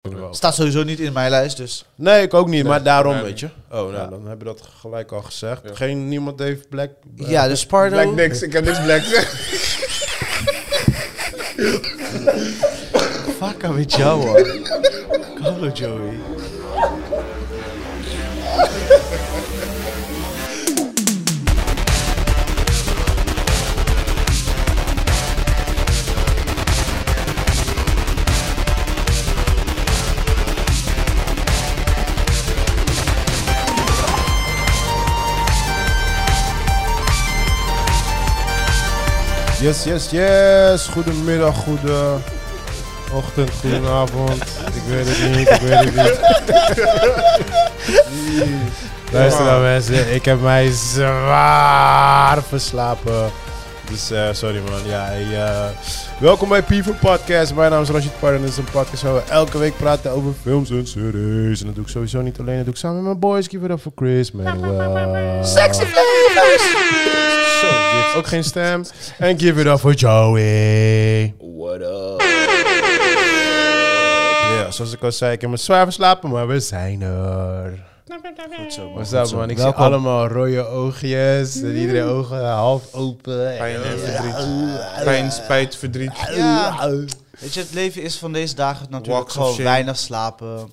Kunnen we ook. Staat sowieso niet in mijn lijst, dus... Nee, ik ook niet, maar daarom, nee, weet je. Oh, nou, Ja. dan hebben we dat gelijk al gezegd. Geen, niemand heeft Black... eh, ja, dus Pardo... Black niks, ik heb niks black. Fuck met jou, hoor. Hallo, Joey. Yes, yes, yes. Goedemiddag, goede ochtend, goedenavond. ik weet het niet, ik weet het niet. Luister nou mensen, ik heb mij zwaar verslapen. Dus eh, sorry man, ja. hey, eh, welkom bij P4 Podcast. Mijn naam is Rashid Pardon. Dit is een podcast waar we elke week praten over films en series. En dat doe ik sowieso niet alleen, dat doe ik samen met mijn boys. Give it up for Chris, man. Sexy zo, die heeft ook geen stem. En give it up for Joey. What up? Ja, zoals ik al zei, ik heb me zwaar verslapen, maar we zijn er. Goed zo, Mm. man. What's up, man? Ik zie allemaal rode oogjes. En iedereen ogen half open. Pijn en verdriet. Eh, Pijn, spijt, verdriet. Ja. Weet je, het leven is van deze dagen natuurlijk Walks of gewoon shame. weinig slapen.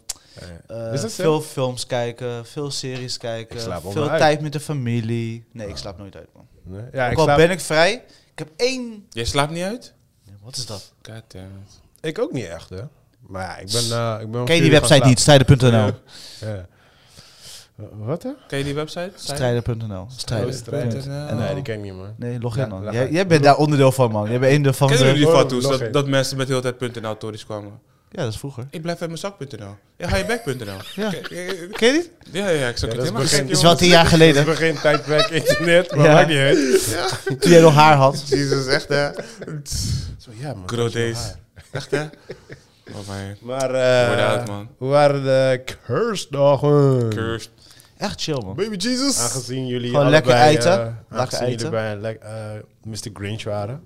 eh, Is dat zo? veel films kijken, veel series kijken, Ik slaap veel onderuit. tijd met de familie. Nee, ik slaap nooit uit, man. Nee, Ja, ik Ook al slaap... ben ik vrij, ik heb één... Jij slaapt niet uit? Nee, Wat is dat? God damn it. Ik ook niet echt, hè. Maar ja, ik ben... eh, ik ben om Ken je vier die uur website gaan niet? nou. Strijden.nl. slapen. Ja. Eh, Wat, hè? Oh, Ken je die website? Strijden.nl. Strijden. eh, Strijden. Nee, nou, die ken ik niet, man. Nee, log Ja, in, man. log Jij, in. jij bent daar onderdeel van, man. Jij bent een de van Kennen jullie de... die Oh, fatsoes? nog Dat, één. dat mensen met heel de tijd .nl tories kwamen. Ja, dat is vroeger. Ik blijf uit mijn zak.nl. Ja, ga je back.nl. Ja. Ke- ke- Ken je die? Ja, ja, ja, ik zag Ja, dat het is helemaal begin- gezien, is jongen. wel tien jaar Het is geleden, begin tijdperk internet, maar Ja. maakt niet uit. toen jij nog haar had. Jezus, dus echt hè? Zo, ja, man. Good old days. Echt hè? Oh man. Maar, Word eh out, man. hoe waren de kerstdagen? Cursed. Echt chill, man. Baby Jesus. Aangezien jullie Gewoon allebei, lekker eten. eh, Lekker aangezien jullie eten. bij een lek- eh, Mr. Grinch waren.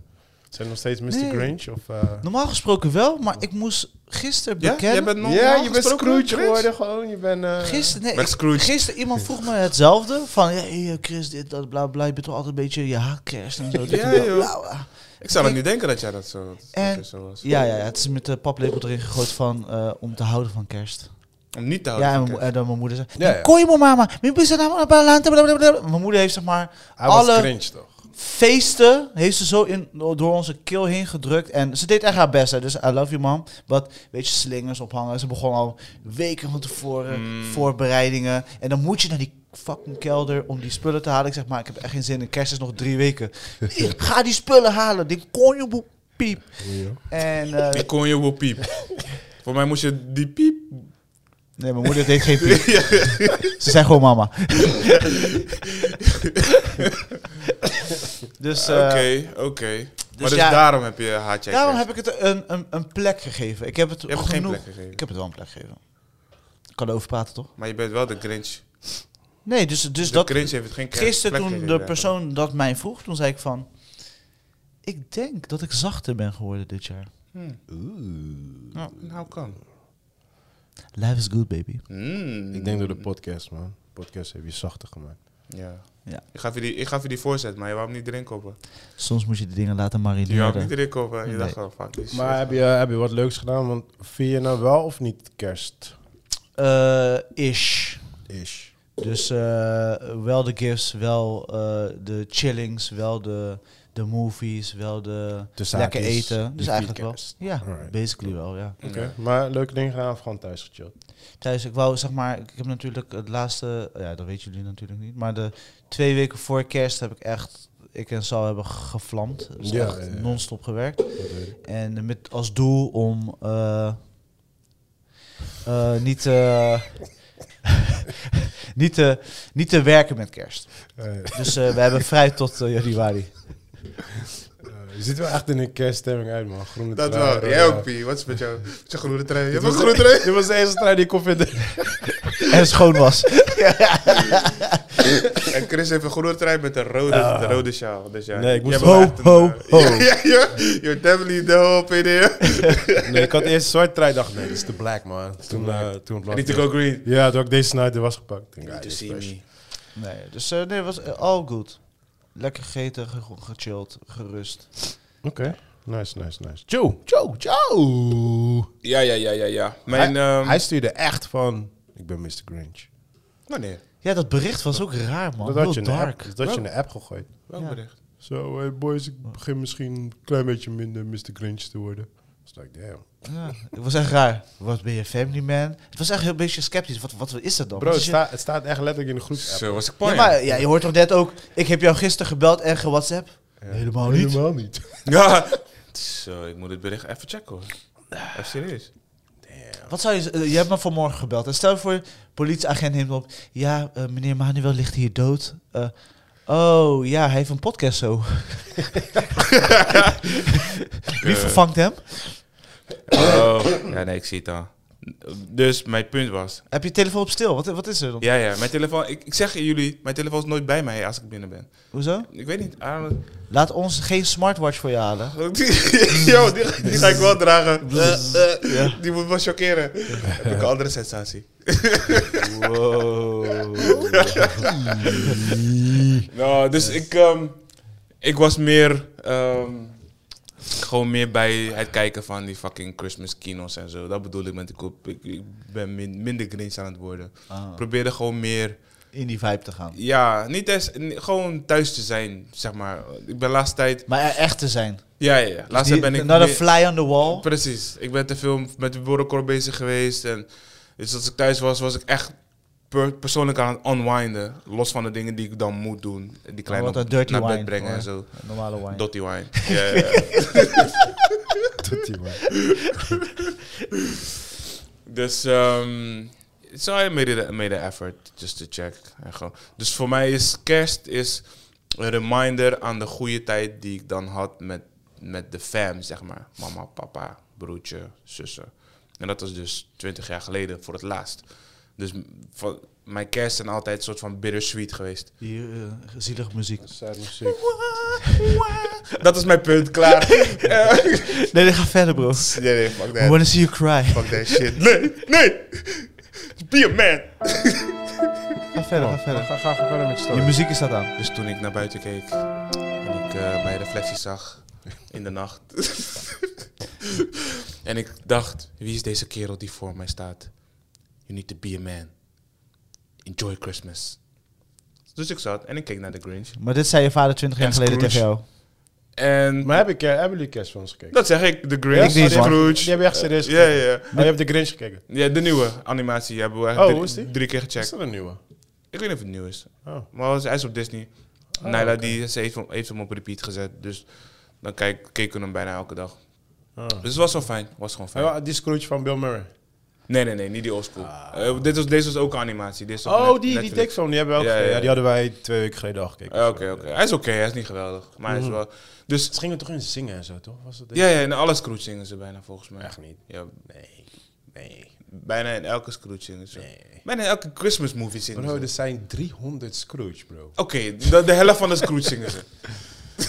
Zijn er nog steeds Mr. Nee. Grinch? Of, eh? Normaal gesproken wel, maar ik moest gisteren Ja, jij bekennen... bent nog ja, nog je bent gesproken, Scrooge Chris? geworden gewoon. Je bent... eh, Gisteren, nee, Met ik- Scrooge. gisteren iemand vroeg me hetzelfde. Van, ja, hey, eh, Chris, dit, dat, bla, bla. Je bent toch altijd een beetje, ja, kerst en zo. dit en Ja, dat, joh. bla, bla. Ik zou nog niet denken dat jij dat zo, dat En- jij zo was. Ja, ja, ja, het is met de paplepel erin gegooid van, eh, om te houden van kerst. Om niet te houden. Ja, en, van mijn mo- kerst. en dan mijn moeder zei, Ja, ja. kon je me mama, Mijn moeder zei, nou, blablabla, blablabla." mijn moeder heeft zeg maar Hij was alle Grinch toch? feesten heeft ze zo in, door onze keel heen gedrukt. En ze deed echt haar best. Hè. Dus I love you, mom. Wat, weet je, slingers ophangen. Ze begon al weken van tevoren voorbereidingen. En dan moet je naar die fucking kelder om die spullen te halen. Ik zeg maar, ik heb echt geen zin in. Kerst is nog drie weken. Ik ga die spullen halen. Die konjoeboe piep. En eh, Ik kon je wel piep. Voor mij moest je die piep. nee, mijn moeder deed geen piep. Ze zei gewoon mama. dus... eh, Oké, oké. Maar dus ja, daarom heb je haatje. Daarom heb ik het een, een, een plek gegeven. Ik heb het Je hebt genoeg. geen plek gegeven. Ik heb het wel een plek gegeven. Ik kan erover praten, toch? Maar je bent wel de Grinch. Nee, dus, dus Dus de dat... Grinch heeft het geen kerst. Gisteren plek toen de gegeven. persoon dat mij vroeg, toen zei ik van... Ik denk dat ik zachter ben geworden dit jaar. Nou, nou kan. Life is good, baby. Mm. Ik denk door de podcast, man. Podcast heb je zachter gemaakt. Ja. Ja. Ik gaf je die, ik gaf je die voorzet, maar je wou hem niet erin kopen. Soms moet je de dingen laten Je wou hem marineren. niet erin kopen. Je Nee. dacht gewoon, fuck this shit. Maar heb je, heb je wat leuks gedaan? Want vier je nou wel of niet kerst? Eh, ish. Is. Dus eh, wel de gifts, wel eh, de chillings, wel de, de movies, wel de Tussen lekker haakjes, eten. Dus die eigenlijk wel. vierkers. Ja, Alright. basically wel, ja. Oké, maar leuke dingen gedaan of gewoon thuis gechilled? Thuis, ik wou zeg maar, ik heb natuurlijk het laatste, ja, dat weten jullie natuurlijk niet, maar de twee weken voor kerst heb ik echt, ik en Sal hebben gevlamd. Dus Ja, echt ja, ja. non-stop gewerkt. Dat weet ik. En met als doel om eh, eh, niet, eh, niet, te, niet te werken met kerst. Eh, Dus eh, we hebben vrij tot eh, januari. eh, je ziet wel echt in een kerststemming uit, man. Groene Dat trui, wel. rode- Jij ook, Pie. Wat is met jou? Met je groene trui. Je Dit hebt was een de- groene trui. Dit was de eerste trui die ik kon vinden. En schoon was. en Chris heeft een groene trui met een rode, Ah. een rode sjaal. Dus ja, Nee, ik moest- jij Ho, bent echt een, ho, eh, ho. ja, ja, you're definitely the hope in here. Nee, ik had eerst een zwart trui. dacht, nee, dit is te black, man. Toen, eh, toen I blad- need to go green. Ja, toen ik deze snider was gepakt. Ik denk, Need ah, to dit is see fresh. me. Nee, dus eh, nee, was eh, all good. Lekker gegeten, ge- gechilled, gerust. Oké. Nice, nice, nice. Joe, Joe, Joe. Ja, ja, ja, ja, ja. Mijn, hij, ehm, hij stuurde echt van, ik ben Mr. Grinch. Wanneer? Ja, dat bericht was ook raar, man. dat Heel had je in de app, dark. dat had je in de app gegooid. Welk Ja. bericht? Zo, hey boys, ik begin misschien een klein beetje minder Mr. Grinch te worden. Dus ik, damn. Ja, het was echt raar. Wat ben je, family man? Het was echt heel een beetje sceptisch. Wat, wat is dat dan? Bro, Wat het, is je- sta- het staat echt letterlijk in de groep. Zo was ik ja, pan. maar, ja, je hoort toch net ook, ik heb jou gisteren gebeld en gewhatsappt? Helemaal niet. Helemaal niet. Ja. Zo, ik moet het bericht even checken hoor. Even serieus. Wat zou je... eh, je hebt me vanmorgen gebeld. En stel je voor, politieagent neemt me op. Ja, eh, meneer Manuel ligt hier dood. Eh, oh, ja, hij heeft een podcast zo. Wie Eh. vervangt hem? Oh, ja, nee, ik zie het al. Dus mijn punt was. Heb je telefoon op stil? Wat, wat is er dan? Ja, ja, mijn telefoon. Ik, ik zeg jullie, mijn telefoon is nooit bij mij als ik binnen ben. Hoezo? Ik weet niet. I don't- Laat ons geen smartwatch voor je halen. Yo, die, ga- die ga ik wel dragen. Eh, eh, Die moet me chockeren. Heb ik een andere sensatie. nou, dus ik, ehm, ik was meer... ehm, gewoon meer bij het kijken van die fucking Christmas kino's en zo. Dat bedoel ik met de kop. Ik, ik ben min- minder Grinch aan het worden. Ah. Probeerde gewoon meer... In die vibe te gaan. Ja, niet eens... n- Gewoon thuis te zijn, zeg maar. Ik ben laatst tijd... Maar er echt te zijn. Ja, ja, ja. Laatst tijd Dus Die- ben ik... not a meer- fly on the wall. Precies. Ik ben te veel met de boerenkoor bezig geweest. En dus als ik thuis was, was ik echt per- persoonlijk aan het unwinden. Los van de dingen die ik dan moet doen. Die kleine Oh, wat op- een dirty naar bed wine, brengen en hoor. zo. Een Normale wine. Dotty wine. Ja, ja, ja. Tot die man. dus ehm so I made, it, made an effort just to check. En gewoon. Dus voor mij is kerst is een reminder aan de goede tijd die ik dan had met, met de fam, zeg maar. Mama, papa, broertje, zussen. En dat was dus 20 jaar geleden voor het laatst. Dus m- van, mijn kerst zijn altijd een soort van bittersweet geweest. Hier, eh, zielige muziek. Sad muziek. Ah, Dat is mijn punt, klaar. Eh, Nee, nee, ga verder, bro. We nee, nee, fuck that. wanna see you cry. Fuck that shit. Nee, nee. Be a man. Ga verder, ga verder. Ga, ga, ga verder met je Je story. muziek is dat aan. Dus toen ik naar buiten keek en ik eh, mijn reflectie zag in de nacht. en ik dacht, wie is deze kerel die voor mij staat? You need to be a man. Enjoy Christmas. Dus ik zat en ik keek naar de Grinch. Maar dit zei je vader 20 jaar En geleden Scrooge. tegen jou. En Maar heb ik, eh, hebben jullie Kerstfilms gekeken? dat zeg ik, de Ja? Grinch, niet, man. Scrooge. Die hebben echt serieus Ja, gekeken. ja, ja. Oh, je hebt de Grinch gekeken. Ja, de nieuwe animatie hebben we echt Oh, drie- hoe is die? drie keer Is gecheckt. dat een nieuwe? Ik weet niet of het nieuw is. Oh. Maar hij is- hij is op Disney. Naila die, ze heeft, hem, heeft hem op repeat gezet. Dus dan kijk, keken we hem bijna elke dag. Ah. Dus het was wel fijn. was gewoon fijn. Ja, Oh, die Scrooge van Bill Murray. Nee, nee, nee. Niet die oldschool. Eh, dit was, deze was ook animatie. Dit is op Ah. Oh, die, net- die Netflix. tekstfilm, die hebben we ook Ja, gekeken. ja, Ja, die ja. hadden wij twee weken geleden al gekeken. Eh, Oké, oké. Hij is oké. hij is niet geweldig. Maar hij Mhm. is wel... Dus... Ze gingen toch in zingen en zo, toch? Was dat Ja, ja. In alle Scrooge zingen ze bijna volgens mij. Echt niet. Ja, Nee, nee, bijna in elke Scrooge zingen ze. nee. Bijna in elke Christmas movie zingen ze. Bro, dus- er zijn 300 Scrooge, bro. Oké, de, de helft van de Scrooge zingen ze.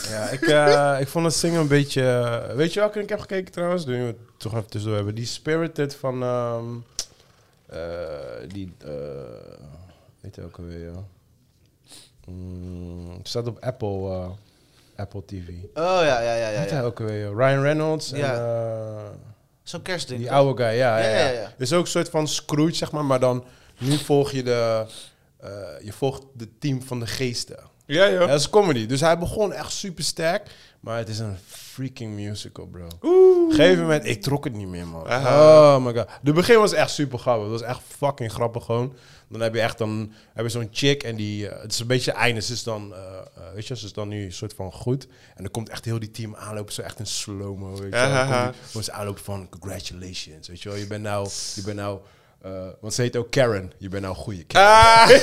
Ja, ik, eh, ik vond het zingen een beetje... eh, weet je welke ik heb gekeken trouwens? Nu we het toch even tussendoor hebben. Die Spirited van... ehm, eh, die... eh weet je ook alweer, ja. Mm, het staat op Apple, eh, Apple TV. Oh ja, ja, ja, ja. Weet hij ook alweer, joh? Ryan Reynolds en... Ja. eh, Zo'n kerstding. die toch? oude guy, ja. ja, Ja, ja, ja, ja. Is ook een soort van Scrooge, zeg maar. Maar dan... Nu volg je de... eh, je volgt de team van de geesten. Ja, Ja, joh. dat is comedy. Dus hij begon echt super sterk. Maar het is een freaking musical, bro. Op een gegeven moment, ik trok het niet meer, man. Aha. Oh my god. De begin was echt super grappig. Dat was echt fucking grappig gewoon. Dan heb je echt dan, heb je zo'n chick en die... eh, het is een beetje einde. Ze is dan, eh, eh, weet je, ze is dan nu een soort van goed. En dan komt echt heel die team aanlopen. Zo echt in slow-mo, weet je wel. Dan Ahaha. komt die- Wordt ze aanlopen van, congratulations, weet je wel. Je bent nou... Je bent nou eh, want ze heet ook Karen. Je bent nou een goede Karen.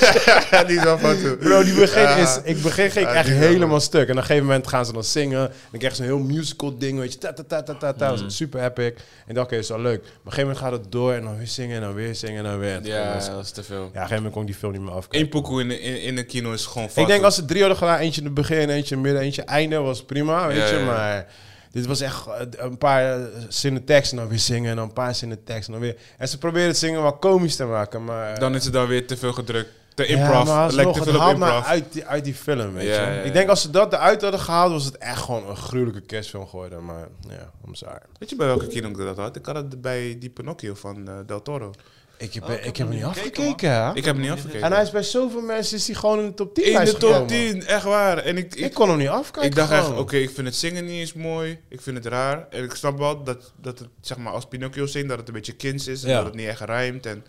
Ah, die is wel fout. Bro, die begin is, ik begin ging ik Ah, echt die wel, helemaal stuk. En op een gegeven moment gaan ze dan zingen. En dan krijg je zo'n heel musical ding, weet je. Ta, ta, ta, ta, ta, ta. Mm. Super epic. En ik dacht, oké, is wel leuk. Maar op een gegeven moment gaat het door en dan weer zingen en dan weer zingen en dan weer. En toen Ja, was- dat is te veel. ja, op een gegeven moment kon ik die film niet meer afkijken. Eén pokoe in, in, in een kino is gewoon fout. Ik denk als ze drie hadden gedaan, eentje in het begin, eentje in het midden, eentje einde, was prima, weet Ja, je. ja, ja. Maar dit was echt eh, een paar eh, zinnen tekst en dan weer zingen en dan een paar zinnen tekst en dan weer. En ze probeerden het zingen wel komisch te maken, maar... eh, Dan is het dan weer te veel gedrukt. Te ja, improv. maar het lijkt alsnog, te het veel op haalt maar improv. uit die, uit die film, weet Ja, je. ja, ja. Ik denk als ze dat eruit hadden gehaald, was het echt gewoon een gruwelijke kerstfilm geworden. Maar ja, I'm sorry. Weet je bij welke kino ik dat had? Ik had het bij die Pinocchio van eh, Del Toro. Ik heb, Oh, ik ik heb, heb hem hem niet niet gekeken, afgekeken, hè? Ik heb hem niet Ah, En afgekeken. hij is bij zoveel mensen is hij gewoon in de top 10 In de lijst top gekomen. 10, echt waar. En ik, Ik ik, kon hem niet afkijken. ik dacht echt, oké, gewoon. ik vind het zingen niet eens mooi. Ik vind het raar. En ik snap wel dat, dat het, zeg maar, als Pinocchio zingt, dat het een beetje kinds is. En Ja. dat het niet echt rijmt. En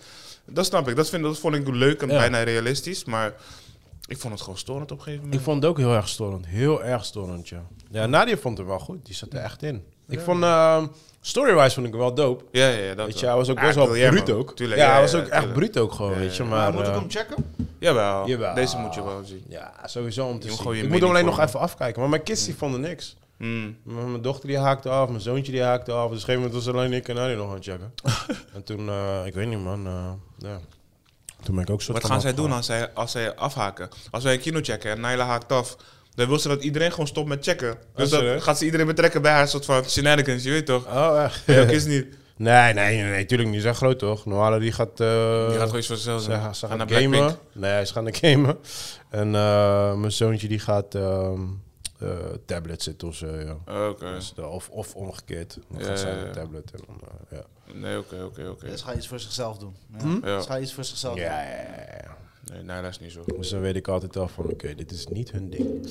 dat snap ik. Dat, vind, dat vond ik leuk en Ja. bijna realistisch. Maar ik vond het gewoon storend op een gegeven moment. Ik vond het ook heel erg storend. Heel erg storend, ja. Ja, Nadia vond het wel goed. Die zat er echt in. Ik vond, ehm, storywise vond ik hem wel dope. ja, ja, ja, dat Weet je, wel. hij was ook Ah, best wel Guillermo, bruut ook. Tuurlijk, ja, hij was ook echt tuurlijk. bruut ook gewoon, Ja, weet je. ja. Maar, moet ik eh, hem checken? Jawel. Jawel. Deze moet je wel zien. Ja, sowieso om te Je moet zien. gewoon je Ik moet hem alleen mening nog even afkijken. Maar mijn kids die vonden niks. Mm. M- Mijn dochter die haakte af, mijn zoontje die haakte af. Dus op een gegeven moment was alleen ik en Arie nog aan het checken. en toen, eh, ik weet niet man, eh, ja. Toen ben ik ook zo Wat van gaan zij afgehaakt. doen als zij, als zij afhaken? Als wij een kino checken en Naila haakt af, dan wil ze dat iedereen gewoon stopt met checken. Dus zo, dan hè? gaat ze iedereen betrekken bij haar soort van shenanigans, je weet toch? Oh, echt? Ja, Eh, dat is niet. nee, nee, nee, nee, tuurlijk niet. Ze zijn groot toch? Noala die gaat... eh, Je gaat gewoon iets van zichzelf Ze, doen. ze Ga gaan naar gamen. Blackpink. Nee, ze gaan naar gamen. En eh, mijn zoontje die gaat ehm eh, tablet zitten of zo, ja. Oké. Dus, eh, of, of omgekeerd. Dan Ja, gaat zij ja, naar ja. tablet en dan, eh, ja. Nee, oké, oké, oké. Dus ga je iets voor zichzelf doen. Ja. Ja. Dus ga je iets voor zichzelf Ja, doen. ja, ja, ja. Nee, Naila is niet zo. Dus dan weet ik altijd al van, oké, dit is niet hun ding.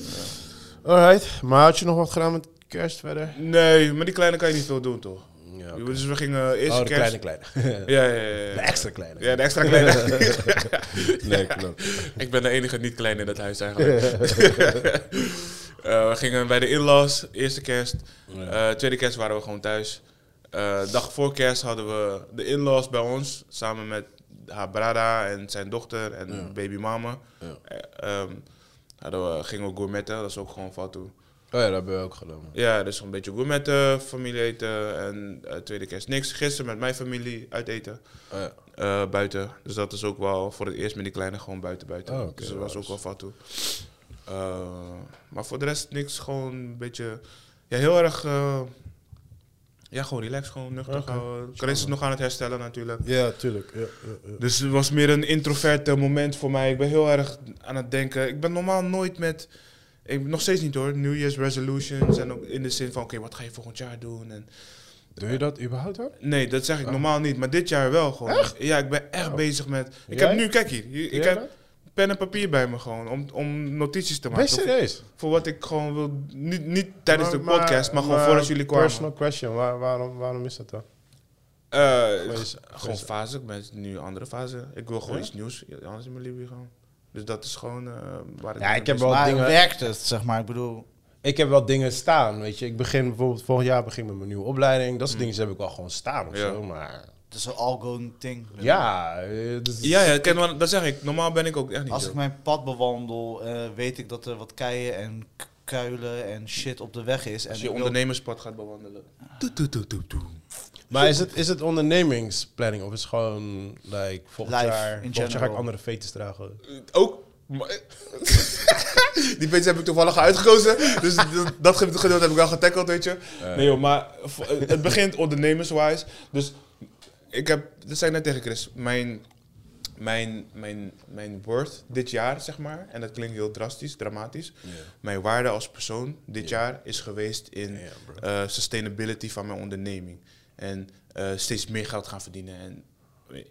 Alright, maar had je nog wat gedaan met kerst verder? Nee, maar die kleine kan je niet veel doen, toch? Ja, Dus we gingen eerst Oh, de kleine kerst... kleine. de Ja, ja, ja. ja. extra kleine. Ja, de extra kleine. Nee, klopt. Ik ben de enige niet-klein in dat huis eigenlijk. Eh, we gingen bij de in-laws, eerste kerst. Eh, tweede kerst waren we gewoon thuis. Eh, dag voor kerst hadden we de in-laws bij ons. Samen met haar brada en zijn dochter en baby mama. Ja. Eh, ehm, hadden we, gingen we gourmetten, dat is ook gewoon fout toe. Oh ja, dat hebben we ook gedaan. man. Ja, dus een beetje gourmetten, familie eten en eh, tweede kerst niks. Gisteren met mijn familie uit eten, Oh ja. eh, buiten. Dus dat is ook wel voor het eerst met die kleine gewoon buiten buiten. Oh, oké, dus dat wel, was ook dus- wel fout toe. Eh, maar voor de rest niks, gewoon een beetje, ja heel erg, eh, ja gewoon relaxed, gewoon nuchter. Oké. houden. Chris is nog aan het herstellen natuurlijk. Ja, tuurlijk. Ja, ja, ja. Dus het was meer een introverte moment voor mij. Ik ben heel erg aan het denken. Ik ben normaal nooit met. Ik, nog steeds niet hoor. New Year's resolutions. En ook in de zin van: oké, wat ga je volgend jaar doen? En, Doe je dat überhaupt hoor? nee, dat Oh. zeg ik normaal niet. Maar dit jaar wel gewoon. Ja, ik ben echt bezig met. Ik Jij? heb nu, kijk hier. hier- Ik Jij heb pen en papier bij me gewoon. Om, om notities te Ben je maken. Voor, serieus? voor wat ik gewoon wil. Niet, niet tijdens de podcast, maar, gewoon voordat jullie kwamen. Personal question, waar- waarom, waarom is dat dan? Eh, Wees- Gewoon wees- fase, ik ben nu een andere fase. Ik wil gewoon Ja? iets nieuws, anders in mijn leven gaan. Dus dat is gewoon eh, waar Ja, mee ik heb bezig wel Maar dingen- Dus werkt het, zeg maar? Ik bedoel, Ik heb wel dingen staan, weet je. Ik begin bijvoorbeeld vorig jaar begin met mijn nieuwe opleiding. Dat soort dingen heb ik wel gewoon staan of Ja. zo, maar... het is een all-going thing. Ja, eh, dus- ben. Ja, ja kijk, maar dat zeg ik. Normaal ben ik ook echt niet Als zo. ik mijn pad bewandel, eh, weet ik dat er wat keien en k- kuilen en shit op de weg is. En Als ik je wil- ondernemerspad gaat bewandelen. Toet, toet, toet, toet, toet. Maar is het, is het ondernemingsplanning of is het gewoon, like, volgend Life, jaar... in Volgend jaar ga ik general. andere fetes dragen. Ook. maar- Die pizza heb ik toevallig uitgekozen. Dus dat, dat ge- gedeelte heb ik wel getackeld, weet je. Nee joh, maar v- het begint ondernemerswijs. Dus ik heb, dat zei ik net tegen Chris, mijn, mijn, mijn, mijn worth dit jaar, zeg maar. En dat klinkt heel drastisch, dramatisch. Mijn waarde als persoon dit jaar is geweest in Ja, bro. eh, sustainability van mijn onderneming. En eh, steeds meer geld gaan verdienen en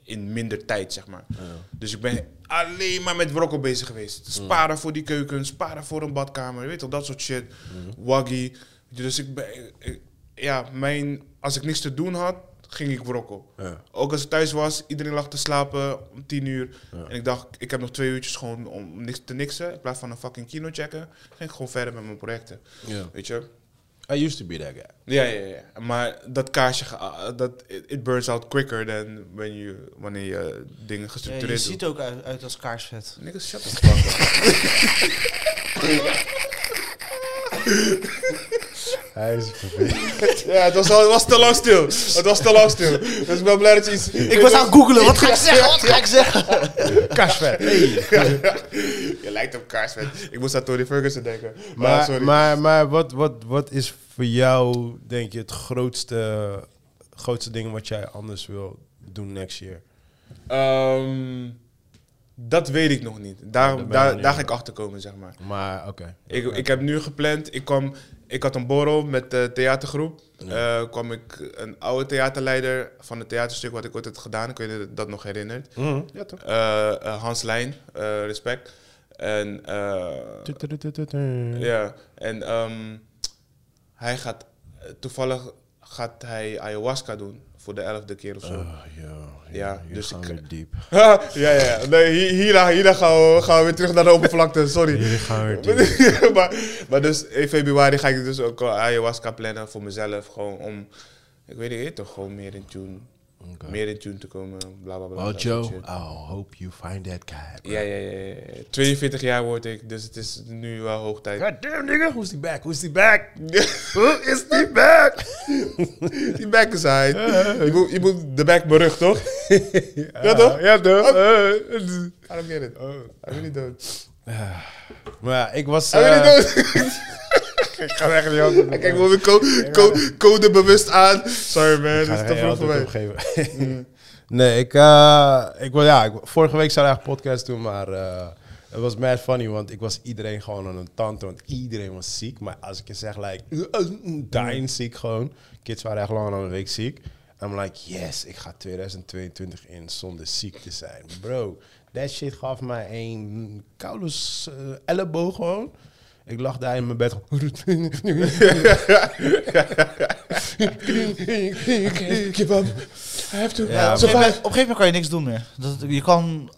in minder tijd, zeg maar. Dus ik ben alleen maar met brokkel bezig geweest. Mm. Sparen voor die keuken, sparen voor een badkamer, je weet wel, dat soort shit. Mm-hmm. Waggy. Dus ik ben, ik- ja, mijn, als ik niks te doen had, ging ik brokkel. Ja. Ook als ik thuis was, iedereen lag te slapen om tien uur. En ik dacht, ik heb nog twee uurtjes gewoon om niks te niksen. In plaats van een fucking kino checken, ging ik gewoon verder met mijn projecten. Ja. Weet je? I used to be that guy. Ja, ja, ja. Maar dat kaarsje, ga- dat, it, it burns out quicker than when you, wanneer je dingen Ja, gestructureerd je doet. ziet ook uit, uit als kaarsvet. Niggas, shut the fuck up. Hij is vervelend. ja, het was, al- het was te lang stil. Het was te lang stil. Dus ik ben blij dat je iets... Ik was aan het googelen, wat ga ik zeggen, wat ga ik zeggen? Kaarsvet. Hey. Je lijkt op kaarsvet. Ik moest aan Tony Ferguson denken. Maar, Maar, sorry. maar, maar wat, wat, wat is voor jou, denk je, het grootste, grootste ding wat jij anders wil doen next year? Ehm, dat weet ik nog niet. Dat ben Daar, ik daar, niet. daar ga ik achter komen, zeg maar. Maar oké. Ik, ik heb nu gepland, ik, kwam, ik had een borrel met de theatergroep. Eh, kwam ik een oude theaterleider van het theaterstuk wat ik ooit had gedaan. Ik weet niet of je dat nog herinnert. Mhm. Ja toch? Eh, eh, Hans Lijn, eh, respect. En, eh, Ja. ja, en ehm, hij gaat, toevallig gaat hij ayahuasca doen voor de elfde keer of zo. Oh, yo, Ja, hier dus gaan ik- we diep. ja, ja. Nee, hi- hierna, hierna gaan, we, gaan we weer terug naar de oppervlakte, sorry. Jullie gaan weer diep. maar, maar, dus in februari ga ik dus ook al ayahuasca plannen voor mezelf. Gewoon om, ik weet niet, toch gewoon meer in tune, Oké. meer in tune te komen. Bla bla bla. Well, dat soort Joe, shit. I'll hope you find that guy. bro. Ja, ja, ja, ja. ja. 42 jaar word ik, dus het is nu wel hoog tijd. God damn, nigga. Who's the back? Who's the back? Hoe is die back? die back is hij. Je moet, je moet de back berucht, toch? ja, toch? Ja, Oh. toch? I don't get it. I really don't. Maar ja, ik was... I really eh, don't. ik ga weg die handen. Kijk, ik wil mijn co- co- code bewust aan. Sorry man, dat is ga te geen vroeg Mm. voor mij. antwoord opgeven. nee, ik, eh, ik wil ja, ik, vorige week zou ik eigenlijk podcast doen, maar eh, het was mad funny, want ik was iedereen gewoon aan een tante, want iedereen was ziek. Maar als ik je zeg, like, dying ziek gewoon. Kids waren echt lang aan een week ziek. I'm like, yes, ik ga 2022 in zonder ziek te zijn. Bro, that shit gaf mij een koude s- eh, elleboog gewoon. Ik lag daar in mijn bed. Give up. I have to Ja, op, een gegeven moment, op een gegeven moment kan je niks doen meer. Dat, je kan ik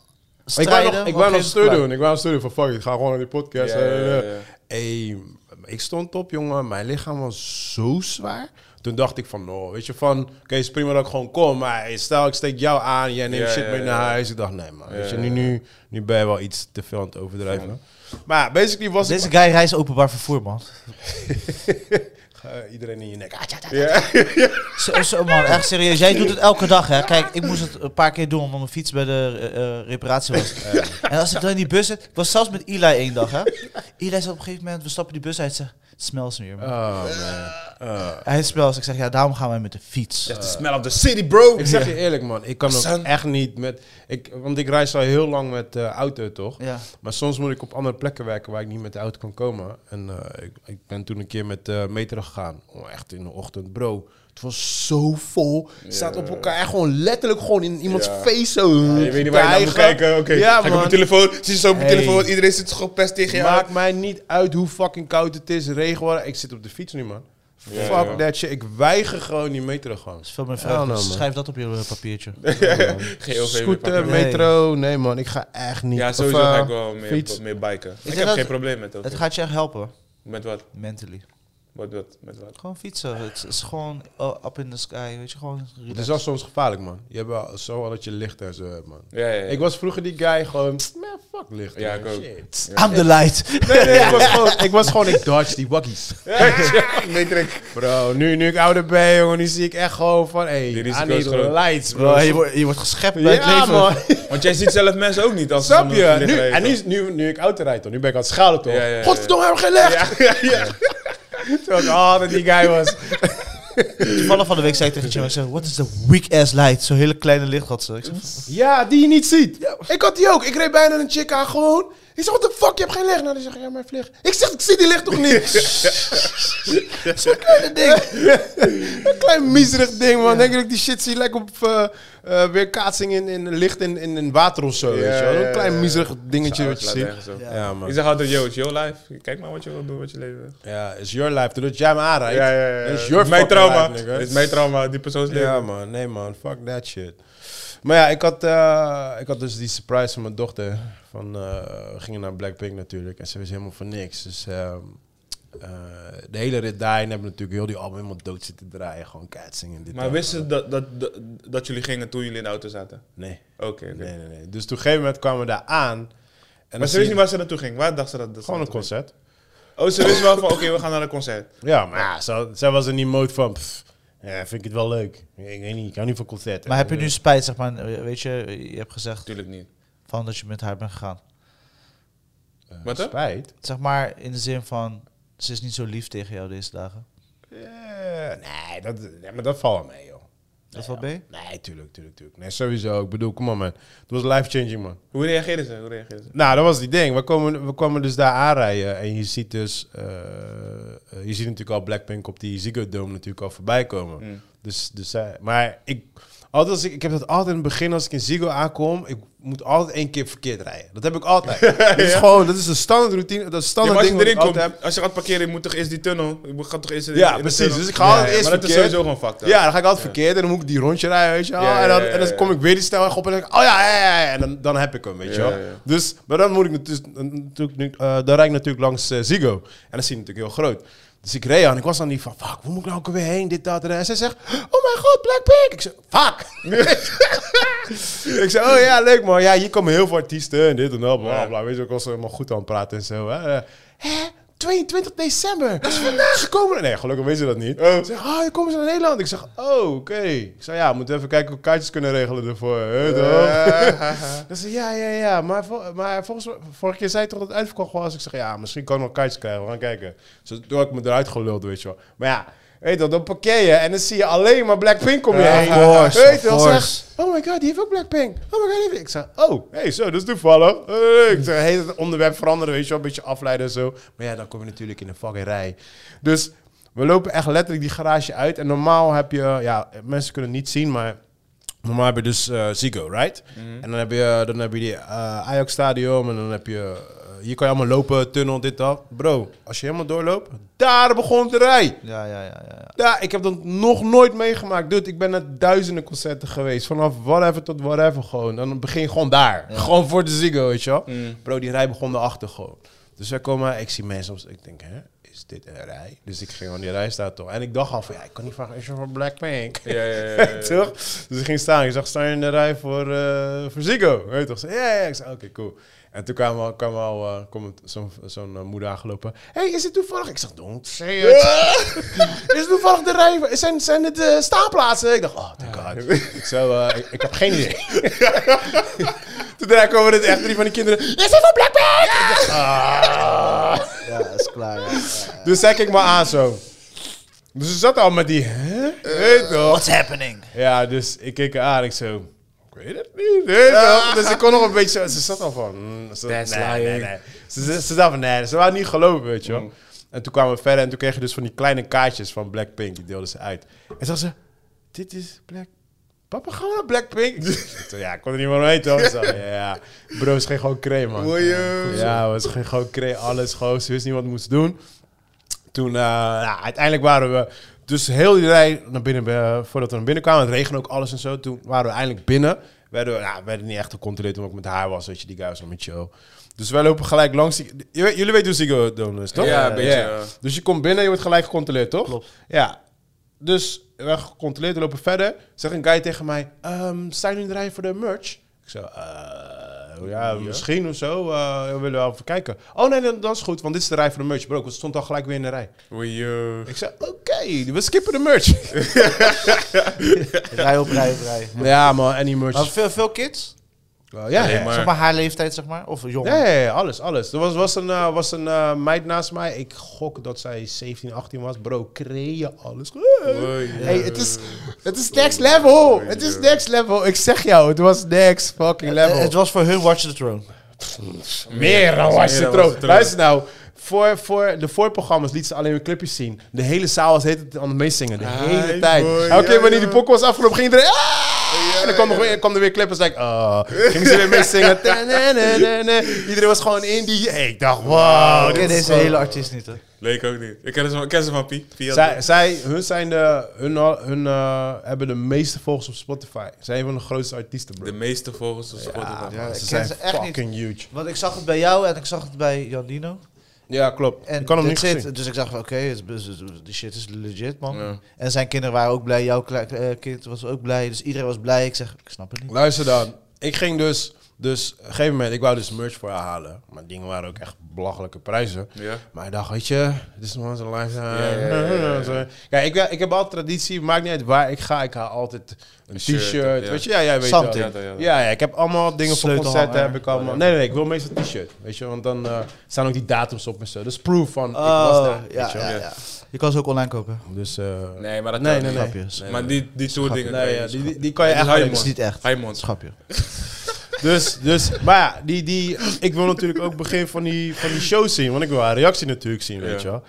strijden. wou nog, maar ik op wou een nog gegeven steun moment doen. Ik wou nog steun doen van fuck, ik ga gewoon naar die podcast. Ja, ja, ja, ja. Eh, Hey, ik stond op, jongen. Mijn lichaam was zo zwaar. Toen dacht ik van, no, weet je, van... Oké, is prima dat ik gewoon kom, maar stel ik steek jou aan. Jij neemt Ja, shit ja, mee ja, naar ja. huis. Ik dacht, nee man, weet je, ja, nu, ja. nu, nu ben je wel iets te veel aan het overdrijven. Maar basically was klaar. Deze het... guy reist openbaar vervoer, man. Ga iedereen in je nek. Ah, tja, tja, tja. Zo, zo, man, echt serieus. Jij doet het elke dag, hè. Kijk, ik moest het een paar keer doen, omdat mijn fiets bij de eh, eh, reparatie was. En als ik dan in die bus zit... Ik was zelfs met Eli één dag, hè. Eli zei op een gegeven moment... We stappen die bus uit, ze het smelt ze weer, man. Oh man. Oh. Hij smelt. Ik zeg, ja, daarom gaan wij met de fiets. That's the smell of the city, bro. Ik zeg je eerlijk man, ik kan ook Son. echt niet met... Ik, want ik reis al heel lang met eh, auto, toch? Ja. Maar soms moet ik op andere plekken werken waar ik niet met de auto kan komen. En eh, ik, ik ben toen een keer met de metro gegaan. Oh, echt in de ochtend, bro. Het was zo vol. Staat op elkaar echt gewoon letterlijk gewoon in iemands Ja. face zo. Ja, je weet niet waar je naar moet kijken. Oké, Ja, ga ik op man. mijn telefoon. Zie je zo op mijn Hey. telefoon. Iedereen zit gepest tegen je aan. Maakt mij niet uit hoe fucking koud het is, regen. waar- Ik zit op de fiets nu, man. Ja, Fuck ja. that shit. Ik weiger gewoon die metro gewoon. Dat is Dus veel meer Hell vragen. no, man. Schrijf dat op je eh, papiertje. GOV weer Scooter, pakken. Nee. metro. Nee, man. Ik ga echt niet. Ja, Of, sowieso eh, ga ik wel meer, fiets. meer biken. Ik denk heb dat- geen probleem met dat. Het gaat je echt helpen, Met wat? mentally. Wat, wat, met wat? Gewoon fietsen. Het is gewoon eh, up in the sky, weet je. Gewoon Het relaxed. is wel soms gevaarlijk, man. Je hebt wel zo al dat je licht en zo hebt, man. Ja, ja, ja. Ik was vroeger die guy gewoon, man, fuck licht. Ja, man, ik ook. shit." I'm the light. Nee, nee, ik was gewoon, ik was gewoon, ik dodge die waggies. Matrix. Bro, nu, nu ik ouder ben, jongen, nu zie ik echt gewoon van, hey, Die I risico's need groot. lights, bro. Bro, je, wordt, je wordt geschept bij het ja, leven. man. Want jij ziet zelf mensen ook niet als ze Snap zonder je? licht Nu, rijden, en nu, toch? is- nu, nu ik auto rijd, toch? Nu ben ik aan het schalen, toch? Ja, ja, ja. Godverdomme, heb ik geen licht! Ja, ja, ja. Terwijl ik altijd die guy was. Toevallig van de week zei ik tegen Jim, ik zeg, what is the weak ass light? Zo'n hele kleine lichtgatsen. Ik zeg, Ja, die je niet ziet. Ik had die ook. Ik reed bijna een chick aan gewoon. Ik zeg, what the fuck, je hebt geen licht. Nou, die zegt, ja, maar vlieg. Ik zeg, ik zie die licht toch niet? Zo'n kleine ding. een klein miserig ding, man. Denk je dat ik die shit zie lekker op eh eh, weerkaatsing in, in licht in, in, in water of zo, weet je wel. Een ja, klein ja. miserig dingetje Zo'n wat je uitlaat ziet. ergens op. Ja. Ja, Ik man. zeg altijd, yo, it's your life. Kijk maar wat je wil doen, wat je leven. Ja, is your life. Doordat jij me aanrijdt. Ja, ja, ja. Is your mijn fucking trauma. life, nigga. Dit is mijn trauma, die persoons leven. Ja, man. Nee, man. Fuck that shit. Maar ja, ik had, eh, ik had dus die surprise van mijn dochter. Van, eh, we gingen naar Blackpink natuurlijk. En ze wist helemaal van niks. Dus ehm, eh, de hele rit daarin hebben we natuurlijk heel die album helemaal dood zitten draaien. Gewoon katsingen en dit. Maar dat. wisten ze dat, dat, dat, dat jullie gingen toen jullie in de auto zaten? Nee. Oké, oké. nee, nee, nee. Dus toen op een gegeven moment kwamen we daar aan. En dan Maar ze zie je wisten niet waar ze naartoe ging. Waar dacht ze dat? dat ze Gewoon een naartoe ging? concert. Oh, ze wisten wel van, oké, we gaan naar een concert. Ja, maar ja, ze- zij was in die mode van... pff, ja, vind ik het wel leuk. Ik weet niet, ik hou niet van concerten. Maar heb je nu spijt, zeg maar, eh, weet je, je hebt gezegd Natuurlijk niet. van dat je met haar bent gegaan. Eh, Wat, hè? Spijt? Zeg maar in de zin van, ze is niet zo lief tegen jou deze dagen. Eh, nee, dat, nee, maar dat valt wel mee, joh. Dat is wel B? Nee, tuurlijk, tuurlijk, tuurlijk. Nee, sowieso. Ik bedoel, kom op, man. Het was life-changing, man. Hoe reageerden ze? Hoe reageerden ze? Nou, dat was die ding. We kwamen, we kwamen dus daar aanrijden. En je ziet dus... eh, eh, je ziet natuurlijk al Blackpink op die Ziggo Dome natuurlijk al voorbij komen. Mm. Dus, dus zij... Maar ik... Altijd als ik, ik heb dat altijd in het begin, als ik in Ziggo aankom, ik moet altijd één keer verkeerd rijden. Dat heb ik altijd. Dat is gewoon, dat is een standaard routine, dat is een Ja, standaard maar als ding wat je ik erin komt, altijd heb. als je gaat parkeren, je moet toch eerst die tunnel. Je moet- gaat toch eerst in- Ja, in de precies. tunnel. Dus ik ga altijd Ja, ja, eerst Maar dat is verkeerd. sowieso gewoon fucked up. Ja, dan ga ik altijd verkeerd en dan moet ik die rondje rijden, weet je wel. Ja, ja, en, dan, ja, ja, en dan ja. kom ik weer die snelweg op en dan denk ik, oh ja, ja, ja, ja. En dan, dan heb ik hem, weet je Ja, wel. ja. Dus, maar dan moet ik dus, natuurlijk, nu- eh, dan rijd ik natuurlijk langs eh, Ziggo. En dat zie je natuurlijk heel groot. Dus ik reed aan en ik was dan niet van, fuck, hoe moet ik nou ook weer heen, dit, dat, en dat. En zij zegt, oh mijn god, Blackpink. Ik zeg, fuck. ik zei, oh ja, leuk man. Ja, hier komen heel veel artiesten en dit en dat, bla, bla. Weet je, ik was helemaal eh, goed aan het praten en zo. Hè? Eh, Hè? 22 december. Dat is vandaag. Ze komen... Nee, gelukkig weten ze dat niet. Ze zeggen, ah, dan komen ze naar Nederland. Ik zeg, oh, oké. Ik zei, ja, we moeten even kijken hoe we kaartjes kunnen regelen ervoor. hè, toch? Dus ze, ja, ja, ja. Maar, vol- maar volgens mij, vorige keer zei je toch dat het uitverkocht was? Ik zeg, ja, misschien kan ik nog kaartjes krijgen. We gaan kijken. Dus toen heb ik me eruit geluld, weet je wel. Maar ja, weet je wel, dan parkeer je en dan zie je alleen maar Blackpink om je Ja, heen. of course, weet je of wel, course. zeg, oh my god, die heeft ook Blackpink. Oh my god, die heeft... Ik zei, oh, hey, zo, dat is toevallig. Hey, ik zei, hey, het onderwerp veranderen, weet je wel. Een beetje afleiden en zo. Maar ja, dan kom je natuurlijk in een fucking rij. Dus we lopen echt letterlijk die garage uit. En normaal heb je... Ja, mensen kunnen het niet zien, maar... Normaal heb je dus eh Ziggo, right? En dan heb je, dan heb je die eh, Ajax Stadium en dan heb je... eh, hier kan je allemaal lopen, tunnel, dit, dat. Bro, als je helemaal doorloopt, daar begon de rij. Ja, ja, ja, ja. ja. Ja, ik heb dat nog nooit meegemaakt. Dude, ik ben naar duizenden concerten geweest. Vanaf whatever tot whatever gewoon. Dan begin je gewoon daar. Gewoon voor de Ziggo, weet je wel. Mm. Bro, die rij begon daarachter gewoon. Dus wij komen, ik zie mensen, op- ik denk, hè, is dit een rij? Dus ik ging aan die rij staan toch. En ik dacht al van, ja, ik kan niet vragen, is je van Blackpink? Ja, ja, ja, ja, ja. toch? Dus ik ging staan. Ik zag, sta je in de rij voor, eh voor Ziggo? Weet je toch? Ze- Ja, ja, ja. Ik zei, oké, cool. En toen kwam al, kwam al eh, kwam zo'n zo'n eh, moeder aangelopen. Hé, hey, is dit toevallig? Ik zeg, don't say it. is het toevallig de rij? Zijn, zijn het eh staanplaatsen? Ik dacht, oh, thank god. ik, zo, eh, ik, ik heb geen idee. toen daarna komen er echt drie van die kinderen. Is dit van Blackpink? Ik dacht, ah. Ja, is klaar. ja. Dus zij keek me aan zo. Dus ze zat al met die, hè? Weet je toch? What's happening? Ja, dus ik keek haar aan ik zo... Ik weet het niet. weet je wel. Dus ik kon nog een beetje... zo- Ze zat al van... mm, ze, That's nee, nee, lying. Mm. nee. Ze, ze, ze dacht van, nee, ze waren niet geloven, weet je wel. En toen kwamen we verder en toen kreeg je dus van die kleine kaartjes van Blackpink. Die deelden ze uit. En zag ze... Dit is Black... Papa, gaan we naar Blackpink? Ik zei, ja, ik kon er niet meer omheen, toch? Ze zei, Ja, ja. Bro, ze ging gewoon creme, man. Mooi, joh. Ja, we ging gewoon creme, alles. Gewoon, ze wist niet wat ze moest doen. Toen, eh, nou, uiteindelijk waren we dus heel die rij naar binnen, eh, voordat we naar binnen kwamen. Het regende ook alles en zo. Toen waren we eindelijk binnen. Werden we nou, werden niet echt gecontroleerd omdat ik met haar was, weet je, die guy was nog met show. Dus wij lopen gelijk langs. Die, je weet- jullie weten hoe Ziggo het doen is, toch? Ja, een beetje, ja. Dus je komt binnen, je wordt gelijk gecontroleerd, toch? Klopt. Ja. Dus we werden gecontroleerd, we lopen verder. Zegt een guy tegen mij, ehm sta je nu in de rij voor de merch? Ik zo, eh, ja, misschien of zo. eh, we willen wel even kijken. Oh nee, dan, dat is goed, want dit is de rij voor de merch. Bro, ik stond al gelijk weer in de rij. Oei, joh. Ik zei, oké, we skippen de merch. Rij op rij op rij. ja, man, en die merch. Maar veel, veel kids? ja, ja, Nee, ja, maar- Zeg maar haar leeftijd, zeg maar. Of jong. Eh, ja, ja, alles, alles. Er was, was een, eh, was een eh, meid naast mij. Ik gok dat zij 17, 18 was. Bro, creëer alles. Oei, Hey, joh. het is, het is next level. Het is next level. Ik zeg jou, het was next fucking level. Het was voor hun Watch the Throne. Meer dan was Meer je dan was troon. het troon. Luister nou. Voor, voor de voorprogramma's liet ze alleen weer clipjes zien. De hele zaal was heet het aan het meezingen. De Hi, hele tijd. boy. Elke keer Ja, wanneer ja. die pokkel was afgelopen, ging iedereen... "Ah!" en dan kwam, nog weer, kwam er weer clip en zei ik... Oh. Gingen ze weer meezingen. Ta-na-na-na-na. Iedereen was gewoon in die... Ik dacht, wow. Ik dit ken Oh, is deze zo- hele artiest niet, hè? Leek ook niet. Ik ken ze, ik ken ze van Pi. Pi had- Zij, zij, hun zijn de, hun, al- hun eh, hebben de meeste volgers op Spotify. Zij zijn een van de grootste artiesten, bro. de meeste volgers op Spotify. Ja, ik ze ken zijn ze echt niet. fucking huge. Want ik zag het bij jou en ik zag het bij Jandino. Ja, klopt. En ik kan hem niet that's it. zien. Dus ik dacht, van, oké, het is- het is- die shit is legit, man. Ja. En zijn kinderen waren ook blij, jouw kle- eh, kind was ook blij. Dus iedereen was blij. Ik zeg, ik snap het niet. Luister dan. Ik ging dus... Dus op een gegeven moment, ik wou dus merch voor haar halen. Maar dingen waren ook echt belachelijke prijzen. Ja. Maar ik dacht, weet je, dit is once in a lifetime. Ja, ja, ja, ja, ja. Kijk, ik, ik heb altijd traditie, maakt niet uit waar ik ga. Ik haal altijd een Een shirt, t-shirt. ja. Weet je, ja, jij weet Something. wel. Ja, ja, Oh, ja. Ja, ja, ik heb allemaal dingen voor Sleutelhanger. concerten. Heb ik allemaal. Nee, nee, nee, ik wil meestal t-shirt. Weet je, want dan eh, staan ook die datums op en zo. Dat is proof van, ik was Oh, daar. ja, weet je wel. ja, ja. Je kan ze ook online kopen. Dus, eh, Nee, maar dat Nee, kan nee, niet. nee. Grapjes. Maar die, die soort dingen. nee, ja, die, die, die kan je Het is echt alleen Het hype, maar- is niet echt. Heimond. Schapje. Dus, dus, maar ja, die, die, ik wil natuurlijk ook begin van die, van die show zien. Want ik wil haar reactie natuurlijk zien, weet Ja. je wel.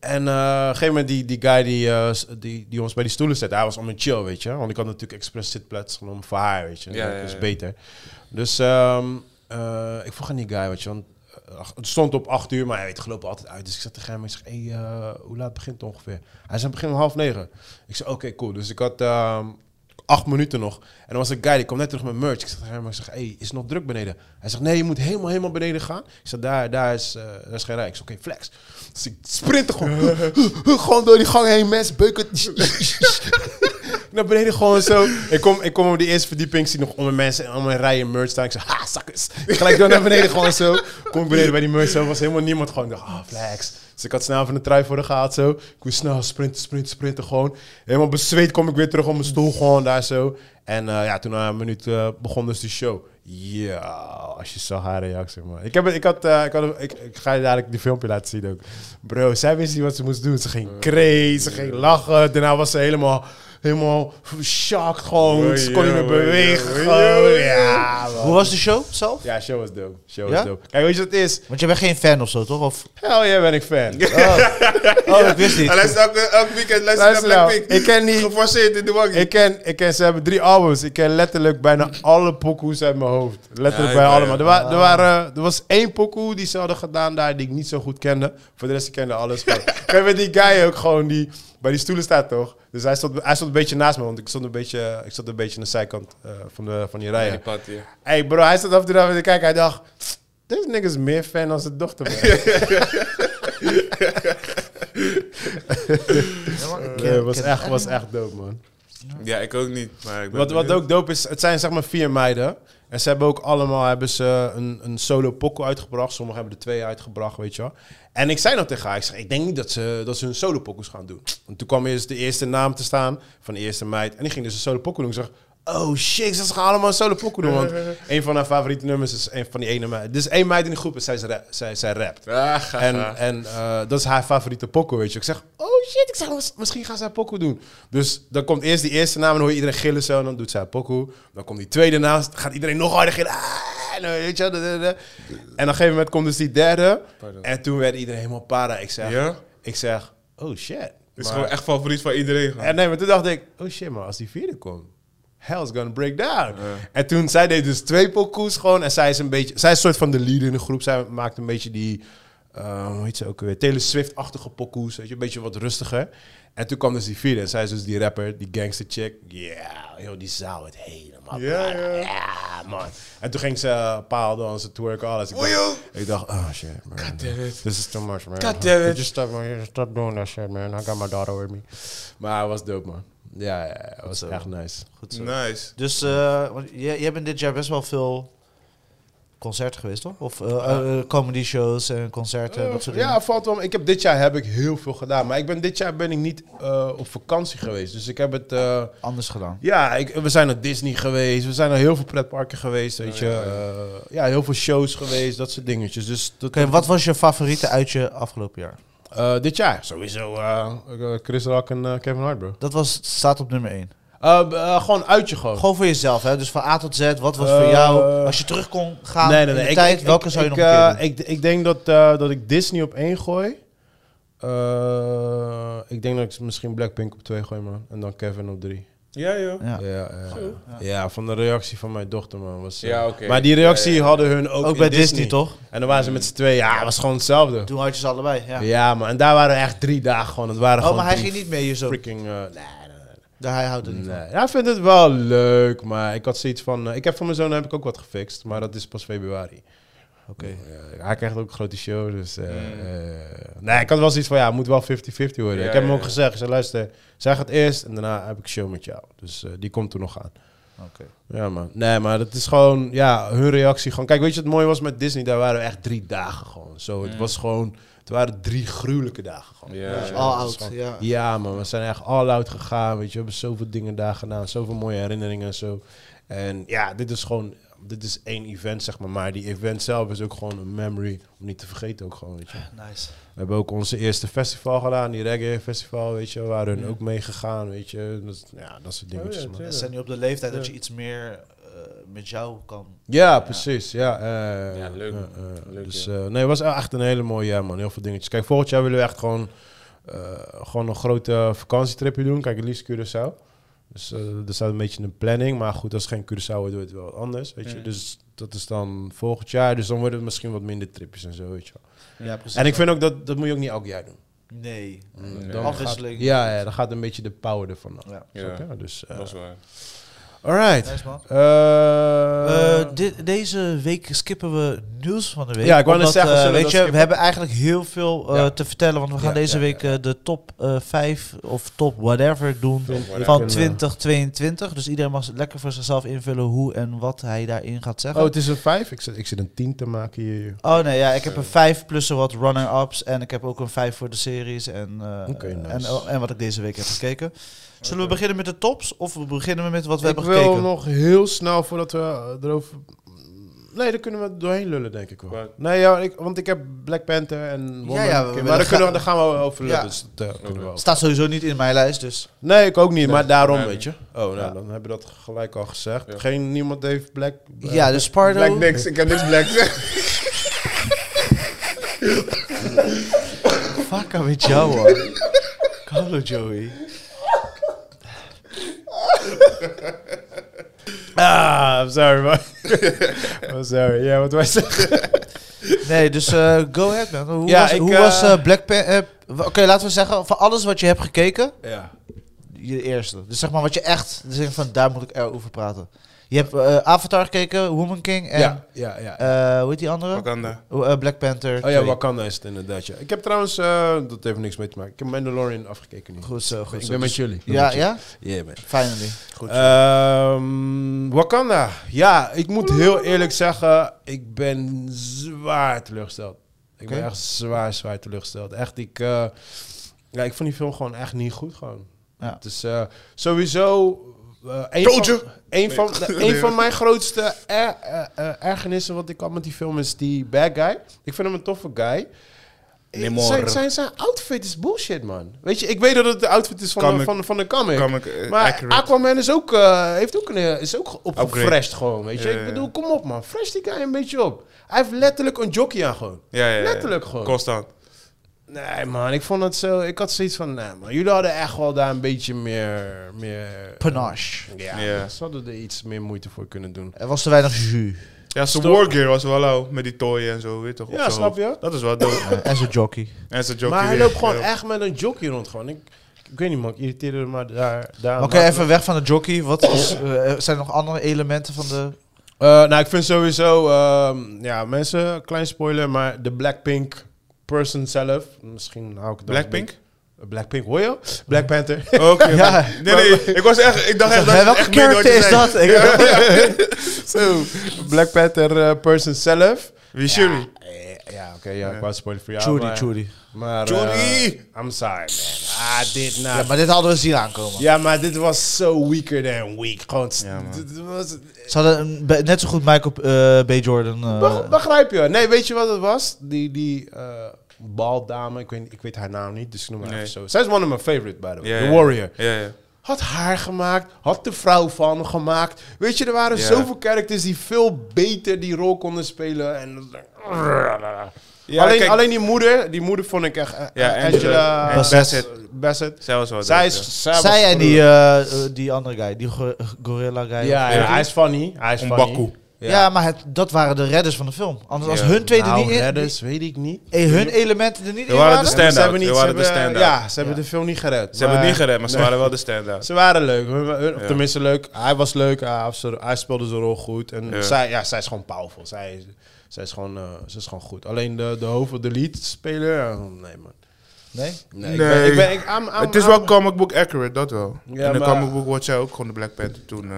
En eh, op een gegeven moment die, die guy die, eh, s- die, die ons bij die stoelen zette, hij was om een chill, weet je. Want ik had natuurlijk expres zitplaats genomen voor haar, weet je. Ja, dat ja, is ja. beter. Dus ehm, eh, ik vroeg aan die guy, weet je, want eh, ach- het stond op acht uur, maar hij weet, gelopen altijd uit. Dus ik zat tegen hem, ik zeg, hey, eh, hoe laat begint het ongeveer? Hij zei, begin om half negen. Ik zei, oké, cool. Dus ik had ehm, acht minuten nog. En dan was een guy, die kwam net terug met merch. Ik zeg tegen hem, ik zeg, hey, is het nog druk beneden? Hij zegt, nee, je moet helemaal, helemaal beneden gaan. Ik zeg, daar, daar, is, eh, daar is geen rij. Ik zeg, oké, flex. Dus ik sprintte gewoon, gewoon door die gang heen, mensen, beuken. Naar beneden gewoon zo. Ik kom, ik kom op die eerste verdieping, zie nog onder mensen en allemaal rijen merch staan. Ik zeg, ha, zakkers. Gelijk door naar beneden gewoon zo. Kom ik beneden bij die merch zo, was helemaal niemand gewoon. Ik dacht, ah, flex. Dus ik had snel van de trui voor de gaten zo. Ik moest snel sprinten, sprinten, sprinten gewoon. Helemaal bezweet kom ik weer terug op mijn stoel gewoon daar zo. En eh, ja, toen na een minuut eh, begon dus de show. Ja, als je zag haar reactie, man. Ik, heb, het- ik, had, eh, ik, had, ik, ik ga je dadelijk die filmpje laten zien ook. Bro, zij wist niet wat ze moest doen. Ze Eh. ging crazy, ze ging lachen. Daarna was ze helemaal, helemaal shocked gewoon. Oei, ze kon niet meer oei, bewegen. oei, gewoon. oei. Ja, man. Hoe was de show zelf? Ja, show was dope. Show Ja? was dope. Kijk, weet je wat het is? Want je bent geen fan of zo, toch? Of, Hell yeah, ben ik fan. oh, ik wist niet. Hij luistert elke, elk weekend luistert Luister hij naar nou, Blackpink. ik ken die- Geforceerd in de waggie. Ik ken, ik ken, ze hebben drie albums. Ik ken letterlijk bijna alle pokoes uit mijn hoofd. Letterlijk Ja, bij ja, ja. allemaal. Er, wa- er, waren, er was één pokoe die ze hadden gedaan daar die ik niet zo goed kende. Voor de rest ik kende alles. Maar Ik weet die guy ook gewoon die bij die stoelen staat toch? Dus hij stond, hij stond een beetje naast me, want ik stond een beetje, ik stond een beetje aan de zijkant eh, van, de, van die Ja, rijen. die pad, ja. Hey bro, hij stond af en toe naar me te kijken. Hij dacht, dit nigga is meer fan dan zijn dochter. man." Nee, Eh, was echt, was echt dope man. Ja, ik ook niet. Maar ik ben Wat, wat benieuwd. ook dope is, het zijn zeg maar vier meiden. En ze hebben ook allemaal hebben ze een, een solo pokko uitgebracht. Sommigen hebben er twee uitgebracht, weet je wel. En ik zei nog tegen haar, ik zeg, ik denk niet dat ze, dat ze hun solo pokkos gaan doen. En toen kwam eerst de eerste naam te staan van de eerste meid. En die ging dus een solo pokko doen. Ik zeg, oh shit, ik zeg, ze gaan allemaal een solo pokko doen. Want een van haar favoriete nummers is een van die ene meid. Dus één meid in de groep en zij, is ra- zij, zij rapt. Ah, En, en eh, dat is haar favoriete pokoe, weet je. Ik zeg, oh shit, ik zeg, mis- misschien gaan zij pokoe doen. Dus dan komt eerst die eerste naam en dan hoor je iedereen gillen zo. En dan doet zij pokoe. Dan komt die tweede naam, dan gaat iedereen nog harder gillen. Ah, en, dan, weet je, wel, da, da, da. en op een gegeven moment komt dus die derde. Pardon. En toen werd iedereen helemaal para. Ik zeg, Ja? ik zeg oh shit. Het is Maar- gewoon echt favoriet van iedereen. man. en nee, maar toen dacht ik, oh shit man, als die vierde komt, hell's gonna break down. En toen, zij deed dus twee pokoes gewoon. En zij is een beetje, zij is een soort van de leader in de groep. Zij maakt een beetje die, eh, hoe heet ze ook weer, Taylor Swift-achtige pokoes. Weet je, een beetje wat rustiger. En toen kwam dus die vierde. En zij is dus die rapper, die gangster chick. Ja, heel die zaal het helemaal. Ja, blij. ja. Ja, man. En toen ging ze eh, paal dansen, twerken, alles. Ik Oei, dacht, ik dacht, oh shit, man. damn it. This is too much, man. God damn it. Just stop, man. Just stop doing that shit, man. I got my daughter with me. Maar het was dope, man. Ja, ja, ja, het was echt nice. Goed zo. Nice. Dus eh, want jij, jij bent dit jaar best wel veel concert geweest, toch? Of eh, eh, eh, comedy shows en concerten, dat soort dingen. Eh, ja, valt wel. mee. Ik heb dit jaar heb ik heel veel gedaan, maar ik ben dit jaar ben ik niet eh, op vakantie geweest. Dus ik heb het. eh, Anders gedaan. ja, ik, we zijn naar Disney geweest, we zijn naar heel veel pretparken geweest, weet je. Eh, Ja, heel veel shows geweest, dat soort dingetjes. Dus dat, Oké, wat was je favoriete uitje afgelopen jaar? eh, dit jaar sowieso eh, eh, Chris Rock en eh, Kevin Hart, bro. Dat was, staat op nummer 1. Eh, b- eh, gewoon uitje gewoon. Gewoon voor jezelf, hè? Dus van A tot Z, wat was Eh, voor jou? Als je terug kon gaan nee, nee, nee. in de ik, tijd, ik- welke ik- zou je ik, nog een keer eh, doen? ik, ik denk dat, eh, dat ik Disney op één gooi. Eh, ik denk dat ik misschien Blackpink op twee gooi, man. En dan Kevin op drie. Ja, joh. ja. Ja, ja, ja. Ja, van de reactie van mijn dochter, man. Was, eh, Ja, oké. Maar die reactie Ja, ja. hadden hun ook, Ook in bij Disney, toch? En dan waren ze met z'n tweeën. Ja, het was gewoon hetzelfde. Toen had je ze allebei, ja. Ja. man. En daar waren echt drie dagen gewoon. Het waren oh, gewoon maar hij drie ging niet mee hier zo. freaking... eh, nee, nee, nee. Daar, hij houdt er niet Nee. van. Ja, hij vindt het wel leuk, maar ik had zoiets van... eh, ik heb voor mijn zoon heb ik ook wat gefixt, maar dat is pas februari. Oké. Ja, hij krijgt ook een grote show, dus... eh, Mm. eh, nee, ik had wel zoiets van, ja, het moet wel 50-50 worden. Ja, ik heb hem ja, ook ja. gezegd, ik zei, luister, zij gaat eerst en daarna heb ik show met jou. Dus eh, die komt er nog aan. Oké. Ja, man. Nee, maar dat is gewoon, ja, hun reactie gewoon. Kijk, weet je wat mooi was met Disney? Daar waren we echt drie dagen gewoon. Zo, het Mm. was gewoon, het waren drie gruwelijke dagen gewoon. Ja, Weet je ja. wel, All het is out, gewoon- ja. Ja, man, we zijn echt all out gegaan, weet je. We hebben zoveel dingen daar gedaan, zoveel mooie herinneringen en zo. En ja, dit is gewoon, dit is één event, zeg maar. Maar die event zelf is ook gewoon een memory om niet te vergeten ook gewoon, weet je. Nice. We hebben ook onze eerste festival gedaan, die reggae festival, weet je. We waren hun ook meegegaan, weet je. Dat, ja, dat soort dingetjes, ja, man. Ze zijn nu op de leeftijd dat Ja. je iets meer eh, met jou kan. Ja, precies. Ja, eh, Ja, leuk, eh, man. eh, Leuk, dus, ja. eh, nee, het was echt een hele mooie jaar, man. Heel veel dingetjes. Kijk, volgend jaar willen we echt gewoon, eh, gewoon een grote vakantietripje doen. Kijk, het liefst Curaçao. Dus eh er staat een beetje een planning. Maar goed, als het geen Curaçao wordt, wordt het wel wat anders, weet je. Mm. Dus dat is dan volgend jaar. Dus dan worden het misschien wat minder tripjes en zo, weet je wel. Ja, precies. En ik vind ook, dat, dat moet je ook niet elk jaar doen. Nee. Mm, Nee. Dan Afwisseling. gaat- ja, ja, dan gaat een beetje de power ervan af. Ja. Ja, Snap je? Dus, eh, dat is waar. alright. Nice, man. Eh, Eh, dit- deze week skippen we nieuws van de week. Ja, ik wou net Omdat, zeggen, eh, zullen we weet dat je, we skippen? hebben eigenlijk heel veel eh, Ja. te vertellen. Want we gaan Ja, deze ja, week eh, de top 5 of top whatever doen Top whatever. van En, eh, 2022. Dus iedereen mag lekker voor zichzelf invullen hoe en wat hij daarin gaat zeggen. Oh, Oh, het is een 5? Ik zit, ik zit een 10 te maken hier. joh. nee, ja, ik heb een 5 plus een wat runner-ups. En ik heb ook een 5 voor de series. En, eh, Oké, nice. en, en wat ik deze week heb gekeken. Zullen we beginnen met de tops? Of we beginnen met wat we ik hebben wil gekeken? nog heel snel voordat we eh, erover. Nee, daar kunnen we doorheen lullen, denk ik wel. Wat? Nee, ja, ik, want ik heb Black Panther en Wonder ja, we Woman. willen maar daar, kunnen we, gra- daar gaan we over lullen. Ja. Dus dat, eh, kunnen we over. Staat sowieso niet in mijn lijst, dus... Nee, ik ook niet, maar daarom, Nee. weet je. Oh, nou, Ja. dan hebben we dat gelijk al gezegd. Ja. Geen, niemand heeft Black... Ja, dus Pardo... Black niks, ik heb niks black. Fuck met jou, man. Hallo, Joey. Ah, I'm sorry, man. I'm sorry. Ja, wat wij zeggen. Nee, dus eh, go ahead, man. Hoe Ja, was, ik, hoe eh, was eh, Black Panther... Oké, laten we zeggen, van alles wat je hebt gekeken, Ja. je eerste. Dus zeg maar wat je echt zegt van, daar moet ik er over praten. Je hebt eh, Avatar gekeken, Woman King en... Ja, ja, ja. eh, hoe heet die andere? Wakanda. Oh, eh, Black Panther. Oh ja, twee. Wakanda is het inderdaad, ja. Ik heb trouwens, eh, dat heeft niks mee te maken. Ik heb Mandalorian afgekeken nu. Goed zo, goed ik zo. Dus ben met jullie. Ja, ja? Yeah, man. Finally. Goed zo. Ehm, Wakanda. Ja, ik moet heel eerlijk zeggen, ik ben zwaar teleurgesteld. Ik ben Oké. echt zwaar, zwaar teleurgesteld. Echt, ik, eh, ja, ik vond die film gewoon echt niet goed. Gewoon. Ja. Het is eh, sowieso eh, een, Told van, you. een, van, Nee. een van mijn grootste er- eh, eh, ergernissen wat ik had met die film is die bad guy. Ik vind hem een toffe guy. Namor. Zijn, zijn, zijn outfit is bullshit, man. Weet je, ik weet dat het de outfit is van, de, Comic- van, van de comic. Kom ik, eh, Maar accurate. Aquaman is ook, eh, heeft ook, een, eh, is ook opgefreshed Upgrade. gewoon, weet je. Ja, ja, Ik ja. bedoel, kom op man, fresh die guy een beetje op. Hij heeft letterlijk een jockey aan gewoon. ja, ja, ja. Letterlijk gewoon. Constant. Nee man, ik vond het zo, ik had zoiets van, nee man, jullie hadden echt wel daar een beetje meer, meer... Panache. Ja, Ja. ze hadden er iets meer moeite voor kunnen doen. Er was te weinig jus. Ja, zijn wargear was wel lauw. Met die tooi en zo, weet je toch? op Ja, zijn snap je? hoofd. Dat is wel dope. eh, En zijn jockey. en zijn jockey maar hij weer. loopt gewoon Ja. echt met een jockey rond gewoon. Ik, ik weet niet man, ik irriteerde me maar daar, daar Oké, even weg van de jockey. Wat is, eh, zijn er nog andere elementen van de... Eh, nou, ik vind sowieso, ehm, ja, mensen, klein spoiler, maar de Blackpink person zelf, misschien hou ik het dan een Blackpink? Oh. beetje- Blackpink, hoor je? Black Panther. Oké. Ja. Nee, nee. Ik was echt... Ik dacht echt dat Hè, je welke echt meen wat je character is zei. dat? Ik- Zo, Black Panther eh, person zelf. Wie is jullie? Eh, Ja, oké, ja, ik wou spoiler voor jou. Churi, maar, Churi. Maar, Churi! eh, I'm sorry, man. Ah, I did not. Ja, maar dit hadden we zien aankomen. dit was so weaker than weak. Gewoon, st- Ja, man. dit dit was... Ze hadden een- be- net zo goed Michael eh, B. Jordan. eh, Beg- begrijp je? Nee, weet je wat het was? Die, die eh, baldame, ik weet, ik weet haar naam niet, dus ik noem haar Nee. even zo. Zij is one of my favorite, by the way. Ja, The ja. Warrior. Ja, ja. Had haar gemaakt, had de vrouw van gemaakt. Weet je, er waren Ja. zoveel characters die veel beter die rol konden spelen. En... Ja, alleen, kijk- alleen die moeder, die moeder vond ik echt... eh, Ja, eh, Angela- Angela Bassett. Bassett. Zij was wel Zij, dope, is, zij, was zij en gruwelijk. die, eh, eh, die andere guy, die go- gorilla guy. Ja, ja, Ja. hij is funny. Hij is funny. Mbaku. Ja, maar het, dat waren de redders van de film. Anders als Ja. hun twee er nou, niet in... redders, weet ik niet. eh, hun elementen er niet Er in waren waren? de Stand-out. Ze hebben niet, Ze ze waren de hebben- stand-out. Ja, ze hebben Ja. de film niet gered. Ze hebben het maar- niet gered, maar ze Nee. waren wel de stand-out. Ze waren leuk. Hun- hun- Ja. Tenminste, leuk. Hij was leuk. Hij, had ze- hij speelde zijn rol goed. En Ja. Zij, ja, zij is gewoon powerful. Zij, is- zij, is, gewoon, eh, ze is gewoon goed. Alleen de, de hoofd, de leadspeler. ja, Nee, man. Nee? Nee. Ik ben, ik ben, ik, I'm- I'm- Het is I'm- wel comic book accurate, dat wel. Ja, in de maar- comic book wordt zij ook gewoon de Black Panther toen eh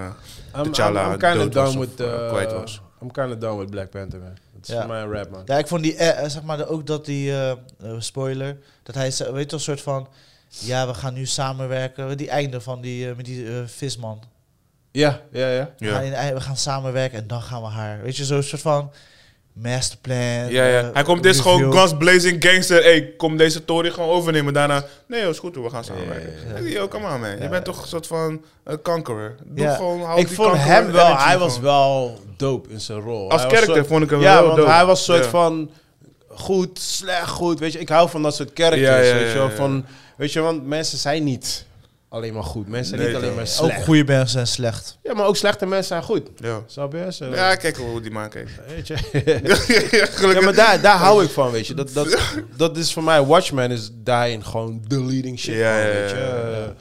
I'm- T'Challa I'm, I'm kinda dood was done of, with, eh, eh, kwijt was. I'm kinda done with Black Panther, man. Dat is Ja. voor mij een rap, man. Ja, ik vond die, eh, eh, zeg maar, de- ook dat die, eh, eh, spoiler, dat hij, ze- weet je, een soort van, ja, we gaan nu samenwerken, die einde van die, eh, met die eh, visman. Ja, ja, ja. We, gaan Ja. in- eh, we gaan samenwerken en dan gaan we haar, weet je, zo'n soort van masterplan. Ja, ja. eh, Hij komt dus review. gewoon guns blazing gangster. Hey, kom deze tory gewoon overnemen. Daarna, nee joh, is goed hoor, we gaan samenwerken. Ja, Ik ja, ja. denk, Yo, kom aan man. Je bent toch een soort van eh, conqueror. Doe Ja. gewoon, hou Ik die vond conqueror hem wel, energy hij was gewoon. wel dope in zijn rol. Als Hij was character soort- vond ik hem Ja, wel want dope. hij was soort Ja. van goed, slecht, goed. Weet je, ik hou van dat soort characters. Ja, ja, weet, je, wel, ja, ja. Van, weet je, want mensen zijn niet alleen maar goed. Mensen zijn Nee, niet alleen toch. maar Ook slecht. goede mensen zijn slecht. Ja, maar ook slechte mensen zijn goed. Ja. Snap je? Zo, Ja, kijk hoe die man kijkt. weet je. Ja, Gelukkig. maar daar, daar hou ik van, weet je. Dat, dat, dat is voor mij, Watchmen is daarin gewoon de leading shit. Ja, man, ja, ja, weet je. ja, ja.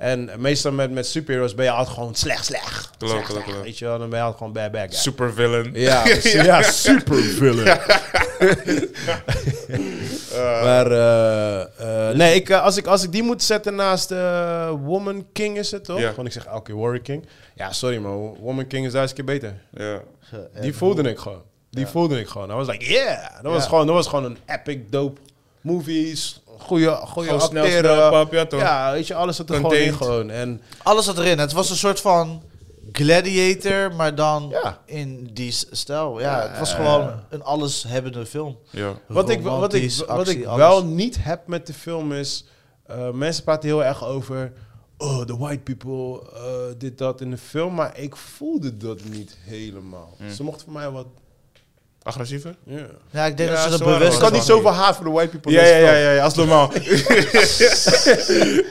En meestal met, met superheroes ben je altijd gewoon slecht, slecht. Klopt, Slecht, klopt, slecht, klopt. Weet je wel, dan ben je altijd gewoon bad, bad guy. Super villain. ja, ja. ja, super villain. maar eh, eh, nee, ik, eh, als, ik, als ik die moet zetten naast eh, Woman King is het toch? Ja. Want ik zeg elke keer Warrior King. Ja, sorry man, Woman King is duizend keer beter. Ja. Die voelde ik gewoon. Die voelde ik gewoon. I was like, yeah. Dat, was Ja. gewoon, dat was gewoon een epic, dope movies. Goede, goede Gewoon snel, acteren. snel, pap, ja, toch? ja, weet je, alles zat er gewoon Contained. in gewoon. En Alles zat erin. Het was een soort van gladiator, maar dan Ja. in die s- stijl. Ja, het was gewoon een alleshebbende film. Ja. wat ik, wat ik, Romantisch, wat actie, ik alles. wel niet heb met de film is... eh, mensen praten heel erg over... Oh, the white people, eh, dit, dat in de film. Maar ik voelde dat niet helemaal. Ze mochten voor mij wat... Agressiever? ja. Dus Ja, ik denk Ja, dat ze ze er waren bewust Ik had niet van- zoveel haat voor de white people. Ja, in de ja, ja, film. ja, ja, als normaal.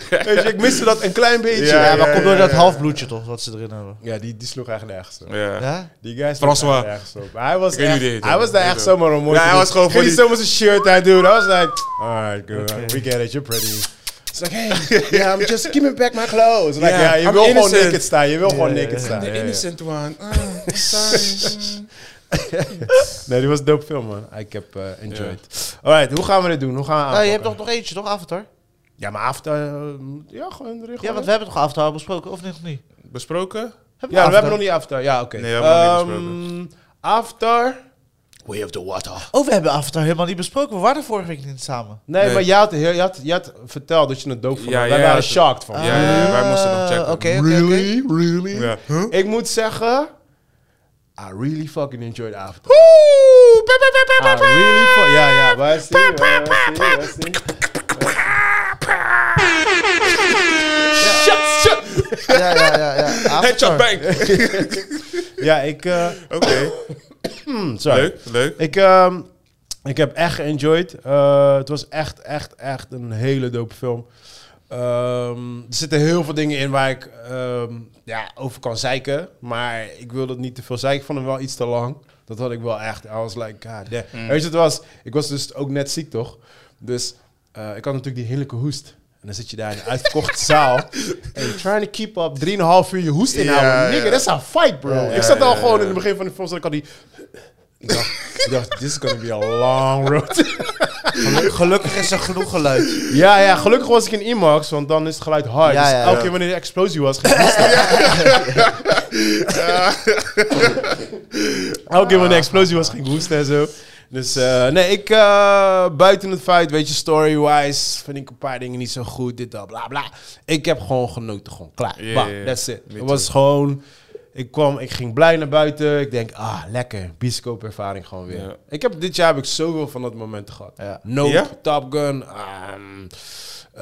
Weet je, ik miste dat een klein beetje. Ja, Ja, maar ja, komt door ja, dat ja. halfbloedje toch, wat ze erin hebben. Ja, die, die sloeg echt nergens. op. Ja. Ja? Die guy is François. echt ergens op. Maar Hij was, Ik weet niet echt, wie die heet, hij was daar hoor. echt zomaar om mooi te Ja, hij doen. was gewoon voor Ging die- zomaar zijn shirt uit doen. I was like, alright, good. We get it, you're pretty. It's like, hey, yeah, I'm just give me back my clothes. Like, Yeah, ja, je I'm wil gewoon innocent. naked staan. Je wil gewoon ja, ja. naked staan. The Ja, ja. innocent one. Ah, sorry. Nee, die was een dope film, man. Ik heb eh, enjoyed. Alright, hoe gaan we dit doen? Hoe gaan Ah, je we hebt aanpakken? toch nog eentje, toch, Avatar? Ja, maar after... eh, ja, gewoon erin. Ja, gooien. want we hebben toch Avatar besproken, of niet? Of niet? Besproken? Hebben ja, we Avatar? hebben nog niet after. Ja, oké. Nee, we hebben nog niet Ehm, After... Way of the Water. Oh, we hebben Avatar helemaal niet besproken. We waren vorige week niet samen. Nee, Nee. maar jij had, jij, had, jij had verteld dat je het dope vond. Ja, Wij jij waren had- shocked van. Ja, ja, ja, wij moesten nog Ah, checken. Oké, oké, oké. Really? Ja. Ik moet zeggen... I really fucking enjoyed Avatar. Oeh, pa, pa, pa, I pa, really fu- Ja, ja, waar is die? Waar is die? Waar is die? Ja, ja, ja. ja. Avatar. Headshot bang. Ja, ik... eh, Oké, hm, sorry. leuk, leuk. Ik, ehm, ik heb echt geënjoyed. Eh, het was echt, echt, echt een hele dope film. Ehm, er zitten heel veel dingen in waar ik ehm, ja, over kan zeiken. Maar ik wilde het niet te veel zeiken. Ik vond hem wel iets te lang. Dat had ik wel echt. I was like, god damn. Mm. Weet je, het was, ik was dus ook net ziek, toch? Dus eh, ik had natuurlijk die heerlijke hoest. En dan zit je daar in een uitverkochte zaal. En you're trying to keep up. 3,5 uur je hoest inhouden. Ja, Nigga, ja. that's a fight, bro. ja, ik zat al ja, gewoon ja. in het begin van de film. Zat ik al die... Ik dacht, ik dacht, this is gonna be a long road. Geluk- Gelukkig is er genoeg geluid. ja, ja, gelukkig was ik in IMAX, want dan is het geluid hard. Ja, dus ja, elke ja. keer wanneer de explosie was, ging het hoesten. Elke keer wanneer de explosie was, ging ik hoesten en zo. Dus eh, nee, ik, eh, buiten het feit, weet je, story-wise, vind ik een paar dingen niet zo goed, dit, dat, bla, bla. Ik heb gewoon genoten, gewoon klaar. Ja, Bam, ja, ja. that's it. Me Het was gewoon, ik kwam, ik ging blij naar buiten. Ik denk, ah, lekker, bioscoopervaring gewoon weer. Ja. Ik heb, dit jaar heb ik zoveel van dat moment gehad. Ja. Nope, Ja? Top Gun, ehm, eh,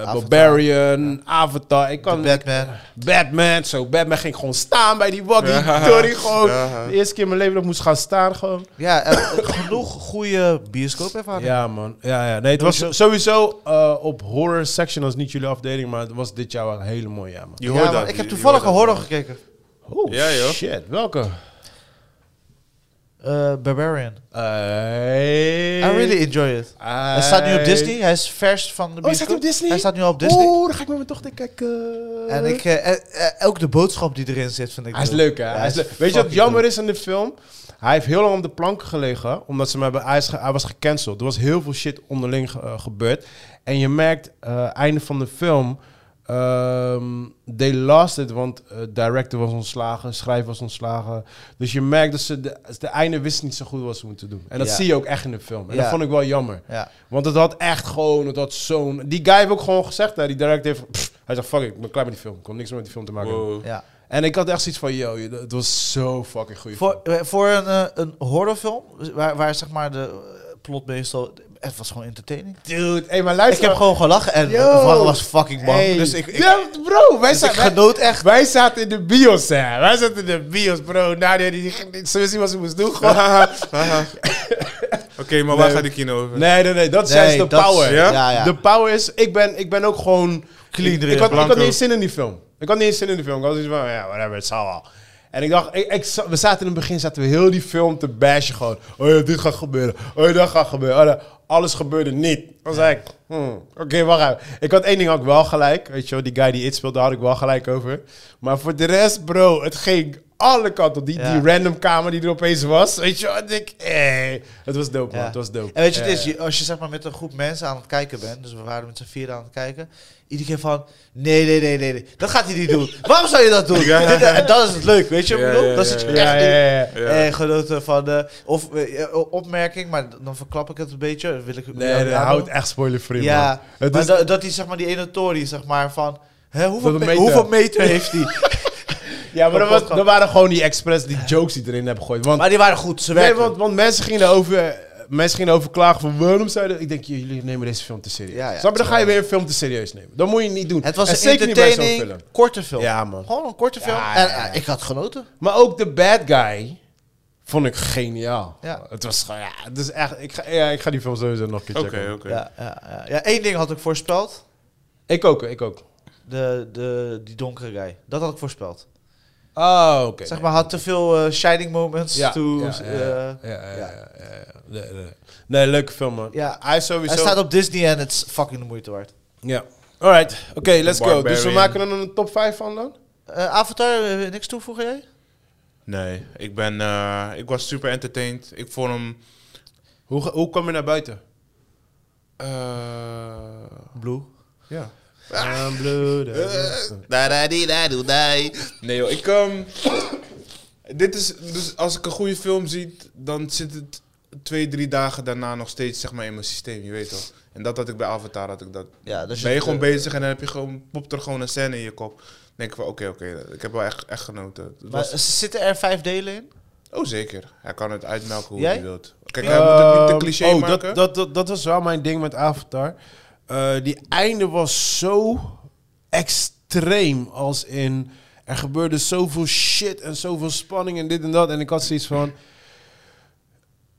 Avatar. Barbarian, Avatar. Ik kan Batman. Batman, zo. Batman ging gewoon staan bij die waggie. Ja. Sorry, gewoon. Ja. De eerste keer in mijn leven dat ik moest gaan staan, gewoon. Ja, en eh, genoeg goede bioscoopervaring. Ja, man. Ja, ja. Nee, het was sowieso eh, op horror section, als niet jullie afdeling, maar het was dit jaar wel een hele mooie jaar, man. Je Ja, hoort want ik dat. heb je- je toevallig een hoort horror dat. gekeken. Oh, Ja, joh. shit. Welke? eh, Barbarian. I I really enjoy it. Hij staat nu op Disney. Hij is vers van de Oh, hij staat bioscoop. op Disney? Hij staat nu al op Disney. Oeh, dan ga ik met mijn dochter kijken. En ik, eh, eh, eh, ook de boodschap die erin zit, vind ik Hij is leuk, hè? Ja, Hij hij is is leuk. Weet je wat fucking jammer leuk. is aan de film? Hij heeft heel lang op de plank gelegen, omdat ze hem hebben, hij, is ge- hij was gecanceld. Er was heel veel shit onderling ge- eh, gebeurd. En je merkt, eh einde van de film, ehm, they lost it, want eh, director was ontslagen, schrijver was ontslagen. Dus je merkt dat ze de, de einde wisten niet zo goed wat ze moeten doen. En dat Ja. zie je ook echt in de film. En dat Ja. vond ik wel jammer. Ja. Want het had echt gewoon, het had zo'n... Die guy heeft ook gewoon gezegd, hè, die director heeft... "Pff," hij zegt, fuck it, ik ben klaar met die film. Ik kom niks meer met die film te maken. hebben." Wow. Ja. En ik had echt zoiets van, yo, je- het was zo fucking goeie Voor, film. eh, voor een, eh, een horrorfilm, waar, waar zeg maar de eh, plot meestal... Het was gewoon entertaining. Dude, hey, maar Ik luister. heb gewoon gelachen en Yo. het verhaal was fucking bang. Hey. Dus ik, ik, Ja, bro, wij, dus ik zaten, wij, genoot echt. wij zaten in de bios, hè. Wij zaten in de bios, bro. Nadia, die, die, die- ze wist niet wat ze moest doen, gewoon. Haha. Oké, maar waar Nee. gaat die kino over? Nee, nee, nee, dat is Nee, juist de dat is- power. Ja? Ja, ja. De power is, ik ben, ik ben ook gewoon... Clean ik, erin, ik, had, ik had blanco. niet eens zin in die film. Ik had niet eens zin in die film. Ik had zoiets van, ja, whatever, het zal wel. En ik dacht, ik, ik za- we zaten in het begin, zaten we heel die film te bashen gewoon. Oh ja, dit gaat gebeuren. Oh ja, dat gaat gebeuren. Oh, dat- alles gebeurde niet. Dan zei ik, hmm, oké, wacht even. Ik had één ding had ik wel gelijk. Weet je wel, die guy die It speelde, daar had ik wel gelijk over. Maar voor de rest, bro, het ging alle kanten op. Die, Ja. die random kamer die er opeens was. Weet je wel, en ik, eh. Het was dope, man. Ja. Het was dope. En weet je, Ja, het is, ja. je- als je zeg maar met een groep mensen aan het kijken bent, dus we waren met z'n vier aan het kijken, iedere keer van, nee, nee, nee, nee, nee, dat gaat hij niet doen. Waarom zou je dat doen? Ja. Dit- eh, En dat is het leuk, weet je wat ik Ja, bedoel? ja, dat ja, zit je ja. echt in. ja, ja. Ja. Eh, genoten van, eh, of eh, eh, opmerking, maar dan verklap ik het een beetje. dat Wil ik Nee, nee, houdt echt spoiler-free, man. Ja, Het maar is- da- dat die zeg maar die ene Tory, zeg maar van, hè, hoeveel, Dat een me- meter. hoeveel meter heeft die? Ja, maar dat, was, Podcast. dat waren gewoon die express, die jokes die erin hebben gegooid. Want, maar die waren goed, ze nee, werken. want, want mensen gingen erover... Mensen gingen over klagen van waarom zouden... Ik denk, jullie nemen deze film te serieus. Ja, ja. Snap je? Dan ga je weer een film te serieus nemen. Dat moet je niet doen. het was En een zeker niet bij zo'n entertaining, korte film. Ja, man. Gewoon een korte film. Ja, en ja, ja. eh, ik had genoten. Maar ook The Bad Guy vond ik geniaal. Ja. Het was gewoon... Ja, het is echt... Ik ga, ja, ik ga die film sowieso nog een keer Oké, checken. oké. Ja, ja, ja. ja, één ding had ik voorspeld. Ik ook, ik ook. De, de, die donkere guy. Dat had ik voorspeld. Oh, oké. Zeg maar, had te veel eh, shining moments. Ja, to, ja, ja, ja. eh, Ja, ja, ja, ja, ja. Nee, nee, nee. Nee, leuke film, man. Ja. Hij is sowieso... Hij staat op Disney en het is fucking de moeite waard. Ja. Alright, oké, let's go. Dus we Barbarian. maken er een top 5 van dan? Eh, Avatar, eh, niks toevoegen jij? Nee, ik ben... eh, ik was super entertained. Ik vond hem... Hoe, ge- hoe kwam je naar buiten? eh, Blue. Eh. Ja. I'm blue, da- da- da. Nee joh, ik... ehm, dit is... Dus als ik een goede film zie, dan zit het twee, drie dagen daarna nog steeds zeg maar, in mijn systeem. Je weet wel. En dat had ik bij Avatar, had ik dat. Ja, dus ben je het, gewoon eh, bezig en dan heb je gewoon, popt er gewoon een scène in je kop. Dan denk ik van, oké, oké, ik heb wel echt, echt genoten. Het Maar was- ze zitten er vijf delen in? oh zeker, hij kan het uitmelken hoe Jij? hij wilt. Kijk, hij moet het niet te cliché Ehm, oh, maken. dat, dat, dat, dat was wel mijn ding met Avatar. Eh, die einde was zo extreem. Als in, er gebeurde zoveel shit en zoveel spanning en dit en dat. En ik had zoiets van...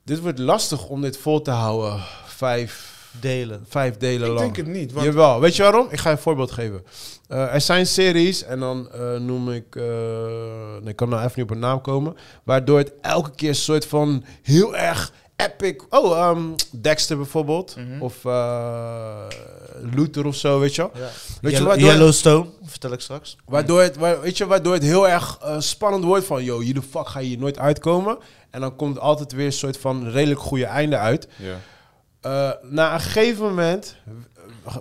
Dit wordt lastig om dit vol te houden. Vijf Delen. vijf delen Ik lang. denk het niet, want- Jawel, weet je waarom? Ik ga je een voorbeeld geven. Eh, er zijn series, en dan eh, noem ik... eh, nee, ik kan nou even niet op een naam komen. Waardoor het elke keer een soort van heel erg epic... Oh, ehm, Dexter bijvoorbeeld. Mhm. Of eh Luther of zo, weet je wel. Ja. Weet je Yellow- waardoor- Yellowstone, vertel ik straks. Waardoor het, waar- weet je, waardoor het heel erg eh, spannend wordt van... Yo, hier de fuck ga je hier nooit uitkomen. En dan komt altijd weer een soort van redelijk goede einde uit. Ja. Eh, na een gegeven moment eh,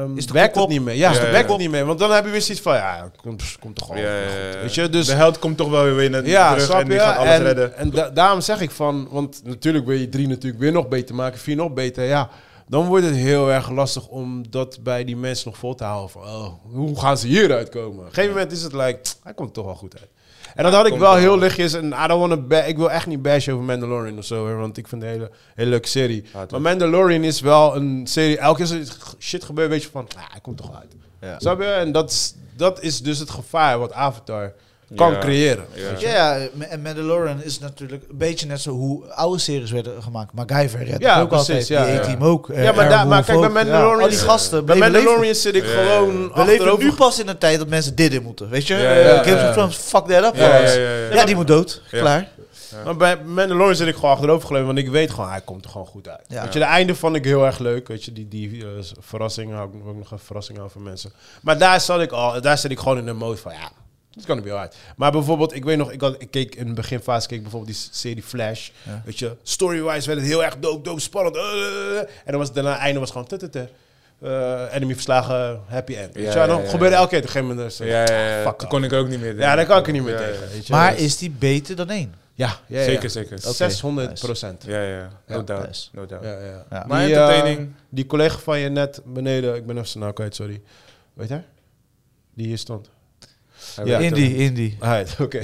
ehm, Is de werkt kop het op? niet meer. Ja, Ja, het ja, werkt ja. het niet meer. Want dan heb je weer zoiets van, ja, komt komt toch gewoon. Ja, ja, goed. ja. Oh, Weet je, dus de held komt toch wel weer weer naar ja, terug snap en die je? gaat alles en redden. en da- daarom zeg ik van, want natuurlijk wil je drie natuurlijk weer nog beter maken, vier nog beter. Ja, dan wordt het heel erg lastig om dat bij die mensen nog vol te houden. Van, oh, hoe gaan ze hieruit komen? Op een gegeven moment is het like, hij komt toch wel goed uit. En dat had ik komt wel wel. heel lichtjes. En I don't wanna ba- ik wil echt niet bashen over Mandalorian of zo. hè, Want ik vind het een hele, hele leuke serie. Ja, het maar Mandalorian is wel een serie. Elke keer als er shit gebeurt, weet je van, ah, hij komt toch wel uit. Ja. Snap je? En dat is, dat is dus het gevaar wat Avatar kan Ja. creëren. Ja. Ja, ja, Ma- en Mandalorian is natuurlijk een beetje net zo hoe oude series werden gemaakt. MacGyver redde Ja, het ook precies, altijd. ja, die ja. A-Team ook. eh, Ja, maar, daar, maar Airwolf kijk, bij ook. Ja. Mandalorian... Al die gasten. Bij bleven leven. Mandalorian zit ik Ja, ja, ja. gewoon We leven achterover. nu pas in een tijd dat mensen dit in moeten. Weet je? Ja, ja, Eh, ja, Games ja. of Thrones, fuck that up. Ja, ja, alles. ja, ja, ja. Ja, die moet dood. Ja. Klaar. Ja. Maar bij Mandalorian zit ik gewoon achterovergeleund, want ik weet gewoon, hij komt er gewoon goed uit. Ja. Weet je, de einde vond ik heel erg leuk, weet je, die, die eh, verrassing, hou ik ook nog een verrassing aan voor mensen. Maar daar zat ik al, daar zit ik gewoon in de mode van, ja, dit kan er wel uit. Maar bijvoorbeeld, ik weet nog, ik, had, ik keek in de beginfase, keek bijvoorbeeld die serie Flash, weet je, story-wise werd het heel erg dope, dope, spannend, eh, eh, eh. en dan was het daarna, het einde was gewoon, tututu, eh, enemy verslagen, happy end. Weet je, Ja, en dan ja, ja, gebeurde ja. elke keer op een gegeven moment, dus, Ja, ja, ja. fuck Toen off. kon ik ook niet meer. ja, daar kan ik er niet meer Ja, ja. tegen. weet je. Maar Dus- is die beter dan één? ja, ja, ja. Zeker, zeker. 600 procent. Ja, ja. No Ja, doubt. nice. No doubt. Ja, ja. Ja. Maar die, entertaining. eh, die collega van je net beneden, ik ben even zijn naam kwijt, sorry. Weet je? Die hier stond. Hij Ja. weet het Indie, Indie. Ah, het- oké.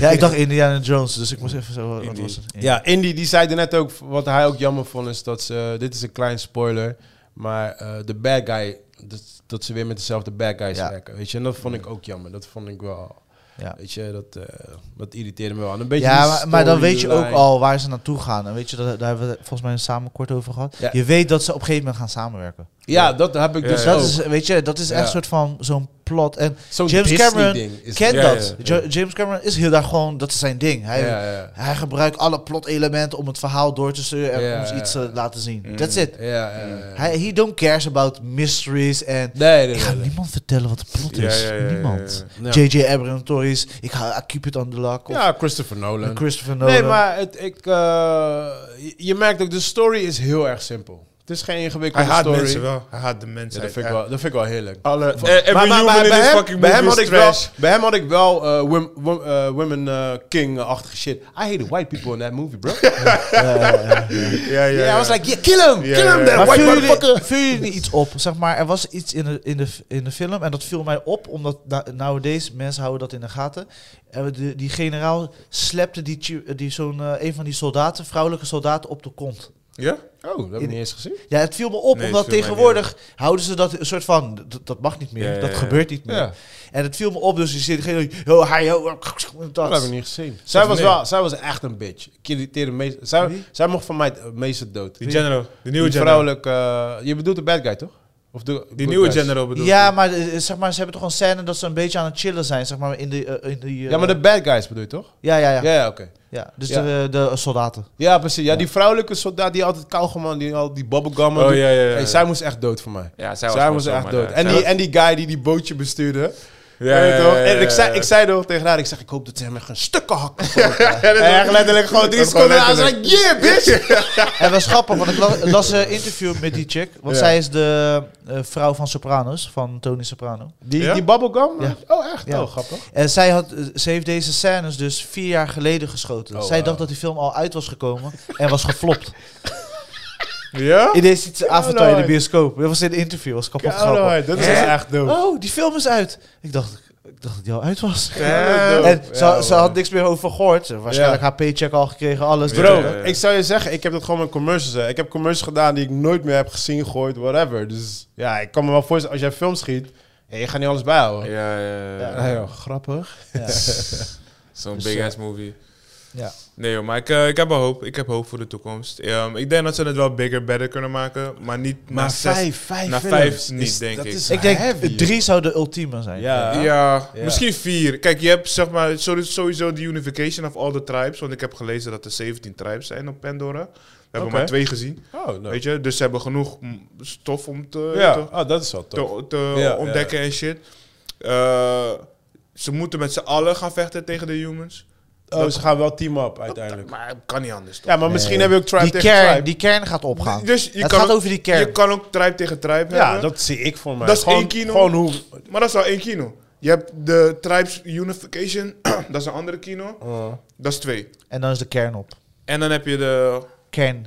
Ja, ik dacht Indiana Jones, dus ik moest even zo... wat Indie. was het? Ja. ja, Indy, die zei er net ook, wat hij ook jammer vond, is dat ze, dit is een klein spoiler, maar eh, de bad guy, dat, dat ze weer met dezelfde bad guys Ja. werken, weet je? En dat vond ik ook jammer, dat vond ik wel... Ja. Weet je, dat, eh, dat irriteerde me wel. En Een beetje Ja, die maar, maar dan weet je ook storyline. al waar ze naartoe gaan. En weet je, dat, daar hebben we het volgens mij samen kort over gehad. Ja. Je weet dat ze op een gegeven moment gaan samenwerken. Ja, dat heb ik Ja, dus ja. dat ook. is, weet je, dat is echt Ja. een soort van zo'n plot. En Zo'n James Disney Cameron ding is ken Ja, dat. ja, Jo- James Cameron is heel daar gewoon, dat is zijn ding. Hij, Ja, ja. hij gebruikt alle plot-elementen om het verhaal door te sturen en Ja, ons ja, iets ja. te laten zien. That's it. Ja, ja, ja. Hij, he don't cares about mysteries en... Nee, nee, Ik ga nee, nee. niemand vertellen wat de plot Ja, is. ja, ja, ja, niemand. ja. J.J. Abrams, Tories. Ik ga I keep it on the lock. Of Ja, Christopher Nolan. Christopher Nolan. Nee, maar het, ik, eh, je- je merkt ook, de story is heel erg simpel. Het is geen ingewikkelde Hij haat story. mensen wel. Hij haat de Ja, mensen. dat, vind ik wel, dat vind ik wel heerlijk. Alle, Eh, Maar- maar- maar bij hem- bij hem had ik wel, trash. bij hem had ik wel eh, wom- wom- eh, women eh, king-achtige shit. I hate white people in that movie, bro. Ja, Ja, ja, I ja. was like, yeah, kill him, Ja, kill ja, him, ja. that Maar white viel jullie, motherfucker. viel jullie niet iets op? Zeg maar, er was iets in de, in, de, in de film en dat viel mij op, omdat na- nowadays mensen houden dat in de gaten. En de, die generaal slepte die, chi- die zo'n, eh, een van die soldaten, vrouwelijke soldaten, op de kont. Ja? Oh, dat heb ik niet eens gezien. Ja, het viel me op, Nee, omdat het viel mij tegenwoordig houden ze dat een soort van, dat- dat mag niet meer, Ja, ja, dat ja. gebeurt niet meer. Ja. En het viel me op, dus je ziet degene, yo, hi, ho, Dat heb ik dat. niet gezien. Zij was, nee. wel, zij was echt een bitch. Ik irriteerde meest, zij, Wie? zij mocht van mij het meeste dood. Die general. De nieuwe Die general. vrouwelijke... eh, je bedoelt de bad guy, toch? Of de Die good nieuwe guys? general bedoel Ja, ik. maar eh, zeg maar, ze hebben toch een scène dat ze een beetje aan het chillen zijn, zeg maar, in die... eh, in die eh, Ja, maar de bad guys bedoel je, toch? ja, ja, Ja, ja, ja, oké. ja. Dus Ja. De, de soldaten. Ja, precies. Ja, die vrouwelijke soldaat die altijd kauwgom aan, die al die bubblegum aan Oh, doet. ja, ja, ja. Hey, zij moest echt dood voor mij. Ja, Zij, gewoon moest echt zomaar, dood. ja. En Zij die, was- en die guy die die bootje bestuurde. Ja, weet je ja, toch? ja, En ja, ik zei, ja. ik zei nog tegen haar, ik zeg, ik hoop dat ze hem echt een stukken hakken. en was- echt letterlijk gewoon drie dat was seconden gewoon aan. Ze like, yeah, bitch! En dat is grappig, want ik la- las een interview met die chick. Want Ja. zij is de eh, vrouw van Sopranos, van Tony Soprano. Die, Ja? die bubblegum? Ja. Oh, echt? Ja. Oh, grappig. En zij had, eh, ze heeft deze scènes dus vier jaar geleden geschoten. Oh, zij wow. dacht dat die film al uit was gekomen en was geflopt. Ja? In deze avontuur in de Kaloid. bioscoop. Dat was in een interview, was kapot grappig. Alright, dat is Hè? echt dood. Oh, die film is uit. Ik dacht, ik dacht dat die al uit was. Ja. En ze, Ja, ze had niks meer over gehoord. Ze had Waarschijnlijk Ja. haar paycheck al gekregen, alles. Ja. Bro, ik zou je zeggen, ik heb dat gewoon met commercials. Hè. Ik heb commercials gedaan die ik nooit meer heb gezien, gehoord, whatever. Dus ja, ik kan me wel voorstellen, als jij films schiet, ja, je gaat niet alles bijhouden. Ja, ja, ja. Ah, joh, grappig. Ja. Zo'n Dus, big eh, ass movie. Ja. Nee joh, maar ik, eh, ik heb wel hoop. Ik heb hoop voor de toekomst. Ehm, ik denk dat ze het wel bigger, better kunnen maken. Maar niet na zes- vijf na vijf niet, denk ik. Ik denk, drie zou de ultieme zijn. Ja. Ja, Ja. misschien vier. Kijk, je hebt zeg maar sowieso- sowieso de unification of all the tribes. Want ik heb gelezen dat er 17 tribes zijn op Pandora. We hebben Oké. maar twee gezien. Oh, no. Weet je? Dus ze hebben genoeg mm, stof om te, ja, te, oh, dat is wel tof. te, te Ja, ontdekken en shit. Eh, ze moeten met z'n allen gaan vechten tegen de humans. Oh, ze gaan wel team up uiteindelijk. Maar het kan niet anders toch? Ja, maar misschien hebben we ook tribe Die, tegen kern, tribe. die kern gaat opgaan. Dus je het kan gaat ook- over die kern. Je kan ook tribe tegen tribe ja, hebben. dat zie ik voor mij. Dat is gewoon, één kino. Gewoon hoe... Maar dat is wel één kino. Je hebt de tribes unification. dat is een andere kino. Oh. Dat is twee. En dan is de kern op. En dan heb je de, Kern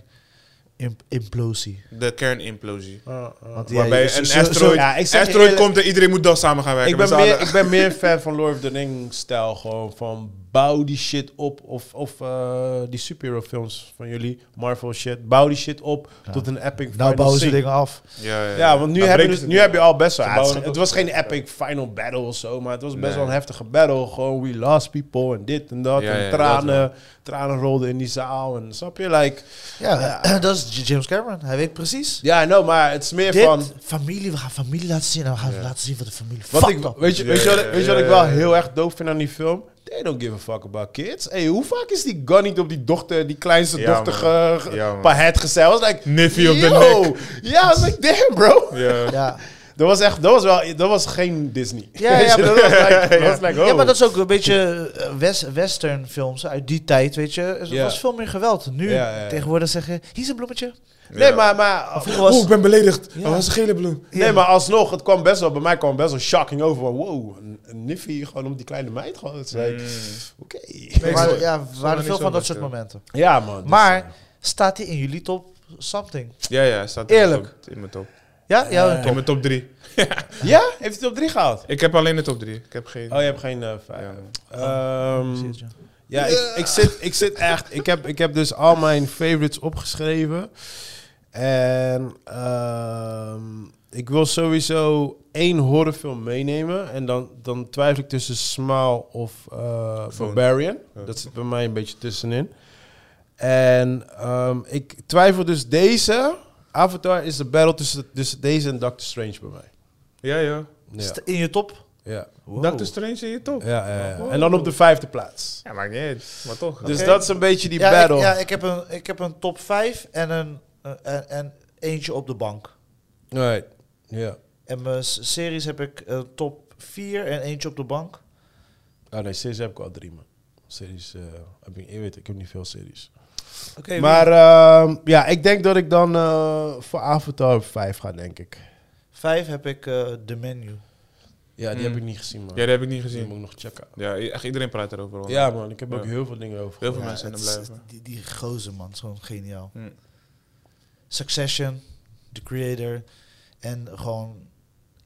imp- implosie. de kernimplosie. Eh, eh. Want Waarbij ja, een zo- zo- asteroid, ja, ik zeg je asteroid eerlijk- komt en iedereen moet dan samen gaan werken. Ik ben, met z'n meer, allen. ik ben meer fan van Lord of the Rings-stijl. Gewoon van bouw die shit op. Of, of eh, die superhero films van jullie, Marvel shit. Bouw die shit op tot een epic nou final bouwen ze scene. dingen af. Ja, ja, Ja, want nu, Dan heb je, breken dus- ze nu het. heb je al best wel... Ze ja, het, bouwen is- het het was geen epic final battle of zo, maar het was best Nee. wel een heftige battle. Gewoon we lost people en dit en dat. Ja, ja, en dat tranen, wel. tranen rolden in die zaal. En snap je? Like, Ja, Eh, dat is J- James Cameron. Hij weet precies. ja, no, maar het is meer Dit, van... familie, we gaan familie laten zien. En we gaan laten zien wat de familie Wat fuck ik, up. weet je, Ja, weet je, wat, ja, weet je wat ja, ik wel ja, ja. heel erg doof vind aan die film? They don't give a fuck about kids. Hey, hoe vaak is die gun niet op die dochter, die kleinste Ja, dochter, man. ge- ge- Ja, man. pahet gezet? I was like, Niffy op de yo. nek. Ja, I was like, damn, bro. Ja. Ja. Dat was echt, dat was wel, dat was geen Disney. Ja, ja, maar- dat was like, dat was like, oh. ja, maar dat is ook een beetje eh, west, western films uit die tijd, weet je. Er Ja. was veel meer geweld. Nu, Ja, ja, ja. tegenwoordig zeggen, hier is een bloemetje. Nee, maar, maar Vroeger was... Oeh, ik ben beledigd. Ja. Dat was een gele bloem. Nee, maar alsnog, het kwam best wel, bij mij kwam best wel shocking over. Van, wow, een- een Niffy gewoon om die kleine meid gewoon. Het is like, Mm. oké. er Nee, waren, sorry. ja, Sorry, waren niet veel zo van dat best, soort ja. momenten. Ja, man. dus, eh, Maar staat hij in jullie top something? Ja, ja, staat in Eerlijk. mijn top- in mijn top. Ja, Eh, ja In mijn top 3. ja, heeft hij op drie gehaald? Ik heb alleen de top 3. Ik heb geen. Oh, je hebt geen eh, vijf. Ja. Ehm, Precies, ja. ja, ik, ik, zit, ik zit echt. Ik heb, ik heb dus al mijn favorites opgeschreven. En ehm, ik wil sowieso één horrorfilm meenemen. En dan, dan twijfel ik tussen Smile of eh Phone. Barbarian. Ja. Dat zit bij mij een beetje tussenin. En ehm, ik twijfel dus deze. Avatar is de battle tussen, tussen deze en Doctor Strange bij mij. Ja, ja. Ja, Sta- In je top? ja, Doctor Strange in je top. ja, ja, ja. En dan op de vijfde plaats. Ja, maakt niet uit. Maar toch. Dus Oh. Oké. dat is een beetje die ja, battle. Ik, ja, ik heb een, ik heb een top 5 en, een, eh, en, en eentje op de bank. Right. Ja. En mijn s- series heb ik eh, top 4 en eentje op de bank. Ah nee, series heb ik al drie, man. Series, eh, heb ik, je weet, ik heb niet veel series. Oké, maar ehm, ja, ik denk dat ik dan eh, voor Avatar op vijf ga, denk ik. 5 heb ik eh The Menu. Ja, die Mm. heb ik niet gezien, man. Ja, dat heb ik niet Die moet gezien. ik nog checken. Ja, i- echt iedereen praat erover. hoor. Ja, man, ik heb ook Ja. heel veel dingen over. Heel veel gehoord. Ja, mensen zijn het er is- blij over. Die, die gozer, man. is Gewoon geniaal. Mm. Succession, The Creator. En gewoon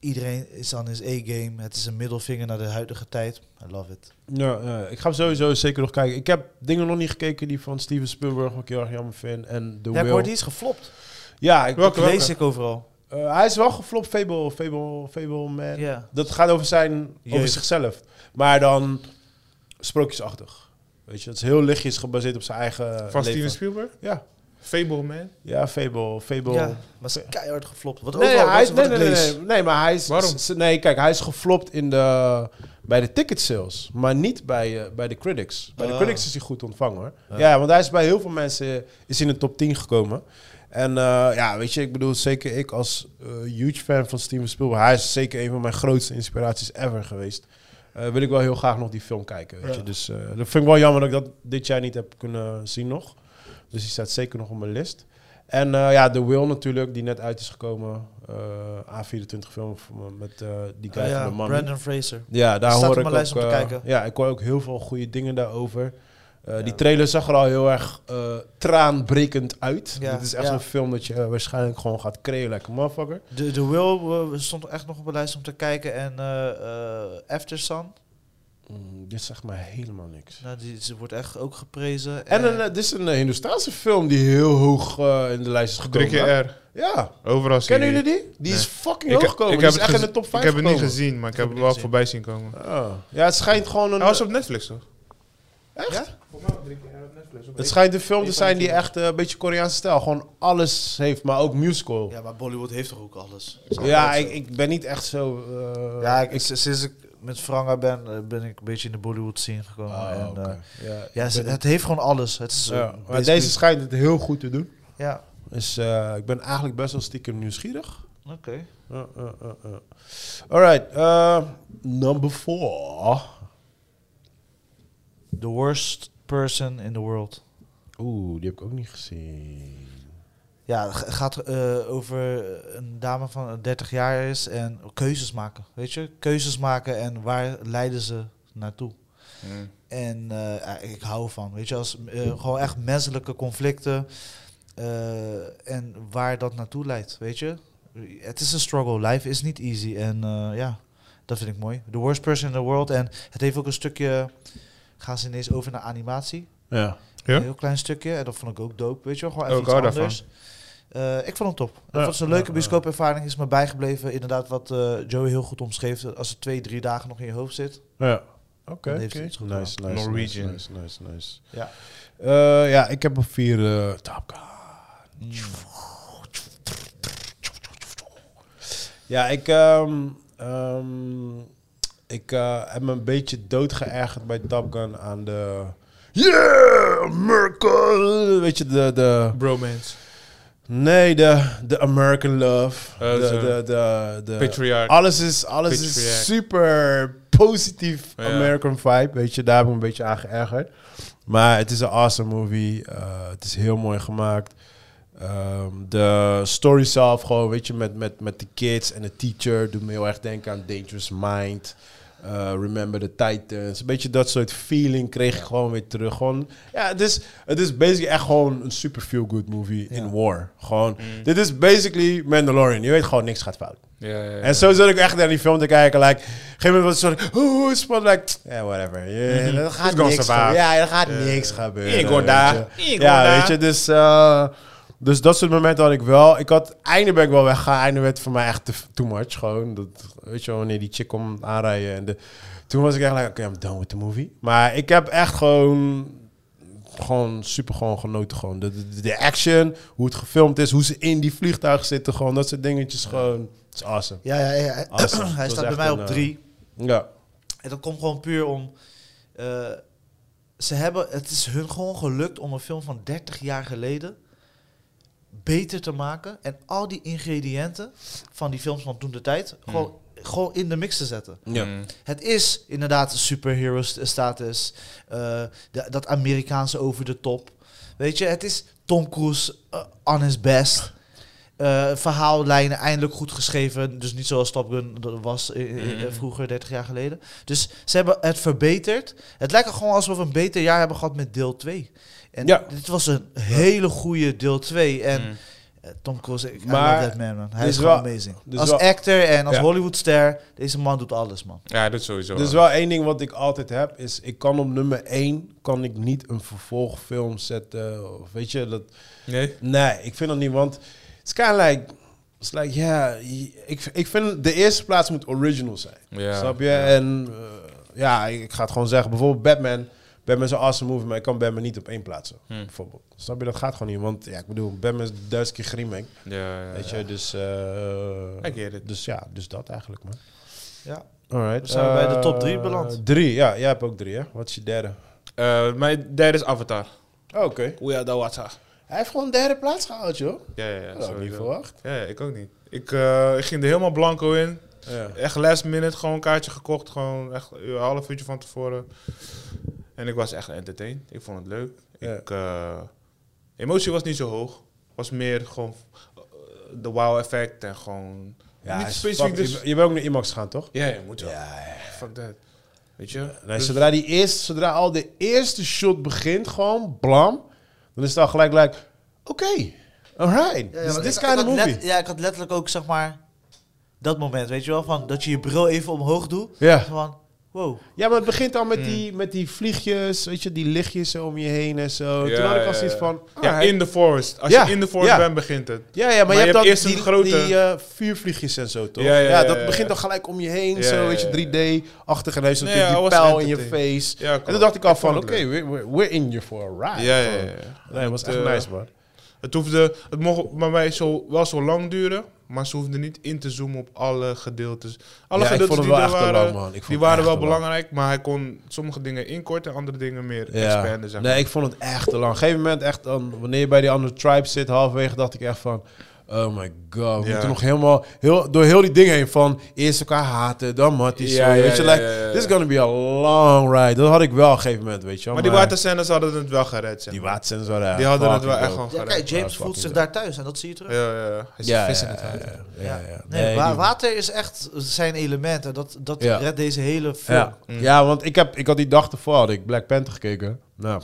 iedereen is aan his A-game. Het is een middelvinger naar de huidige tijd. I love it. Ja, eh, ik ga sowieso zeker nog kijken. Ik heb dingen nog niet gekeken die van Steven Spielberg, wat ik heel erg jammer vind. En The Ja, ik Will. hoor, die is geflopt. Ja, ik, Welke, Dat welke? lees ik overal. eh, hij is wel geflopt, Fable, Fable, Fable Man. Ja. Dat gaat over zijn, over Jeugd. zichzelf. Maar dan sprookjesachtig. Weet je, het is heel lichtjes gebaseerd op zijn eigen Van leven. Steven Spielberg? Ja, Fable Man? ja, Fable, Fable. Ja, maar ze is keihard geflopt. Wat Nee, overal ja, hij is, wat nee, ik nee, nee, lees. nee, nee, maar hij is... Waarom? s- Nee, kijk, hij is geflopt in de, bij de ticket sales. Maar niet bij, eh, bij de critics. Bij de Ah. critics is hij goed ontvangen, hoor. Ja. Ja, want hij is bij heel veel mensen eh, is in de top 10 gekomen. En eh, ja, weet je, ik bedoel, zeker ik als eh, huge fan van Steven Spielberg... Hij is zeker een van mijn grootste inspiraties ever geweest. Eh, wil ik wel heel graag nog die film kijken, weet Ja. je. Dus eh, dat vind ik wel jammer dat ik dat dit jaar niet heb kunnen zien nog. Dus die staat zeker nog op mijn list. En eh, ja, The Will natuurlijk, die net uit is gekomen. Eh, A24 film van- met eh, die guy Ah, ja, van de man. Brandon Fraser. Ja, daar Staat op hoor ik mijn ook... lijst om te eh, kijken. Ja, ik hoor ook heel veel goede dingen daarover. Eh, Die Ja. trailer zag er al heel erg eh, traanbrekend uit. Ja, Dit is echt ja. een film dat je eh, waarschijnlijk gewoon gaat creëren, lekker motherfucker. De, de Will eh, stond echt nog op mijn lijst om te kijken. En eh, eh, After Sun. Mm, dit zegt mij helemaal niks. Nou, die, ze wordt echt ook geprezen. En een, eh, dit is een eh, Hindoestaanse film die heel hoog eh, in de lijst is gekomen. Drie keer R. Ja. Overal zie Kennen je jullie die? Die is eh. Nee. fucking Ik- hoog gekomen. ik die heb is het echt in gez- de top 5 Ik heb het niet gekomen. gezien, maar ik Ik heb heb het het wel niet voorbij zien komen. Ah. Ja, het schijnt gewoon een... Hij was op Netflix toch? Echt? Ja? Het schijnt een film te zijn die echt eh, een beetje Koreaanse stijl. Gewoon alles heeft, maar ook musical. Ja, Ja, maar Bollywood heeft toch ook alles? ik, ik ben niet echt zo... eh, Ja, ik, s- sinds ik met Franga ben, eh, ben ik een beetje in de Bollywood scene gekomen. Oh, en, oké. eh, ja, ja, ik ze- ben- het heeft gewoon alles. Het is, eh, ja, maar basically- deze schijnt het heel goed te doen. Ja, Dus eh, ik ben eigenlijk best wel stiekem nieuwsgierig. oké. Uh, uh, uh, uh. Alright, eh, number four. The worst person in the world. Oeh, die heb ik ook niet gezien. Ja, het gaat eh, over een dame van eh, 30 jaar is en keuzes maken. Weet je, keuzes maken en waar leiden ze naartoe? En eh, ja, ik hou van, weet je, als eh, gewoon echt menselijke conflicten eh, en waar dat naartoe leidt, weet je. Het is een struggle, life is niet easy en eh, ja, dat vind ik mooi. The worst person in the world en het heeft ook een stukje, gaan ze ineens over naar animatie, Ja. Ja? een heel klein stukje en dat vond ik ook dope, weet je, wel, gewoon Oh, even ik iets hou daarvan. anders. Eh, ik vond hem top. Ja, Dat was een ja, leuke ja. bioscoopervaring, is me bijgebleven. Inderdaad, wat eh, Joey heel goed omschreef, als het twee, drie dagen nog in je hoofd zit. Ja. Oké, Dat oké. heeft nice, ze iets goed nice, nice, Norwegian. Nice, nice, nice. Ja. Eh, ja, ik heb op vier eh Top Gun. Mm. Ja, ik, ehm, ehm, Ik eh, heb me een beetje doodgeërgerd bij Top Gun aan de... Yeah, America! Weet je, de... de Bromance. nee, de, de American love. Eh, de, zo. de, de, de- Patriarch. alles is, alles Patriarch. is super positief Ja. American vibe. Weet je, daar heb ik me een beetje aan geërgerd. Maar het is een awesome movie. Eh, het is heel mooi gemaakt. Ehm, de story zelf gewoon, weet je, met, met, met de kids en de teacher doet me heel erg denken aan Dangerous Mind. eh, Remember the Titans. Een beetje dat soort feeling kreeg ik gewoon weer terug. Gewoon, ja, het is, het is basically echt gewoon een super feel-good movie in war. Gewoon, Mm. dit is basically Mandalorian. Je weet gewoon, niks gaat fout. Ja, ja, ja. En zo zat ik echt naar die film te kijken. Like, op een gegeven moment was het zo, oeh, spannend. Like, yeah, whatever. Yeah, dat gaat It's Mhm. gonna niks survive. gebeuren. Ja, dat gaat Ja. niks gebeuren. Ik word weet daar. je. Ik Ja, word weet daar. je, dus, eh, dus dat soort momenten had ik wel. Ik had, einde ben ik wel weggegaan. Einde werd voor mij echt te, too much. Gewoon, dat, weet je wel, wanneer die chick komt aanrijden. En de, toen was ik echt like, oké, I'm done with the movie. Maar ik heb echt gewoon gewoon super gewoon genoten. Gewoon. De, de, de action, hoe het gefilmd is, hoe ze in die vliegtuig zitten. Gewoon dat soort dingetjes. Gewoon, het is awesome. Ja, ja, ja. hij- Awesome. hij Ah, Dat staat bij is echt mij op een, eh, drie. Ja. En dat komt gewoon puur om... eh, ze hebben, het is hun gewoon gelukt om een film van 30 jaar geleden beter te maken. En al die ingrediënten van die films van toen de tijd gewoon, Mm. gewoon in de mix te zetten. Mm. Het is inderdaad een superhero st- status. eh, de- dat Amerikaanse over de top. Weet je, het is Tom Cruise eh, on his best. Eh, verhaallijnen eindelijk goed geschreven. Dus niet zoals Top Gun dat was eh, Mhm. eh, eh, vroeger, 30 jaar geleden. Dus ze hebben het verbeterd. Het lijkt er gewoon alsof we een beter jaar hebben gehad met deel 2. En Ja. Mhm. dit was een hele goede deel 2. En Mm. eh, Tom Cruise, ik I Maar love that man, man. Hij dus is gewoon wel- amazing. dus als wel- actor en als Ja. Hollywoodster, deze man doet alles, man. Ja, dat sowieso. Dus wel één ding wat ik altijd heb, is ik kan op nummer één, kan ik niet een vervolgfilm zetten. Of weet je, dat, Nee? Nee, ik vind dat niet, want it's kind of like, it's like, ja, ik, ik vind de eerste plaats moet original zijn. Ja, snap je? ja. En eh, ja, ik, ik ga het gewoon zeggen, bijvoorbeeld Batman. Batman is een awesome movie, maar ik kan Batman niet op één plaatsen. Bijvoorbeeld. Snap je? Dat gaat gewoon niet, want ja, ik bedoel, Batman is duizend keer griemig. Ja, ja, Weet ja. je, dus... eh, I get it. Dus ja, dus dat eigenlijk, man. Ja. Alright. Dan zijn we bij de top drie eh, beland. Drie, ja. Jij hebt ook drie, hè? Wat is je derde? Eh, mijn derde is Avatar. Oh, Oké. We are the water. Hij heeft gewoon derde plaats gehaald, joh. Ja, ja, ja. Dat had ik niet sowieso. verwacht. Ja, ja, ik ook niet. Ik, eh, ik ging er helemaal blanco in. Ja. Echt last minute gewoon een kaartje gekocht. Gewoon echt een half uurtje van tevoren. En ik was echt entertained. Ik vond het leuk. Ja. Ik, eh, emotie was niet zo hoog. Was meer gewoon eh, de wow effect en gewoon... Ja, niet is specifiek fuck- dus... Je, je bent ook naar IMAX gaan, toch? Ja, je moet wel. ja. Fuck that. Weet je? Nee, Dus- zodra, die eerste, zodra al de eerste shot begint, gewoon blam, dan is het al gelijk, like, oké, alright, Ja, ja, maar this, this ik- Dus kind ik of had movie. let- ja, ik had letterlijk ook, zeg maar, dat moment, weet je wel, van dat je je bril even omhoog doet. Ja. Van, wow. Ja, maar het begint al met, die, Hmm. met die vliegjes, weet je, die lichtjes zo om je heen en zo. Toen had ik al zoiets van, Ja, alright. in the forest. Als Ah, Ja, je in the forest ja. bent, begint het. Ja, ja, maar, je hebt dan eerst die, een grote- die eh, vuurvliegjes en zo, toch? Ja, Ja, ja, ja, dat ja, ja. begint dan gelijk om je heen, Ja, ja, zo, ja, weet je, ja. 3D-achtig. En hij is Nee, natuurlijk ja, die hij was pijl in je entertaining. face. Ja, en toen klopt. dacht ik al Ik vond van, oké, het leuk. we- we- we're in you for a ride. Ja, ja, ja. gewoon. ja. Nee, het was echt eh, nice, man. Het, hoefde, het mocht bij mij zo, wel zo lang duren, maar ze hoefden niet in te zoomen op alle gedeeltes. Alle Ja, ik gedeeltes vond die het er wel echt te waren, lang, man. Ik vond die het waren echt wel te lang. belangrijk, maar hij kon sommige dingen inkorten en andere dingen meer expanden. Zeg maar. Nee, ik vond het echt te lang. Op een gegeven moment, echt, dan, wanneer je bij die andere tribe zit, halverwege dacht ik echt van... Oh my god, we Ja. moeten nog helemaal heel, door heel die dingen heen van eerst elkaar haten, dan matties. Ja, zo, ja, weet je, ja, like, ja, ja, ja. this is gonna be a long ride. Dat had ik wel op een gegeven moment, weet je. wel, maar die waterscènes hadden het wel gered. Zeg. die maar. watersens waren echt Die hadden het wel fucking echt dope. gewoon Ja, gered. kijk, Ja, James fucking voelt zich daar dope. thuis en dat zie je terug. ja, ja, ja. Hij zit Ja, vis in ja, het water. ja, ja, ja. Nee, Nee, wa- die- water is echt zijn element en dat, dat Ja. redt deze hele film. Ja, ja want ik, heb, ik had die dag ervoor had ik Black Panther gekeken. Nou,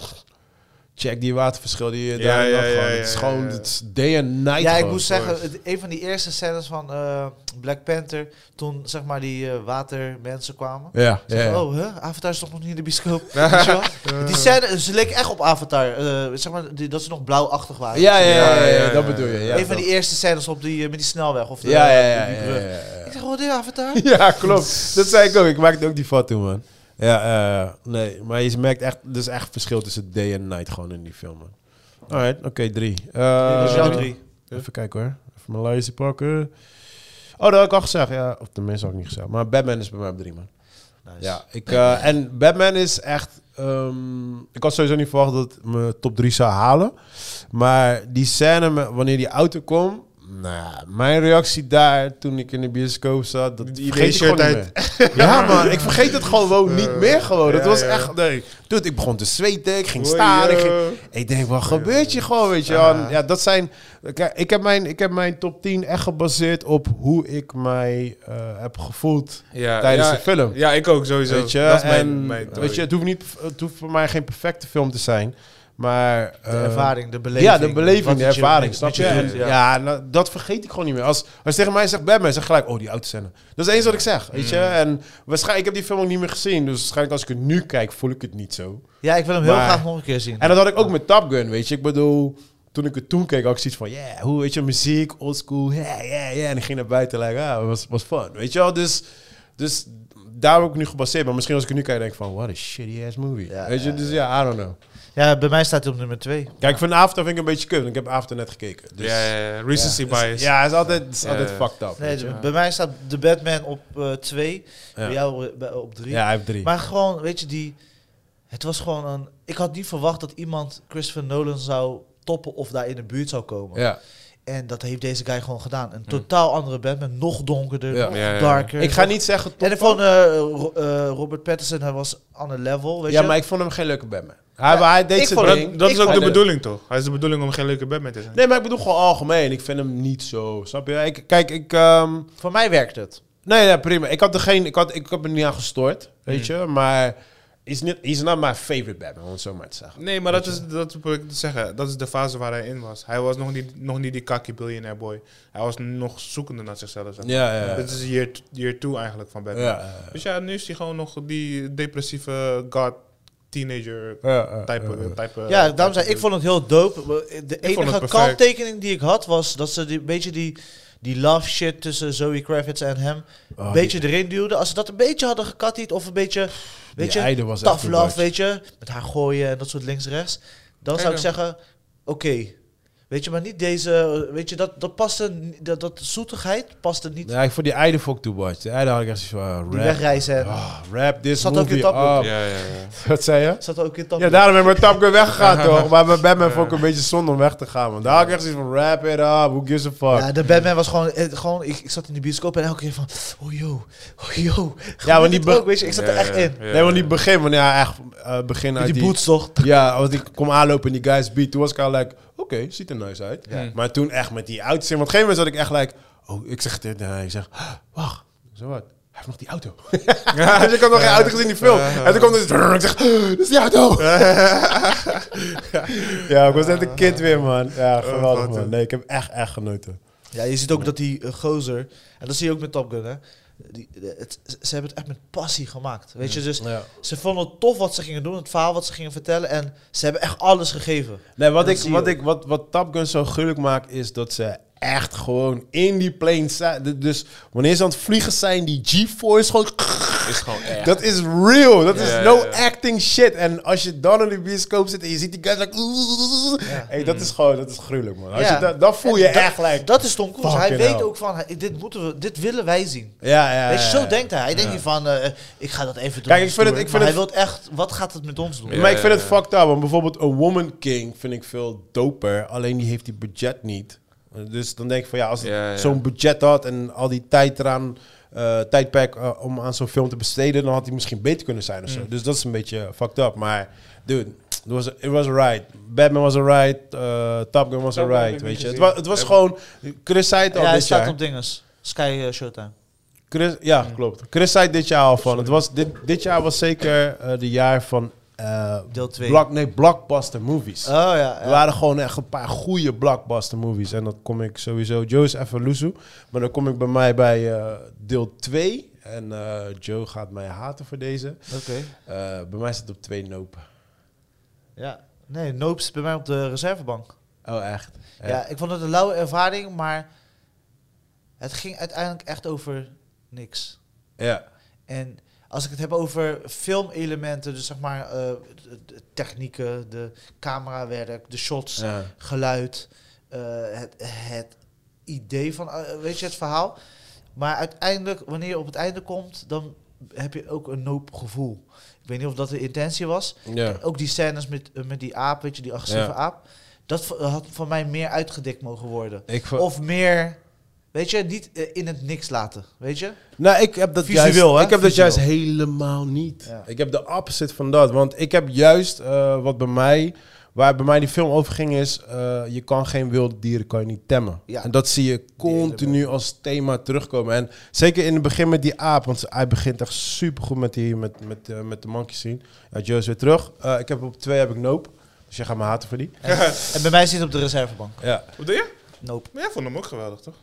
check die waterverschil die je Ja, daar en ja, dat ja, gewoon. ja, Het is ja, gewoon, ja. het is day and night Ja, ik gewoon. moet zeggen, het- een van die eerste scènes van eh, Black Panther, toen zeg maar die eh, watermensen kwamen. Ja, ja, Zeg, ja. Oh, hè? Avatar is toch nog niet in de bioscoop? Weet je wel? Die scène, ze leek echt op Avatar. eh, zeg maar, die- dat ze nog blauwachtig waren. Ja, ja, ja, ja, Ja, ja, ja, dat ja. bedoel je. Ja, een van die eerste scènes op die, eh, met die snelweg. Of de, ja, ja, ja, die ja, brug. ja, Eh, ja. Ik zeg, wat is Avatar? Ja, klopt. Dat zei ik ook. Ik maakte ook die foto, man. Ja, eh, nee. Maar je merkt echt, er is echt verschil tussen day en night gewoon in die film, man. Alright, oké, drie. Eh, dat is jouw drie. eh, Even kijken hoor. Even mijn lijstje pakken. Oh, dat had ik al gezegd. Ja, of tenminste had ik niet gezegd. Maar Batman is bij mij op drie, man. Nice. Ja, ik, eh, en Batman is echt... ehm, ik had sowieso niet verwacht dat het mijn top 3 zou halen. Maar die scène, met- wanneer die auto kwam... Nou ja, mijn reactie daar toen ik in de bioscoop zat, dat Die vergeet ik idee-shirt gewoon niet meer. Ja man, ik vergeet het gewoon niet meer gewoon. Dat ja, was ja. echt... Nee. Dude, ik begon te zweten, ik ging staan, ik ging... Ik denk, wat gebeurt je gewoon, weet je wel? En Ja, dat zijn... Kijk, ik heb, mijn, ik heb mijn top 10 echt gebaseerd op hoe ik mij eh, heb gevoeld Ja, tijdens ja, de film. Ja, ik ook sowieso. Weet je, dat is mijn, en, mijn theorie. weet je het, hoeft niet, het hoeft voor mij geen perfecte film te zijn, maar... De eh, ervaring, de beleving. ja, de beleving, wat de het je- ervaring, snap wat je? doet, En ja. ja, nou, dat vergeet ik gewoon niet meer. Als, als je tegen mij zegt Batman, zeg gelijk, oh, die autoscène. Dat is eens wat ik zeg, weet Mm. je? En waarschijnlijk, ik heb die film ook niet meer gezien, dus waarschijnlijk als ik het nu kijk, voel ik het niet zo. Ja, ik wil hem heel Maar- graag nog een keer zien. En dat had ik ook met Top Gun, weet je. Ik bedoel, toen ik het toen keek, had ik zoiets van... Yeah, hoe, weet je, muziek, oldschool, yeah, yeah, yeah. En ik ging naar buiten, like, ah, was, was fun, weet je wel. Dus, dus daar heb ik nu gebaseerd. Maar misschien als ik het nu kijk, denk ik van... What a shitty ass movie. Ja, weet je, ja, dus ja, I don't know. Ja, bij mij staat hij op nummer 2. Kijk, van Avatar vind ik een beetje kut. want Ik heb Avatar net gekeken. Dus, ja, ja, ja, recency Dus- bias. Ja, het is altijd, het is Ja, altijd ja. fucked up. Nee, weet je. bij mij staat de Batman op 2. Ja. Bij jou eh, bij- op 3. ja, hij heeft drie. Maar gewoon, weet je, die... Het was gewoon een... Ik had niet verwacht dat iemand Christopher Nolan zou toppen of daar in de buurt zou komen. ja. Hm. En dat heeft deze guy gewoon gedaan. Een totaal andere Batman. Nog donkerder, Ja. nog Ja, ja, ja. darker. Ik ga niet zeggen... En Top ik vond eh, Ro- eh, Robert Pattinson, hij was on a level, weet ja, je. maar ik vond hem geen leuke Batman. Hij, Ja, hij ik deed zijn vond Dat, ding. dat is Ik ook de vond- bedoeling, toch? Hij is de bedoeling om geen leuke Batman te zijn. Nee, maar ik bedoel gewoon algemeen. Ik vind hem niet zo. Snap je? Ik, kijk, ik. ehm, Voor mij werkt het. nee, nee, prima. Ik had er geen. Ik, had, ik heb er niet aan gestoord. Weet Hmm. je? Maar. Is niet, is not my favorite Batman, om het zo maar te zeggen. Nee, maar dat is, dat wil ik zeggen. Dat is de fase waar hij in was. Hij was nog niet, nog niet die kakkie billionaire boy. Hij was nog zoekende naar zichzelf. zeg maar. Ja, ja. Dit is year, year two eigenlijk van Ja, Batman. ja. Dus ja, nu is hij gewoon nog die depressieve god teenager ja, ja, type. ja. type ja, type daarom zei ik, ik vond het heel dope. Maar De vond het enige perfect. kanttekening die ik had was dat ze die, een beetje die, die love shit tussen Zoe Kravitz en hem Oh, een die- beetje erin duwden. Als ze dat een beetje hadden gekattied of een beetje, weet die je, eider was echt tough too love, much. weet je, met haar gooien en dat soort links-rechts. Dan zou ik Eider. zeggen, oké. Weet je, maar niet deze, weet je, dat, dat paste, ni- dat, dat zoetigheid paste niet. Ja, ik vond die Eide vond ik too much. De Eide had ik echt zoiets van. Die rap. wegreizen en- Ah, rap this Zat ook in movie Top Gun. up. Ja, ja, ja. Wat zei je? Zat ook in dat Ja, daarom ben ik met Top Gun weggegaan, toch? Maar bij Batman vond ik een beetje zonde om weg te gaan, man. Daar had ik echt zoiets van, rap it up, who gives a fuck? Ja, de Batman was gewoon, eh, gewoon ik, ik zat in de bioscoop en elke keer van, oh yo, oh yo. Ja, want maar die niet be- ook, weet je, ik zat er echt in. Ja, nee, want die begin, wanneer hij echt eh, begin Met uit die, Nou, die... boots toch? Ja, want ik kom aanlopen en die guys beat. Toen was ik al like, oké, ziet er nice uit. Ja. Maar toen echt met die auto. Want op een gegeven moment zat ik echt like, oh, ik zeg dit. en ik zeg, "Ah, wacht, zo wat. Hij heeft nog die auto. dus ik had nog geen auto gezien in die film. En toen kwam dus, ik zeg, "Ah, dat is die auto. ja, ik was net een kind weer, man. Ja, geweldig, man. Nee, ik heb echt, echt genoten. Ja, je ziet ook dat die eh, gozer, en dat zie je ook met Top Gun, hè. Die, de- het, ze hebben het echt met passie gemaakt, weet je. Dus Mm. Ja. ze vonden het tof wat ze gingen doen, het verhaal wat ze gingen vertellen. En ze hebben echt alles gegeven. Nee, wat, Dat ik, zie je wat, ook. ik, wat, wat Top Gun zo gruwelijk maakt, is dat ze echt gewoon in die plane zijn. D- Dus wanneer ze aan het vliegen zijn, die G-force gewoon... Is gewoon echt. Dat is real. Dat Ja, is no ja, ja. acting shit. En als je dan in de bioscoop zit en je ziet die guys like... Hey, dat is gewoon, dat is gruwelijk, man. Als Ja. je dat, dat voel je En dat- echt like... Dat is Tom Cruise. Hij Fucking weet hell. ook van, hij- dit, moeten we, dit willen wij zien. Ja, ja, ja. Weet je, ja. zo denkt hij. Hij denkt niet van, eh, ik ga dat even doen. Kijk, ik vind het- ik maar vind hij wil echt, wat gaat het met ons doen? Ja. maar ik vind het fucked up. Want bijvoorbeeld een Woman King vind ik veel doper. Alleen die heeft die budget niet. Uh, Dus dan denk ik van ja, als het Ja, ja. zo'n budget had en al die tijd eraan, eh tijdperk eh, om aan zo'n film te besteden, dan had hij misschien beter kunnen zijn of Mm. zo. Dus dat is een beetje fucked up. Maar dude, it was, it was a ride. Batman was a ride. eh, Top Gun was Top Gun a heb ride. ik Weet niet je, het gezien. was, het was gewoon. Chris zei het al Ja, hij dit staat jaar. op dinges. Sky eh, Showtime. Chris, ja, klopt. Chris zei dit jaar al van. Het was, dit, dit jaar was zeker eh de jaar van. eh, Deel 2. Block, nee, blockbuster movies. Oh ja, ja. Er waren gewoon echt een paar goede blockbuster movies. En dat kom ik sowieso. Joe is even loezoe. Maar dan kom ik bij mij bij eh, deel 2. En eh, Joe gaat mij haten voor deze. Oké. Eh, bij mij staat op 2 Nope. Ja. Nee, Nope is bij mij op de reservebank. Oh, echt? Ja. Ja. ik vond het een lauwe ervaring, maar het ging uiteindelijk echt over niks. Ja. En als ik het heb over filmelementen, dus zeg maar eh, de- de technieken, de camerawerk, de shots, Ja. geluid, eh, het, het idee van, eh, weet je, het verhaal. Maar uiteindelijk, wanneer je op het einde komt, dan heb je ook een noop gevoel. Ik weet niet of dat de intentie was. Ja. Ook die scènes met, eh, met die aap, weet je, die agressieve Ja. aap. Dat v- had van mij meer uitgedikt mogen worden. Ik vo- Of meer, weet je, niet eh, in het niks laten, weet je? Nou, ik heb dat Visueel, juist, hè? Ik heb dat Visueel. juist helemaal niet. Ja. Ik heb de opposite van dat. Want ik heb juist eh, wat bij mij... Waar bij mij die film over ging is... eh, je kan geen wilde dieren kan je niet temmen. Ja. En dat zie je continu als thema terugkomen. En zeker in het begin met die aap. Want hij begint echt supergoed met, die, met, met, eh, met de monkey scene. Ja, Joe is weer terug. Eh, ik heb op twee heb ik Nope. Dus jij gaat me haten voor die. En bij mij zit het op de reservebank. Ja. Wat deed je? Nope. Maar jij vond hem ook geweldig, toch?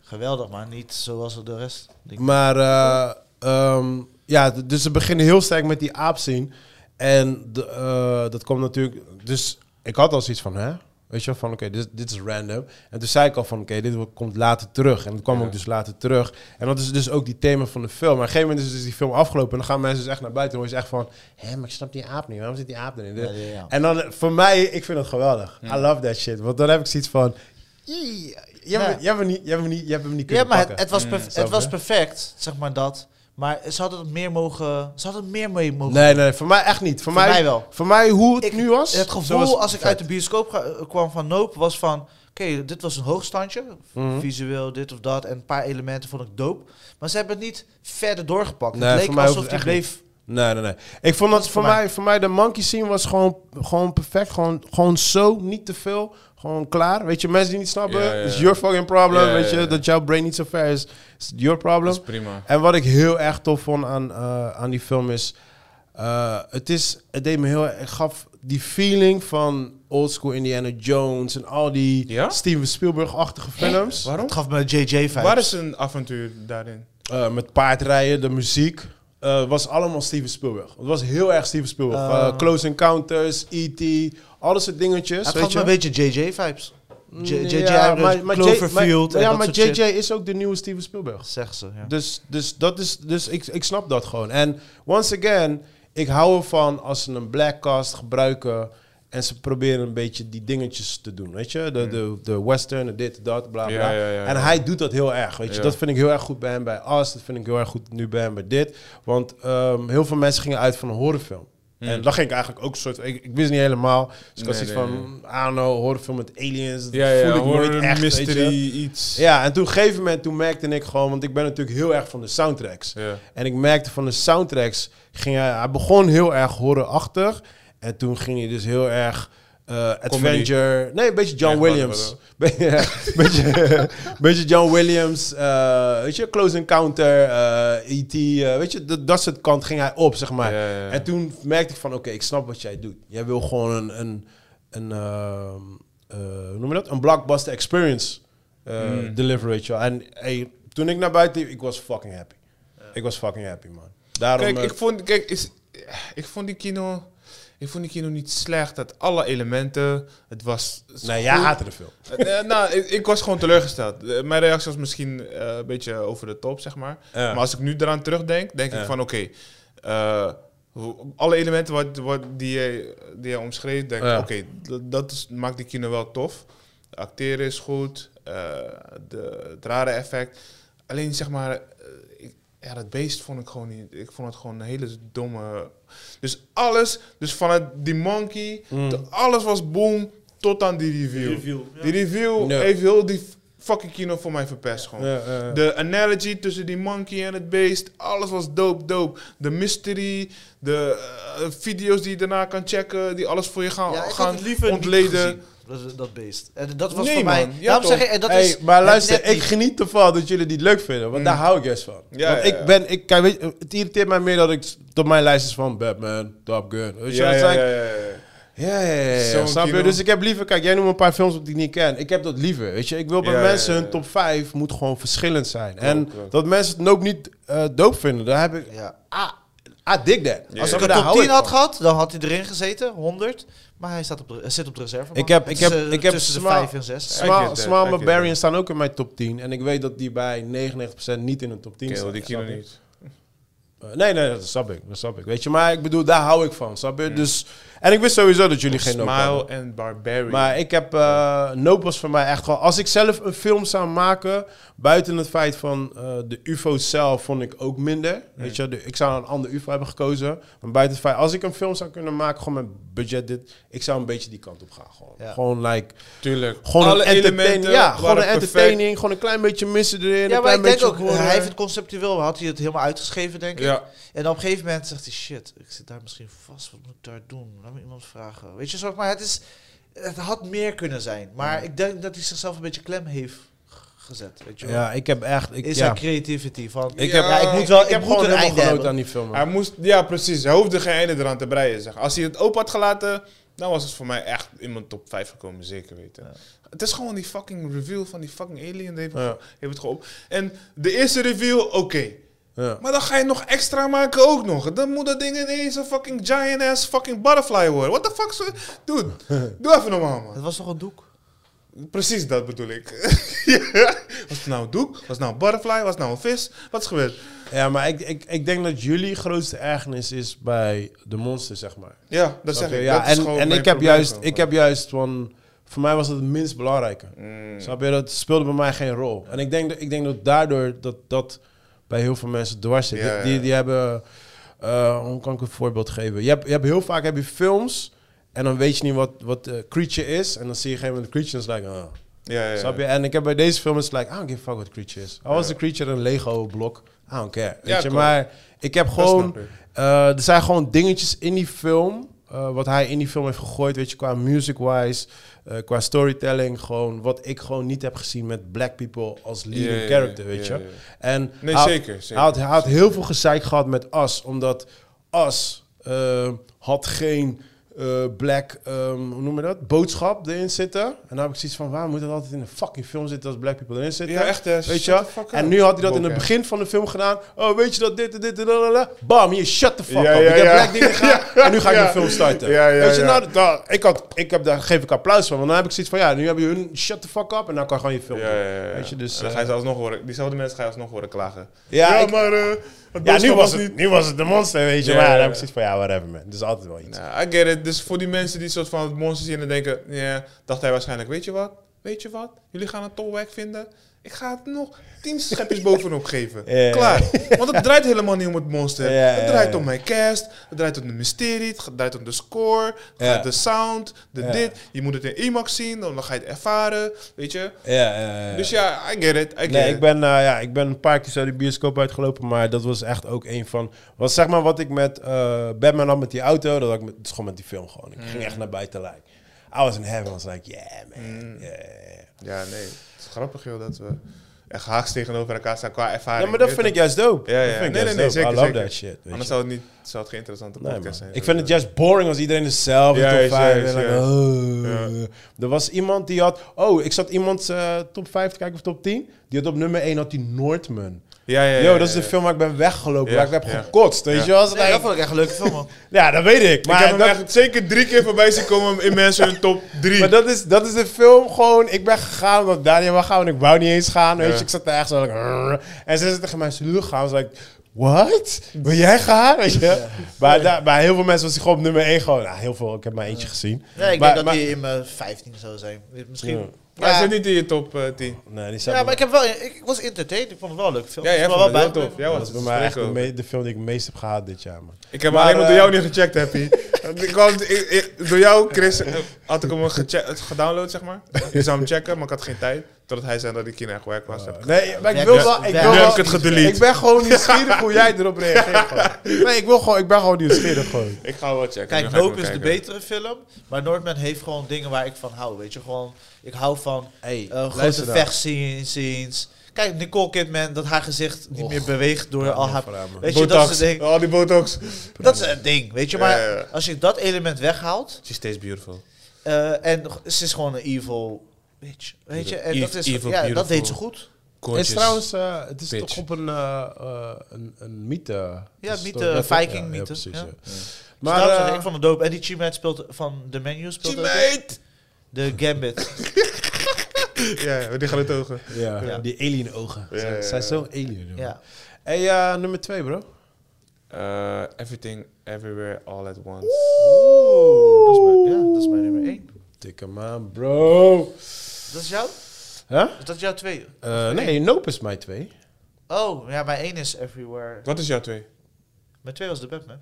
Geweldig, maar niet zoals de rest. Ik- Maar eh, ehm, ja, d- dus ze beginnen heel sterk met die aap zien. En de, eh, dat komt natuurlijk. Dus ik had al zoiets van, hè? Weet je wel, van oké, dit, dit is random. En toen zei ik al van oké, dit wo- komt later terug. En het kwam ook dus later terug. En dat is dus ook die thema van de film. Maar op een gegeven moment is dus die film afgelopen. En dan gaan mensen dus echt naar buiten. En dan hoor je ze echt van, hè, maar ik snap die aap niet. Waarom zit die aap erin? Ja, ja, ja. En dan eh, voor mij, ik vind het geweldig. I love that shit. Want dan heb ik zoiets van, "Jee, jij Ja. hebt me- jij hebt me niet- jij hebt me niet- jij hebt hem niet Ja, kunnen maar het, pakken." Mm. het, was, perf- snap het was je? perfect, zeg maar dat. Maar ze hadden het meer mogen. Ze hadden het meer mee mogen. Nee, nee, voor mij echt niet. Voor, Voor mij, mij wel. Voor mij hoe het Ik- nu was. Het zo gevoel was het als ik uit de bioscoop ga- eh, kwam van Nope was van... Oké, dit was een hoogstandje. Mhm. Visueel, dit of dat. En een paar elementen vond ik dope. Maar ze hebben het niet verder doorgepakt. Nee, het voor leek mij hoeft alsof die het echt bleef... Nee, nee, nee. Ik vond dat, is voor voor mij. mij, voor mij de monkey scene was gewoon, gewoon perfect. Gewoon, gewoon zo, niet te veel. Gewoon klaar. Weet je, mensen die niet snappen, Ja, ja, is ja. your fucking problem. Ja, ja, weet je, ja. dat jouw brain niet zo ver is, is your problem. Dat is prima. En wat ik heel erg tof vond aan, eh, aan die film is... eh, het, is het deed me heel Het gaf die feeling van old school Indiana Jones... en al die Ja? Steven Spielberg-achtige films. Waarom? Het gaf me JJ-vibes. Waar is een avontuur daarin? Eh, met paardrijden, de muziek. eh, was allemaal Steven Spielberg. Het was heel erg Steven Spielberg. Ah. Eh, Close Encounters, E E.T., alle soort dingetjes. het dus, weet gaf je? me een beetje JJ-vibes. Mm, JJ ja, Abrams, maar- maar J- Cloverfield maar- en Ja, dat maar soort JJ shit. is ook de nieuwe Steven Spielberg. Zeggen ze, ja. Dus, dus, dat is, dus ik, ik snap dat gewoon. En once again, ik hou ervan als ze een black cast gebruiken... en ze proberen een beetje die dingetjes te doen, weet je? De, de, de western, de dit, dat, bla, bla. Mm. Ja, ja, ja, En ja. hij doet dat heel erg, weet je? Ja. Dat vind ik heel erg goed bij hem bij Us. Dat vind ik heel erg goed nu bij hem bij dit. Want ehm, heel veel mensen gingen uit van een horrorfilm. En dat ging ik eigenlijk ook soort... Ik, ik wist niet helemaal. Dus ik had Mm. Nee, zoiets nee, van... Ah, nou, horrorfilm met aliens. Dat Ja, ja, voel ik horror, nooit echt, weet je. mystery, iets. Ja, en toen op een gegeven moment toen merkte ik gewoon, want ik ben natuurlijk heel erg van de soundtracks. Ja. En ik merkte van de soundtracks, ging hij, hij begon heel erg horrorachtig. En toen ging hij dus heel erg eh adventure. Nee, een beetje John Ja, gewoon- Williams. Be- beetje, beetje John Williams, eh, weet je, Close Encounter, eh, E.T., eh, weet je, dat, dat soort kant ging hij op, zeg maar. Ja, ja, ja. En toen merkte ik van, oké, ik snap wat jij doet. Jij wil gewoon een, een, een ehm, eh, hoe noem je dat? Een blockbuster experience eh Mm. deliver, weet je wel. En hey, toen ik naar buiten liep, ik was fucking happy. Ik was fucking happy, man. Daarom, Kijk, eh, ik vond, kijk is, ik vond die kino... Ik vond die kino niet slecht. Het alle elementen. Het was... nee, jij haatte de film. Eh, eh, nou, ik, ik was gewoon teleurgesteld. Eh, mijn reactie was misschien eh, een beetje over de top, zeg maar. Ja. Maar als ik nu eraan terugdenk, denk Ja. ik van oké. eh, hoe- alle elementen wat, wat die, jij, die jij omschreef, denk ik Ja. oké, dat, dat is, maakt die kino wel tof. Acteren is goed, eh, de, het rare effect. Alleen zeg maar, eh, ik, ja, dat beest vond ik gewoon niet. Ik vond het gewoon een hele domme. Dus alles, dus vanuit die monkey, Mm. de- alles was boom tot aan die review. Die review Ja. heeft heel die fucking kino voor mij verpest gewoon. Ja, ja, ja. De analogy tussen die monkey en het beest, alles was dope, dope. De mystery, de eh, video's die je daarna kan checken, die alles voor je Oh, gaan, Ja, ik had gaan het liever niet ontleden. gezien, Dat, dat beest. En dat was Nee, voor mij... man. Ja, daarom toch. zeg ik, en eh, dat Hey, is maar het luister, net ik niet. geniet ervan dat jullie die leuk vinden, want daar hou ik juist van. Mm. Ja, want ja, ik ja. ben, ik, kijk, weet je, het irriteert mij meer dat ik op mijn lijst is van Batman, Top Gun. Weet je, Ja, dat ja, zijn- ja, ja, ja. Ja, ja, ja, ja. Zo'n Snap je? kino. Dus ik heb liever, kijk, jij noemt een paar films die ik niet ken. Ik heb dat liever. Weet je, ik wil bij Ja, ja, mensen ja, hun ja. top 5 moet gewoon verschillend zijn. en klopt. dat mensen het ook niet eh doop vinden, daar heb ik. Ja. Ah, ah dik dat. Als ik Snap je? een Daar top hou 10 had van. gehad, dan had hij erin gezeten, 100. Maar hij staat op de, hij zit op de reserve. Ik heb, ik heb, ik heb eh, tussen de Small- 5 en 6. I get Small, that, Small I get Barbarian that. staan ook in mijn top 10. En ik weet dat die bij 99% niet in een top 10 Kerel, staan. die kino Snap je? niet. Eh, nee, nee, dat snap ik. Dat snap ik. Weet je, maar ik bedoel, daar hou ik van. Snap je? Dus En ik wist sowieso dat jullie geen Nope hadden. Smile en Barbarian. Maar ik heb... eh nope was voor mij echt gewoon... Als ik zelf een film zou maken... Buiten het feit van eh, de UFO zelf vond ik ook minder. Weet je, de- ik zou een ander UFO hebben gekozen. Maar buiten het feit... Als ik een film zou kunnen maken, gewoon met budget dit... Ik zou een beetje die kant op gaan. Gewoon, Ja. gewoon like... Tuurlijk. Gewoon Alle een entertaining. elementen Ja, gewoon een waren perfect. entertaining. Gewoon een klein beetje missen erin. Ja, een maar klein ik denk beetje ook, eh, horror. hij heeft het conceptueel, had hij het helemaal uitgeschreven, denk ik. Ja. En op een gegeven moment zegt hij, shit, ik zit daar misschien vast, wat moet ik daar doen? Laat me iemand vragen. Weet je, zo, maar het, is, het had meer kunnen zijn. Maar ik denk dat hij zichzelf een beetje klem heeft g- gezet, weet je wel. Ja, ik heb echt... Ik, Is ja. haar creativity van, Ik ik, heb- ja, ik moet wel, ik, heb moet gewoon een helemaal einde genoten hebben. aan die film. Hij moest, ja, precies. Hij hoefde geen einde eraan te breien. Zeg. Als hij het open had gelaten, dan was het voor mij echt in mijn top 5 gekomen, zeker weten. Het is gewoon die fucking reveal van die fucking alien. Die heeft, Ja. heeft het gewoon op. En de eerste reveal, oké. Ja. Maar dan ga je nog extra maken ook nog. Dan moet dat ding ineens een fucking giant ass fucking butterfly worden. What the fuck? zo- Dude, doe even normaal, man. Het was toch een doek? Precies dat bedoel ik. Ja. Was het nou een doek? Was het nou een butterfly? Was het nou een vis? Wat is gebeurd? Ja, maar ik, ik, ik denk dat jullie grootste ergernis is bij de monster, zeg maar. Ja, dat Snap zeg je? ik. Ja, dat is en gewoon en mijn ik, heb probleem juist, gewoon. ik heb juist van... Voor mij was het het minst belangrijke. Mm. Snap je? Dat speelde bij mij geen rol. En ik denk, dat- ik denk dat daardoor dat dat bij heel veel mensen dwars zit. Ja, Die- ja. Die, die hebben... eh, hoe kan ik een voorbeeld geven? Je hebt, je hebt heel vaak heb je films... En dan weet je niet wat, wat de creature is. En dan zie je op een gegeven moment de creature en dan is het like... ah. Ja, ja, ja. Snap je? En ik heb bij deze film, is like, I don't give a fuck what creature is. Al was de creature een Lego-blok, I don't care. Weet je, klopt. maar ik heb gewoon... snap ik. eh, er zijn gewoon dingetjes in die film, eh, wat hij in die film heeft gegooid, weet je, qua music-wise, eh, qua storytelling, gewoon wat ik gewoon niet heb gezien met black people als leading Ja, ja, ja, character, weet ja, je. ja. En Nee, hij- zeker, zeker. hij had, hij had heel veel gezeik gehad met As, omdat As eh, had geen eh, black, ehm, hoe noem je dat, boodschap erin zitten. En dan heb ik zoiets van, waar moet dat altijd in een fucking film zitten als black people erin zitten? Ja, echt, hè. Weet Shut je? the fuck En up. nu had hij dat in het Bokeh. begin van de film gedaan. Oh, weet je dat dit en dit en lalala. Bam, hier, shut the fuck Ja, up. ja, ik heb ja. black dingen gedaan en nu ga ik Ja. een film starten. Ja, ja, weet je, ja. nou, nou, ik, had, ik heb, daar geef ik applaus van. Want dan heb ik zoiets van, ja, nu hebben jullie hun shut the fuck up en dan kan gewoon je film Ja, doen. ja, ja, ja. Weet je, dus... En dan eh, ga je ze alsnog horen, diezelfde mensen ga je alsnog horen klagen. Ja, ik- maar eh, het Ja, nu boodschap was, het, nu was het de monster, weet je. Ja, maar ja, ja, dan heb ja. ik zoiets van, ja, whatever man. Het is altijd wel iets. Nou, I get it. Dus voor die mensen die soort van het monster zien en denken, ja, dacht hij waarschijnlijk, weet je wat? Weet je wat? Jullie gaan een tolwerk vinden. Ik ga het nog tien schepjes bovenop geven. Ja, ja, Klaar. Want het draait helemaal niet om het monster. Ja, ja, het draait ja. om mijn cast. Het draait om de mysterie. Het draait om de score. Het Ja. draait om de sound. De Ja. dit. Je moet het in IMAX zien. Dan ga je het ervaren. Weet je? Ja, ja, ja. Dus ja, I get it. I get Nee, it. ik ben, eh, ja, ik ben een paar keer zo de bioscoop uitgelopen, maar dat was echt ook een van... Was zeg maar wat ik met eh, Batman had met die auto, dat had ik met, dus gewoon met die film gewoon. Ik Mm. ging echt naar buiten, like... I was in heaven, I was like, yeah man, yeah. Ja, nee. Het is grappig, joh, dat we echt haaks tegenover elkaar staan qua ervaring. Ja, maar dat vind ik juist dope. Ja, Dat ja. vind ik nee, nee, juist nee, dope. zeker, I love zeker. that shit. weet Anders je. zou het, niet, zou het geen interessante Nee, podcast man. zijn. Ik vind het juist boring als iedereen hetzelfde Ja, top juist, 5. juist, en dan, juist. oh. Er was iemand die had... Oh, ik zat iemand eh, top 5 te kijken of top 10. Die had op nummer 1 had die Noordman. Ja, ja, ja. Yo, dat is ja, de film waar ik ben weggelopen. Ja, waar ik heb ja. gekotst. Weet Ja. je wel? Als het Nee, dat eigenlijk- vond ik echt een leuke film, man. Ja, dat weet ik. ik Maar, heb hem dat, echt zeker drie keer voorbij zien komen in mensen hun top drie. maar dat, is, dat is de film gewoon... Ik ben gegaan omdat Daniel wou gaan. En ik wou niet eens gaan. Weet je, ik zat daar echt zo... like, "Rrr." en ze zit tegen mij, zullen we gaan? was ik... What? Wil jij gaan? Weet je? Maar daar, bij heel veel mensen was hij gewoon op nummer 1 gewoon. Nou, heel veel. Ik heb maar eentje gezien. Nee, ik Maar- denk maar- dat die in mijn 15 zou zijn. Misschien. Ja. Ja. Maar hij zit niet in je top eh, tien. Nee, die Ja, maar ik, heb wel, ik, ik was entertained. Ik vond het wel een leuk film. Ja, Ik jij was vond het wel heel bij- tof. Jij was dat is bij het mij echt de, spreken me- de film die ik het meest heb gehaald dit jaar, man. Ik Maar, heb maar, alleen maar door eh, jou niet gecheckt, Happy. ik, wou het- ik, ik- door jou, Chris, eh, had ik hem geche- eh, gedownload, zeg maar. Ik zou hem checken, maar ik had geen tijd. Totdat hij zei dat ik hier naar werk was. Heb ik- Nee, maar ik Ja, wil ja. wel... Ja. Ik wil Nu heb wel ik het gedelete. Ik ben gewoon nieuwsgierig hoe jij erop reageert. gewoon. Nee, ik, wil gewoon, ik ben gewoon nieuwsgierig gewoon. Ik ga wel checken. Kijk, nu ga ik Nope wel is de kijken. betere film. Maar Noordman heeft gewoon dingen waar ik van hou. Weet je, gewoon... Ik hou van Hey, eh, grote nou. vechtscenes. scenes. Kijk, Nicole Kidman, dat haar gezicht niet Och. meer beweegt door al haar... Weet je, dat Botox. is, een ding, Al Oh, die botox. dat is een ding, weet je. Maar Ja, ja, ja. als je dat element weghaalt... She's steeds beautiful. eh, en g- ze is gewoon een evil bitch, weet je. En dat, is, Evil, ja, dat beautiful. deed ze goed. Het is trouwens, eh, het is Bitch. toch op een, eh, eh, een, een mythe. Ja, Dus mythe, toch- ja, toch? Viking Ja, mythe, Ja, precies, ja. ja. Maar, Maar eh, Dus ik vond het dope. En die Chimate speelt van The Menu speelt ook de Gambit. Ja, ja, die gaan het ogen. ja, Ja. die alien ogen. Ja, Zijn- ja, Zijn ja. zo alien. joh. ja. Hey, eh, nummer twee, bro. eh, everything, Everywhere, All at Once. Oeh, dat is mijn, ja, dat is mijn nummer 1. Tik hem aan, bro. Dat is jouw? Huh? Is dat jouw twee? Eh, nee, Nope is mijn twee. Oh, ja, mijn één is Everywhere. Wat is jouw twee? Mijn twee was de Batman.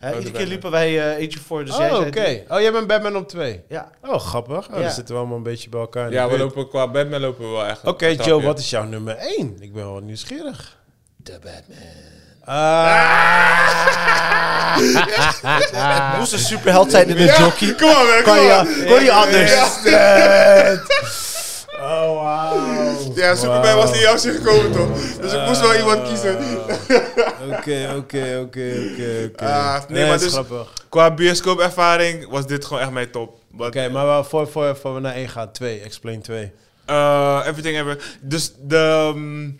Ja, de iedere keer Batman. liepen wij eh, eentje voor, dus jij oh, zei oké. drie. Oh, jij bent Batman op twee. Ja, Oh, grappig. Oh, Ja. Dan zitten we allemaal een beetje bij elkaar. in de Ja, we buurt. lopen qua Batman lopen we wel echt. Oké, Joe, wat is jouw nummer 1? Ik ben wel nieuwsgierig. Ah, De Batman. moest een superheld zijn in de jockey. Kom op, man, Kan je, kon je anders? Oh, wow. Ja, Superman Wauw. was niet jouw zin gekomen, toch? Dus ik Eh, moest wel iemand kiezen. Oké, oké, oké, oké, oké. Ah, nee, maar is dus- grappig. Oké, Qua bioscoopervaring was dit gewoon echt mijn top. Wat- maar wel voor, voor, voor we naar 1 gaan, 2. Explain 2. eh, everything ever. Dus de. mm,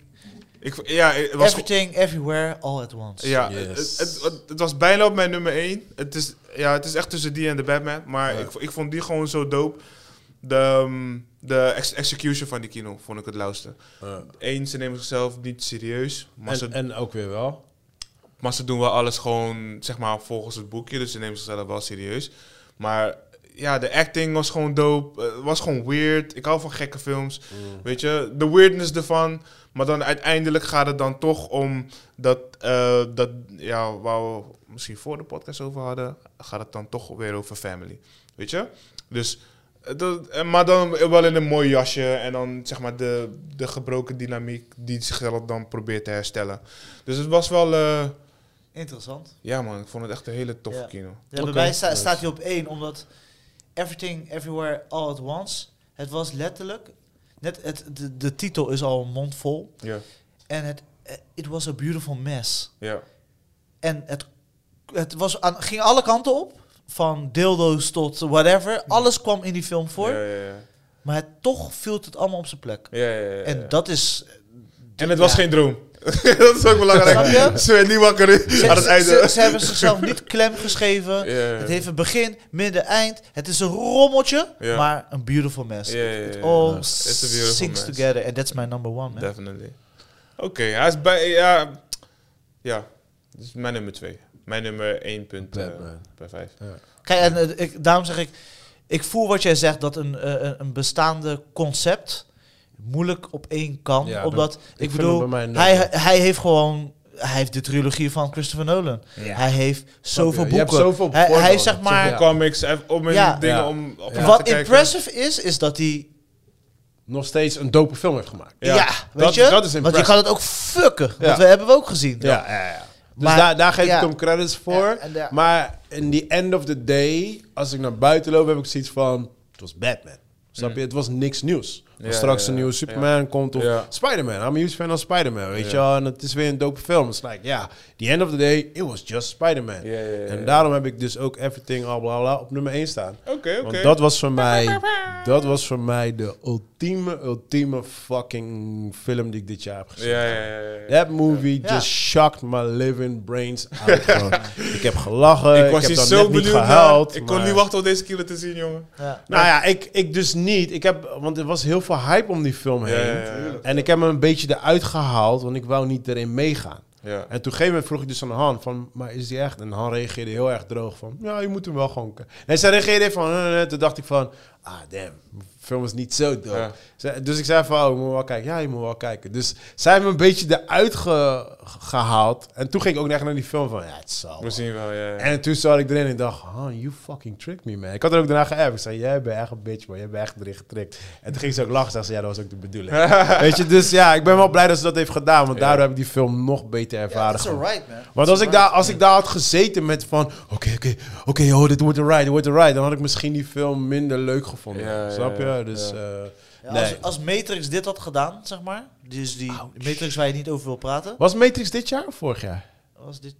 ik, ja, het was Everything, everywhere, all at once. Ja, Yes. het, het, het- het was bijna op mijn nummer 1. Het is, ja, het is echt tussen die en de Batman. Maar Ja. ik, ik vond die gewoon zo dope. De, ehm, de ex- execution van die kino vond ik het lauwste. Eén, ze nemen zichzelf niet serieus. Maar, ze, en, en ook weer wel. maar ze doen wel alles gewoon zeg maar, volgens het boekje. Dus ze nemen zichzelf wel serieus. Maar ja, de acting was gewoon dope. Het was gewoon weird. Ik hou van gekke films. Weet je, de weirdness ervan. Maar dan uiteindelijk gaat het dan toch om dat, eh, dat ja, waar we misschien voor de podcast over hadden, gaat het dan toch weer over family. Weet je? Dus, eh, dat, eh, maar dan wel in een mooi jasje en dan zeg maar de, de gebroken dynamiek die zichzelf dan probeert te herstellen. Dus het was wel, eh, Interessant. ja man, ik vond het echt een hele toffe Ja. kino. Ja, Oké. Bij mij sta- Nice. staat hij op één, omdat Everything, Everywhere, All at Once. Het was letterlijk, net het, de, de titel is al een mond vol. Ja, En het, eh, it was a beautiful mess. ja, En het, het was aan, ging alle kanten op, van dildo's tot whatever. Alles kwam in die film voor, Ja, ja, ja. maar het, toch viel het allemaal op zijn plek. Ja, ja, ja, ja. En dat is... En het was ja. geen droom. dat is ook belangrijk. Snap je? Ze werd niet wakker nu, aan het Ze, ze, einde. ze hebben zichzelf niet klem geschreven. Ja, ja, ja. Het heeft een begin, midden, eind. Het is een rommeltje, Ja. maar een beautiful mess. Ja, ja, ja, It ja. all It's a beautiful sings mess. together. And that's my number one, man. Definitely. Oké, hij is bij... Ja, ja, dat is mijn nummer 2. Mijn nummer 1 punt eh, Batman. bij 5. Kijk, en, eh, ik, daarom zeg ik... Ik voel wat jij zegt, dat een, eh, een- een bestaande concept moeilijk op één kan. Ja, omdat, ik, vind bedoel, hem bij mij een hij, nul. hij heeft gewoon... Hij heeft de trilogie van Christopher Nolan. Hij heeft zoveel je? Je boeken. hebt zoveel hij, hij is voorbeelden. zeg maar... Ja. Comics, eh, om in Ja. dingen Ja. om op Ja. na te Wat kijken. impressive is, is dat hij Nog steeds een dope film heeft gemaakt. Ja, Ja, weet dat- je? dat Want is je impressive. kan het ook fucken. Dat Ja. we, hebben we ook gezien. Ja, ja, ja. Dus Maar- daar, daar geef ja. ik hem credits voor. Ja, en daar- maar in the end of the day, als ik naar buiten loop, heb ik zoiets van... Het was Batman. Snap je? Het was niks nieuws. Als Ja, straks ja, een ja. nieuwe Superman komt of Ja. Spider-Man. I'm a huge fan of Spider-Man, weet Ja. je wel. En het is weer een dope film. It's like, ja, the end of the day, it was just Spider-Man. Ja, ja, ja, En ja. daarom heb ik dus ook Everything, al bla bla, op nummer 1 staan. Oké, oké. Want dat was voor mij, dat was voor mij de ultieme, ultieme fucking film die ik dit jaar heb gezien. Ja, ja, ja, ja, ja. That movie Ja. just shocked my living brains out. gewoon. ik heb gelachen, Ik was heb hier dan zo net niet benieuwd naar. gehuild. Ik kon maar- niet wachten om deze kilo te zien, jongen. Ja. Nou ja, ik, ik dus niet. Ik heb, want er was heel veel hype om die film heen. ja, ja, ja. En ik heb hem een beetje eruit gehaald, want ik wou niet erin meegaan. En Ja. toen op een gegeven moment vroeg ik dus aan Han van, maar is die echt? En Han reageerde heel erg droog van, ja, je moet hem wel gewoon... k- En zij reageerde van, eh, eh, toen dacht ik van, ah damn, de film is niet zo dope. Ja. Zij- Dus ik zei van, oh, ik moet wel kijken. Ja, je moet wel kijken. Dus zij hebben me een beetje eruit ge- gehaald. En toen ging ik ook echt naar die film van, ja, het zal wel. We zien wel, ja. ja. En toen zat ik erin en ik dacht, Han, you fucking tricked me, man. Ik had er ook daarna geappt. Ik zei, jij bent echt een bitch, man. Jij bent echt erin getrikt. En toen ging ze ook lachen. Zei ze, ja, dat was ook de bedoeling. Weet je, dus ja, ik ben wel blij dat ze dat heeft gedaan. Want Ja. daardoor heb ik die film nog beter ervaren. It's alright, man. Want als ik, daar, als ik daar had gezeten met van... Oké, oké, oké, oh, dit wordt een ride, dit wordt een ride. Dan had ik misschien die film minder leuk gevonden. Ja, ja, snap je? ja. Dus, eh Ja, nee. als, als Matrix dit had gedaan, zeg maar. Dus die Matrix waar je niet over wil praten. Was Matrix dit jaar of vorig jaar? Was dit...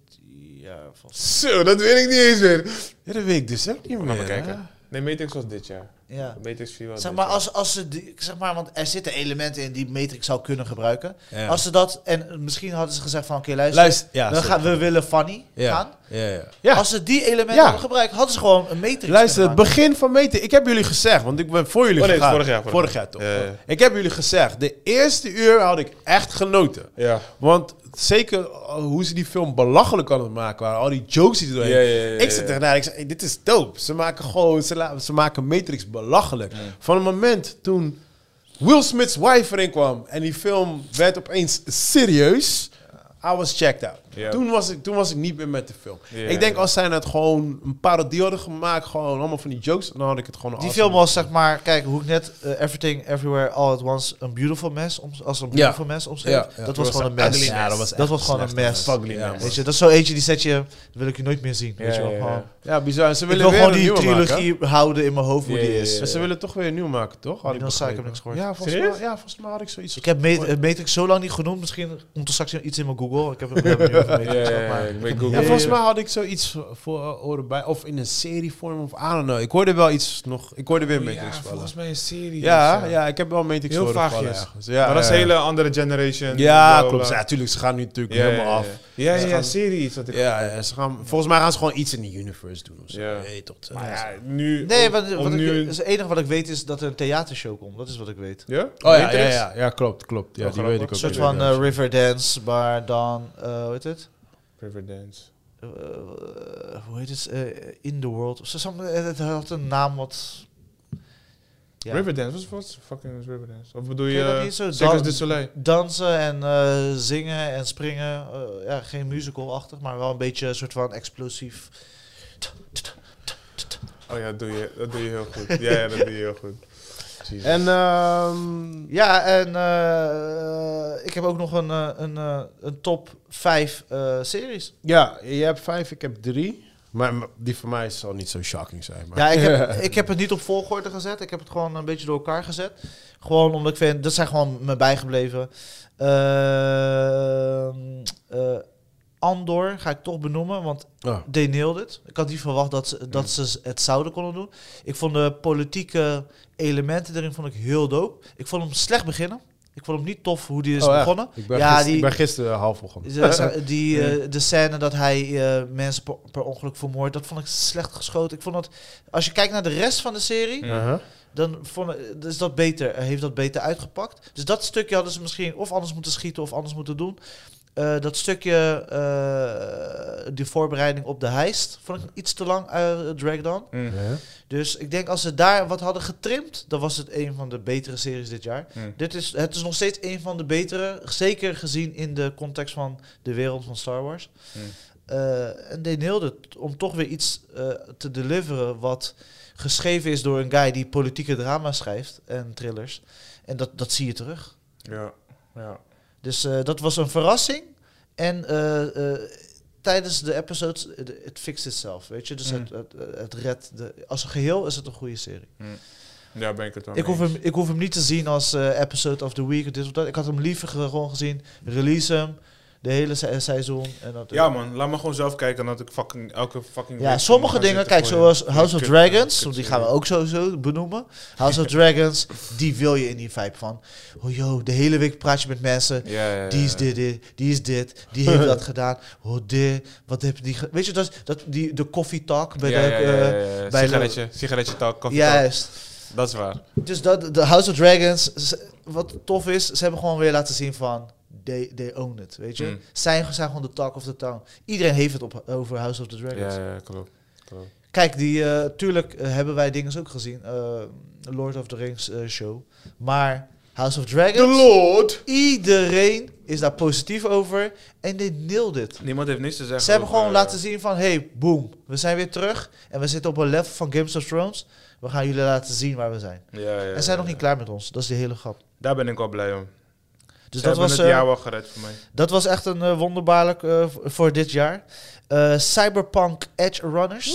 Ja, vast. Zo, dat weet ik niet eens meer. Ja, dat weet ik dus ook niet meer. Laten we hè? kijken. Nee, Matrix was dit jaar. Ja. Matrix 4 wel. Zeg een maar, beetje. als, als ze die, zeg maar, want er zitten elementen in die Matrix zou kunnen gebruiken. Ja. Als ze dat, en misschien hadden ze gezegd van, oké, luister, Luister, ja, we, sorry. gaan, we willen Fanny gaan. ja. ja, ja. ja. Als ze die elementen Ja. hadden gebruikt, hadden ze gewoon een Matrix Luister, het kunnen maken. begin van meten. Ik heb jullie gezegd, want ik ben voor jullie Oh, nee, gegaan. vorig jaar, vorig Vorig jaar. jaar toch? Oh. Ja, ja. Ik heb jullie gezegd, de eerste uur had ik echt genoten. Ja. Want zeker eh, hoe ze die film belachelijk aan het maken waren. Al die jokes die ze doorheen. Ja, ja, ja, ja, ik zit ja. ernaar, ik zeg, hey, dit is dope. Ze maken gewoon, ze, la- ze maken Matrix belachelijk. Van het moment toen Will Smith's wife erin kwam en die film werd opeens serieus. I was checked out. Ja. Toen, was ik, toen was ik niet meer met de film. Ja, ik denk ja. als zij het gewoon een parodie hadden gemaakt, gewoon allemaal van die jokes, dan had ik het gewoon Die awesome. film was, zeg maar, kijk, hoe ik net eh, Everything, Everywhere, All at Once, een beautiful mess, om, als een beautiful mess omschreef. Ja, ja. Dat Dat was was gewoon een een mes. ugly mess. Ja, dat was dat echt was gewoon een slecht. mes. Ugly Ja, mess. Weet je, dat is zo eentje die zet je, wil ik je nooit meer zien. Weet Ja, je wel, ja, gewoon. ja. Ja, bizar. En ze Ik wil willen weer gewoon een die nieuwe maken. trilogie houden in mijn hoofd hoe Ja, die ja, is. ja. En ze willen toch weer een nieuw maken, toch? Had Nee, dan zei ik, begrepen. heb niks gehoord. Ja, volgens Serieus? mij, ja, volgens mij had ik zoiets. Ik heb Ma- eh, Matrix zo lang niet genoemd. Misschien komt er straks iets in mijn Google. Ik heb ik ben benieuwd van Matrix, Ja, ja, zeg maar. ja, ik Ik ben heb- Google. Ja, Ja, volgens ja. mij had ik zoiets voor eh, oren bij. Of in een serievorm of I don't know. Ik hoorde wel iets nog. Ik hoorde weer Matrix ja, vallen. volgens mij een serie. Ja, ja, ik heb wel Matrix Heel horen vallen. vaagjes. ergens. Ja, maar dat is ja. een hele andere generation. Ja, bla, bla, klopt. bla. Ja, natuurlijk. Ze gaan nu natuurlijk Ja, helemaal ja, af. Ja, ja, Ze ja, gaan- serie is wat ik... Ja, ja, ze gaan, volgens mij gaan ze gewoon iets in de universe doen of zo. Ja. Nee, tot, eh, Maar ja, nu... Nee, om- wat, wat om ik, nu... het enige wat ik weet is dat er een theatershow komt. Dat is wat ik weet. Ja? Oh ja, ja, Matrix? ja, ja, klopt, klopt. Ja, Wel die grappig. weet ik ook. Een soort weer. van eh, Riverdance, maar dan... eh, hoe heet het? Riverdance. Eh, hoe heet het? Eh, in the World. Of zo, some- eh, het had een naam wat... Ja. Riverdance, wat- wat fucking is Riverdance? Of bedoel Ken je dat je niet zo? Circus Dan- du Soleil? Dansen en eh, zingen en springen. Eh, ja, geen musical-achtig, maar wel een beetje een soort van explosief. Oh ja, dat doe je, dat doe je heel goed. Ja, ja, dat doe je heel goed. Jezus. En ehm, Ja, en eh, ik heb ook nog een, eh, een, eh, een top 5 eh, series. ja, je hebt vijf, ik heb drie. Maar maar die voor mij zal niet zo shocking zijn. Maar. Ja, ik heb, ik heb het niet op volgorde gezet. Ik heb het gewoon een beetje door elkaar gezet. Gewoon omdat ik vind, dat zijn gewoon me bijgebleven. Ehm, eh, Andor ga ik toch benoemen, want Oh, they nailed it. Ik had niet verwacht dat ze, dat ze het zouden konden doen. Ik vond de politieke elementen erin vond ik heel dope. Ik vond hem slecht beginnen. Ik vond hem niet tof hoe die is Oh, echt? begonnen. Ik ben, Ja, gister- die- ik ben gisteren half begonnen. De, die, eh, de scène dat hij eh, mensen per, per ongeluk vermoordt, dat vond ik slecht geschoten. Ik vond dat, als je kijkt naar de rest van de serie, Ja. Uh-huh. dan vond, ik- is dat beter, heeft dat beter uitgepakt. Dus dat stukje hadden ze misschien of anders moeten schieten of anders moeten doen. Eh, dat stukje, eh, die voorbereiding op de heist, vond ik iets te lang eh dragged on. Mm. Ja. Dus ik denk als ze daar wat hadden getrimd, dan was het een van de betere series dit jaar. Mm. Dit is, het is nog steeds een van de betere, zeker gezien in de context van de wereld van Star Wars. Mm. Eh, en they nailed it om toch weer iets eh, te deliveren wat geschreven is door een guy die politieke drama schrijft en thrillers. En dat, dat zie je terug. Ja, ja. Dus eh, dat was een verrassing. En eh, eh, tijdens de episodes, eh, de- het fixt itself, weet je. Dus Mm. het, het, het redt, de, als geheel is het een goede serie. Mhm. Ja, ben ik het wel Ik mee hoef, hem, ik hoef hem niet te zien als eh, episode of the week, of dit of dat. Ik had hem liever ge- gewoon gezien, release hem, de hele se- seizoen. En dat, Ja man, laat me gewoon zelf kijken dat ik fucking elke fucking... Ja, week sommige ga dingen, zitten kijk, voor je. zoals Die House of kut- Dragons, kut want die gaan we serie. ook sowieso benoemen. House of Dragons, die wil je in die vibe van. Oh joh, de hele week praat je met mensen. Ja, ja, ja. Die is dit, dit, die is dit, die heeft dat gedaan. Oh dit, wat heb je die... ge- Weet je, dat, is- dat, die, de coffee talk bij Ja, de... ja, ja, ja, eh, ja. bij de- Sigaretje, sigaretje talk, koffie talk. Juist. Dat is waar. Dus dat, de House of Dragons, ze- wat tof is, ze hebben gewoon weer laten zien van, they, they own it, weet je. Mm. Zij zijn gewoon de talk of the town. Iedereen heeft het op, over House of the Dragons. Ja, ja, klopt. klopt. Kijk, die, eh, tuurlijk eh, hebben wij dingen ook gezien, eh, Lord of the Rings eh, show. Maar House of Dragons, Lord! iedereen is daar positief over en they nailed it. Niemand heeft niks te zeggen. Ze hebben over, gewoon eh, laten zien van, hey, boom, we zijn weer terug en we zitten op een level van Games of Thrones. We gaan jullie laten zien waar we zijn. Ja, ja, ja, En zijn nog ja. niet klaar met ons, dat is de hele grap. Daar ben ik wel blij om. Dus Ze dat hebben was, het eh, jaar wel gered voor mij. dat was echt een eh, wonderbaarlijk eh, v- voor dit jaar. Eh, Cyberpunk Edge Runners.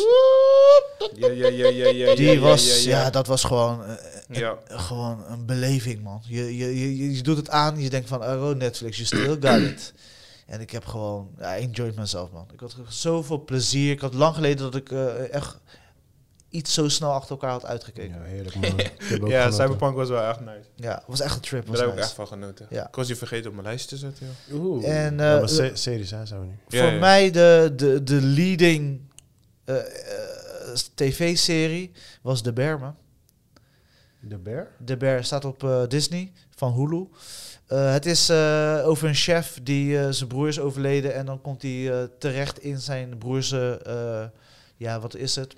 Ja, ja, ja, ja, ja. ja, Die ja, was, ja, ja, dat was gewoon, eh, Ja. gewoon een beleving, man. Je, je, je, je doet het aan, je denkt van, oh, Netflix, you still got it. En ik heb gewoon, ja, I enjoyed myself, man. Ik had zoveel plezier. Ik had lang geleden dat ik eh, echt iets zo snel achter elkaar had uitgekeken. Ja, heerlijk man. Ik heb ook Ja, genoten. Cyberpunk was wel echt nice. Ja, was echt een trip. Daar Was heb ik nice. echt van genoten. Ja. Ik was die vergeten op mijn lijstje te zetten, joh. Oeh. En, eh, ja, maar se- series hè, zijn we nu. Ja, voor ja. mij de, de, de leading eh, eh, tv-serie was The Bear, man. De Bear? The Bear staat op eh, Disney van Hulu. Eh, het is eh, over een chef die eh, zijn broer is overleden en dan komt hij eh, terecht in zijn broers, eh, ja, wat is het?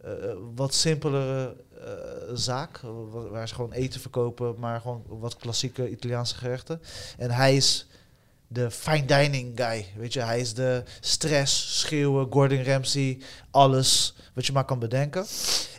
Eh, wat simpelere eh, zaak, eh, wa- waar ze gewoon eten verkopen, maar gewoon wat klassieke Italiaanse gerechten. En hij is de fine dining guy, weet je, hij is de stress, schreeuwen, Gordon Ramsay, alles wat je maar kan bedenken.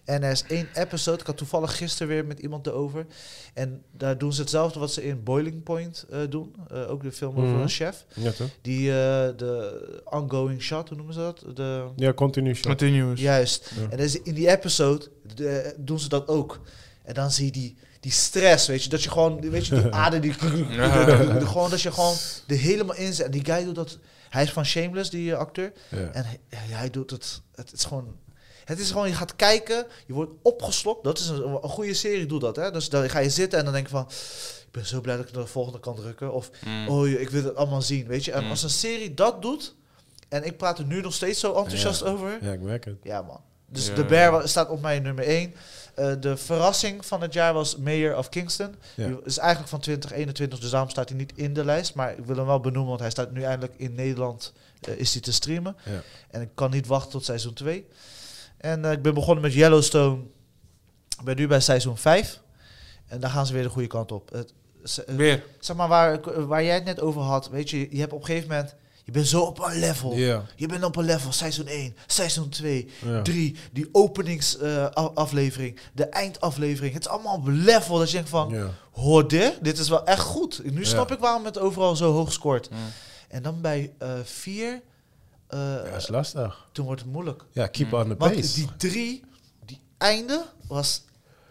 En er is één episode, ik had toevallig gisteren weer met iemand erover. En daar doen ze hetzelfde wat ze in Boiling Point eh, doen. Eh, ook de film over Mhm. een chef. Ja toch? Die eh, de ongoing shot, hoe noemen ze dat? De, Ja, continu shot. Continuous. Juist. Ja. En dus in die episode de- doen ze dat ook. En dan zie je die, die stress, weet je. Dat je gewoon, weet je, die ader die... gewoon dat je gewoon er helemaal in zit. En die guy doet dat... Hij is van Shameless, die eh, acteur. Ja. En hij, hij doet het. Het is gewoon. Het is gewoon, je gaat kijken, je wordt opgeslokt. Dat is een, een goede serie, doe dat. Hè? Dus dan ga je zitten en dan denk je van... Ik ben zo blij dat ik naar de volgende kan drukken. Of, Mm. oh, ik wil het allemaal zien, weet je. En Mm. als een serie dat doet... En ik praat er nu nog steeds zo enthousiast over. Ja, ik merk het. Ja, man. Dus Ja. de Bear wa- staat op mijn nummer 1. de verrassing van het jaar was Mayor of Kingston. Ja. Die is eigenlijk van 2021, dus daarom staat hij niet in de lijst. Maar ik wil hem wel benoemen, want hij staat nu eindelijk in Nederland eh, is hij te streamen. Ja. En ik kan niet wachten tot seizoen 2. En eh, ik ben begonnen met Yellowstone. Ik ben nu bij seizoen 5. En daar gaan ze weer de goede kant op. Het, ze- eh, Weer. zeg maar waar, eh, waar jij het net over had. Weet je, je hebt op een gegeven moment... Je bent zo op een level. Ja. Je bent op een level. Seizoen 1, seizoen 2, Ja. 3, die openingsaflevering, de eindaflevering. Het is allemaal op een level dat je denkt van, Ja. hoor dit, dit is wel echt goed. Nu Ja. snap ik waarom het overal zo hoog scoort. Mm. En dan bij 4, Ja, is lastig. toen wordt het moeilijk. Ja, keep on the Want pace. Eh, die drie, die einde was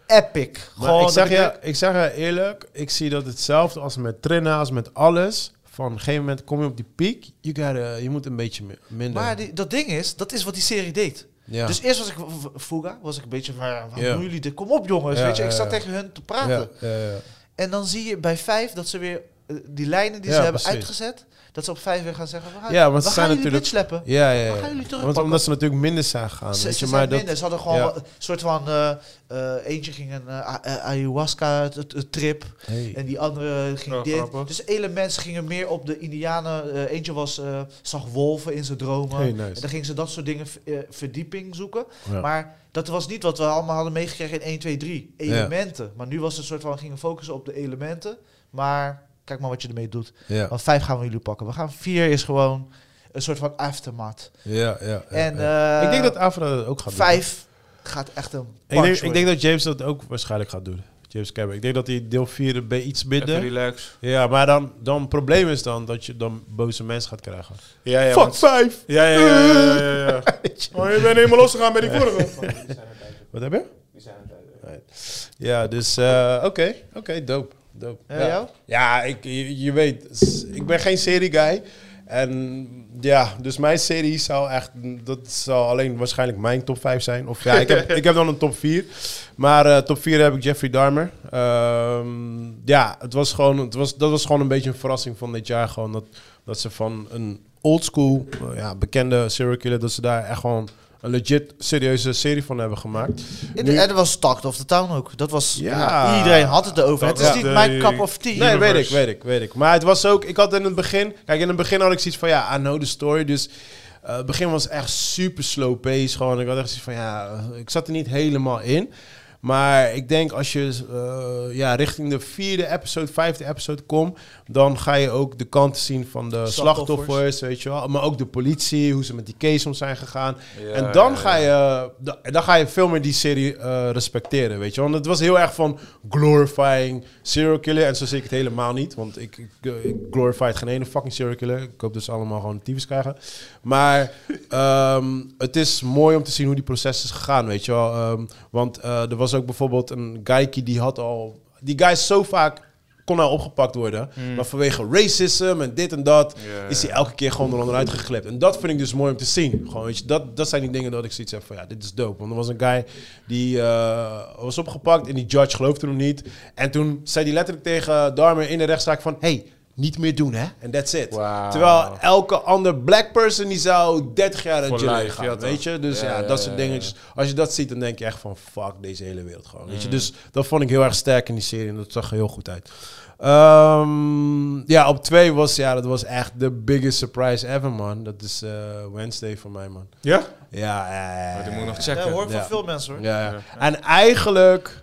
epic. Maar ik, dat zeg ik je, denk, ik zeg je eerlijk, ik zie dat hetzelfde als met trainen, als met alles. Van een gegeven moment kom je op die piek, you gotta, je moet een beetje mi- minder. Maar die, dat ding is, dat is wat die serie deed. ja. Dus eerst was ik, v- v- Fuga, was ik een beetje van, waar waar Ja. doen jullie dit? Kom op jongens, Ja, weet je. Ik ja, zat ja. tegen hun te ja, praten. ja, ja. En dan zie je bij vijf dat ze weer eh, die lijnen die Ja, ze hebben precies. uitgezet, dat ze op vijf weer gaan zeggen: we gaan, Ja, want we ze gaan zijn jullie natuurlijk- sleppen. ja, ja, ja. Waar gaan jullie terug Want pakken? omdat ze natuurlijk minder zijn gaan. Ze, weet ze je, zijn maar dat, minder. Ze hadden gewoon ja. wel een soort van eh, eh, eentje ging een eh, a- eh, ayahuasca t- t- trip Hey. en die andere ging Oh, dit. grappig. Dus hele mensen gingen meer op de Indianen. eh, eentje was eh, zag wolven in zijn dromen. Hey, En nice. dan gingen ze dat soort dingen v- eh, verdieping zoeken. Ja. Maar dat was niet wat we allemaal hadden meegekregen in 1, 2, 3. Elementen. Maar nu was het soort van, we gingen focussen op de elementen. Maar kijk maar wat je ermee doet. ja, Want vijf gaan we jullie pakken. We gaan vier is gewoon een soort van aftermath. ja, ja, ja, en ja. eh, ik denk dat Afra dat ook gaat vijf gaat echt een doen. Ik denk, punch ik denk worden. dat James dat ook waarschijnlijk gaat doen. James Cameron. Ik denk dat hij deel 4 bij iets Even minder. relax. Ja, maar dan, dan het probleem is dan dat je dan boze mensen gaat krijgen. Ja, ja, Fuck want- 5! ja, ja, ja, ja, ja, ja, ja. Oh, je bent helemaal losgegaan bij die vorige. Wat heb je? Right. Ja, dus eh, oké, oké, dope. dope. Ja, jou? ja ik, je, je weet, s- ik ben geen serieguy. En ja, dus mijn serie zou echt, dat zal alleen waarschijnlijk mijn top 5 zijn. Of ja, ik heb, ik heb dan een top 4. Maar eh, top 4 heb ik Jeffrey Dahmer. Ehm, ja, het was gewoon, het was, dat was gewoon een beetje een verrassing van dit jaar. Gewoon dat, dat ze van een oldschool, eh, ja, bekende serial killer, dat ze daar echt gewoon een legit serieuze serie van hebben gemaakt. En Nu- en dat was Talk of the Town ook. Dat was, Ja. iedereen had het erover. Talk Het is of niet the- mijn cup of tea. Nee, weet ik, Universe. weet ik, weet ik. Maar het was ook, ik had in het begin, kijk, in het begin had ik zoiets van, ja, I know the story. Dus eh, het begin was echt super slow pace. Gewoon, ik had echt zoiets van, ja, eh, ik zat er niet helemaal in. Maar ik denk als je eh, ja, richting de vierde episode, vijfde episode komt, dan ga je ook de kanten zien van de Slachtoffers. slachtoffers, weet je wel. Maar ook de politie, hoe ze met die case om zijn gegaan en dan ga, je, da- dan ga je veel meer die serie eh, respecteren, weet je. Want het was heel erg van glorifying serial killer. En zo zie ik het helemaal niet. Want ik, ik, eh, ik glorified geen ene fucking serial killer. Ik hoop dat ze allemaal gewoon tyfus krijgen. Maar ehm, het is mooi om te zien hoe die proces is gegaan, weet je wel. Ehm, want eh, er was ook bijvoorbeeld een guykie die had al... Die guy is zo vaak kon nou opgepakt worden. Maar vanwege racisme en dit en dat Hmm. Ja, is hij ja. elke keer gewoon eronder uitgeklept. En dat vind ik dus mooi om te zien. Gewoon, weet je, dat, dat zijn die dingen dat ik zoiets heb van ja, dit is dope. Want er was een guy die eh, was opgepakt en die judge geloofde hem niet. En toen zei hij letterlijk tegen Darmer in de rechtszaak van hey, niet meer doen hè. En that's it. Wauw. Terwijl elke andere black person die zou 30 jaar Voor uit jail life, ja, gaan. toch? Weet je, dus ja, Ja, ja, dat ja, soort ja. dingetjes. Als je dat ziet, dan denk je echt van fuck deze hele wereld gewoon. Weet Mm. je? Dus dat vond ik heel erg sterk in die serie en dat zag er heel goed uit. Ehm, ja, op twee was, ja, dat was echt de biggest surprise ever, man. Dat is eh, Wednesday voor mij, man. Ja? Ja, ja, ja, Maar Oh, die ja, moet ik nog ja. checken. Ja, hoor ik Ja. van veel mensen hoor. Ja, ja. En eigenlijk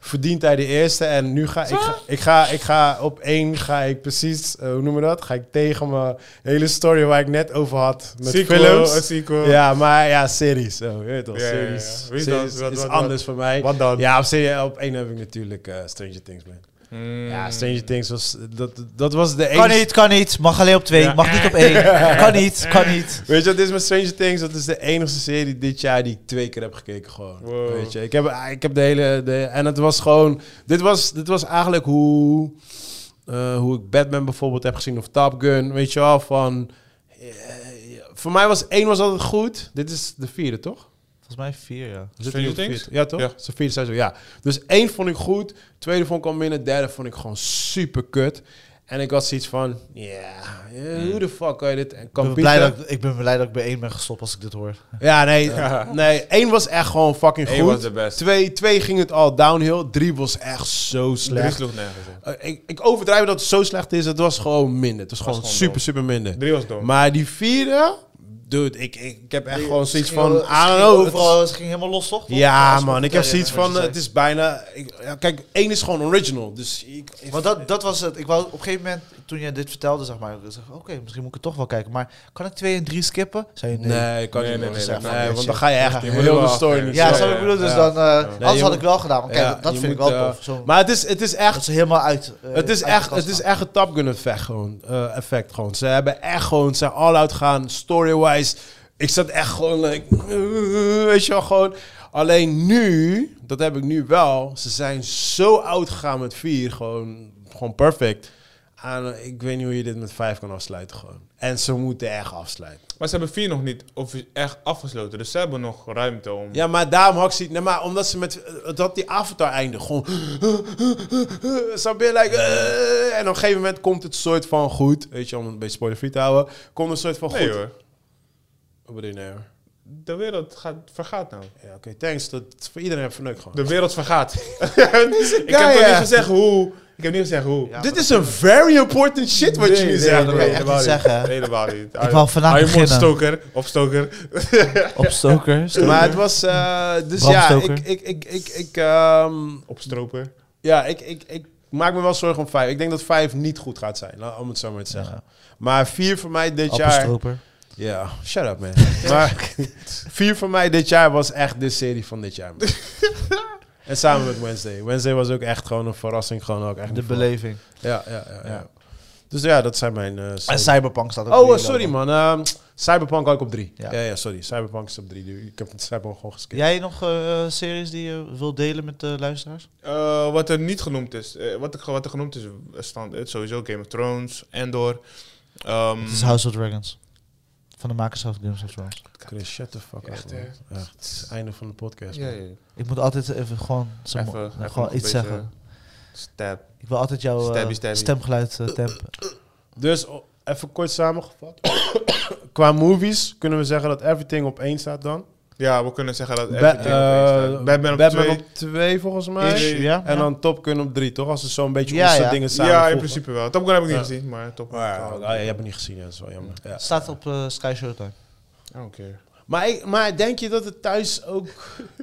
verdient hij de eerste en nu ga ik, ga, ik, ga, ik ga op één, ga ik precies, eh, hoe noemen we dat? Ga ik tegen mijn hele story waar ik net over had met Sequel, een films. sequel. Ja, maar ja, series. Oh, je weet toch, Ja, ja, ja. series, Wie series is dat? Wat- is wat- wat? anders voor mij. Wat dan? Ja, op, serie, op één heb ik natuurlijk eh, Stranger Things, man. Mm. Ja, Stranger Things was, dat, dat was de Kan enige... niet, kan niet. Mag alleen op twee. Ja. Mag niet op één. kan niet, kan niet. Weet je, wat dit is met Stranger Things. Dat is de enige serie dit jaar die ik twee keer heb gekeken. Gewoon. Wow. Weet je, ik heb, ah, ik heb de hele. De, en het was gewoon. Dit was, dit was eigenlijk hoe. eh, hoe ik Batman bijvoorbeeld heb gezien of Top Gun. Weet je wel, van. eh, voor mij was één was altijd goed. Dit is de vierde, toch? Volgens mij vier, ja. Is dit Stranger de Things? vierde? Ja, toch? Ja. Zo vierde seizoen, ja. Dus één vond ik goed. Tweede vond ik al minder. Derde vond ik gewoon super kut. En ik had zoiets van, ja, eh, Hmm. hoe de fuck kan je dit... en Ik kan ben, Pieter- blij dat ik, ik ben blij dat ik bij één ben gestopt als ik dit hoor. Ja, nee. Nee, één was echt gewoon fucking Eén goed. was de beste. Twee, twee ging het al downhill. Drie was echt zo Drie slecht. sloeg nergens op. Eh, ik, ik overdrijf dat het zo slecht is. Het was gewoon minder. Het was, gewoon, gewoon super, dom. super minder. Drie was dom. Maar die vierde... Dude, ik, ik, ik heb echt gewoon zoiets van... I Ze don't ging know. het- Overal, ze ging helemaal los, toch? ja, Als je man. Ik heb vertelde, zoiets wat je van... eh, zei. Het is bijna... ik- ja, kijk, één is gewoon original. Dus ik... ik- Want dat, dat was het. Ik wou op een gegeven moment, toen jij dit vertelde, zeg maar, ik zeg, oké, misschien moet ik het toch wel kijken. Maar kan ik twee en drie skippen? Zei je nee. nee, ik kan Nee, niet nee, man. nee, Nee, nee, nee, want dan ga je echt shit. Je moet heel wel de story afkijken. niet Ja, Zo, snap je ja, wat ik bedoel? Dus dan, ja. eh, Nee, je anders had moet- ik wel gedaan. Maar kijk, Ja, dat, dat je vind ik moet, wel eh, tof. Zo, Maar het is, het is echt... dat ze helemaal uit eh, Het is, uit de echt, kast het is gaan. echt een Top Gun effect gewoon, eh, effect gewoon. Ze hebben echt gewoon, ze zijn all-out gaan, story-wise. Ik zat echt gewoon, like, eh, weet je wel, gewoon. Alleen nu, dat heb ik nu wel, ze zijn zo oud gegaan met vier, gewoon, gewoon perfect. En eh, ik weet niet hoe je dit met vijf kan afsluiten gewoon. En ze moeten echt afsluiten. Maar ze hebben vier nog niet offici- echt afgesloten. Dus ze hebben nog ruimte om... Ja, maar daarom had ik zoiets- nee, maar omdat ze met, dat die avatar einde gewoon, Snap je? Like, eh, en op een gegeven moment komt het soort van goed. Weet je, om het een beetje spoiler-free te houden. Komt een soort van nee goed. hoor. Wat bedoel je nee hoor? De wereld gaat, vergaat nou. Ja, oké, thanks. Dat is voor iedereen verneukt gewoon. De wereld vergaat. ik heb guy, toch hè? niet gezegd hoe. Ik heb niet gezegd hoe. Ja. Dit is een very important shit wat Nee, je nu nee, zegt. dat bro. kan je echt niet zeggen, hè? Nee, helemaal niet. Ik wou vandaag Hou je mond, beginnen. stoker. Of stoker. Op stokers. Maar het was... eh, dus Bram ja, Stoker. ik... ik, ik, ik, ik ehm, Op stroper. ja, ik, ik, ik maak me wel zorgen om vijf. Ik denk dat vijf niet goed gaat zijn. laat- Om het zo maar te zeggen. Maar vier voor mij dit jaar... Appelstroper. Ja, shut up man. maar vier van mij dit jaar was echt de serie van dit jaar. man. en samen met Wednesday. Wednesday was ook echt gewoon een verrassing. Gewoon ook echt De niet voor- beleving. Ja, ja, ja, ja. Ja. Dus ja, dat zijn mijn... eh, En series. Cyberpunk staat ook oh, weer eh, sorry lopen. man. Ehm, Cyberpunk had ik op drie. Ja. Ja. Ja, sorry. Cyberpunk is op drie. nu. Ik heb het Cyberpunk gewoon geskipt. Jij nog eh, series die je wilt delen met de luisteraars? Eh, wat er niet genoemd is. eh, wat, er, ge- wat er genoemd is. eh, Stand, eh, sowieso Game of Thrones. Endor. Ehm, Het is House of Dragons. Van de makers van Games of Thrones. Chris, shut the fuck Echt, up. hè? man. Echt. Het is het einde van de podcast. ja, man. ja, ja. Ik moet altijd even gewoon, zo- Even, nou, even nog gewoon een iets beetje zeggen. Stab. Ik wil altijd jouw eh, Stabby, stabby. stemgeluid eh, tempen. Dus o- even kort samengevat. Qua movies kunnen we zeggen dat Everything op één staat dan. Ja, we kunnen zeggen dat. Ba- everything op eh, één staat. Batman op Batman twee. op twee, volgens mij. Ish, Ish, ja, En ja. dan Top Gun op drie, toch? Als ze zo'n beetje Ja, onze ja. dingen samen Ja, in principe wel. Top Gun heb ik niet Ja. gezien, maar Top Gun. Maar, oh, ja, je hebt het niet gezien, ja, dat is wel jammer. Ja. Staat op eh, Sky Showtime. Oké. Maar, ik- maar denk je dat het thuis ook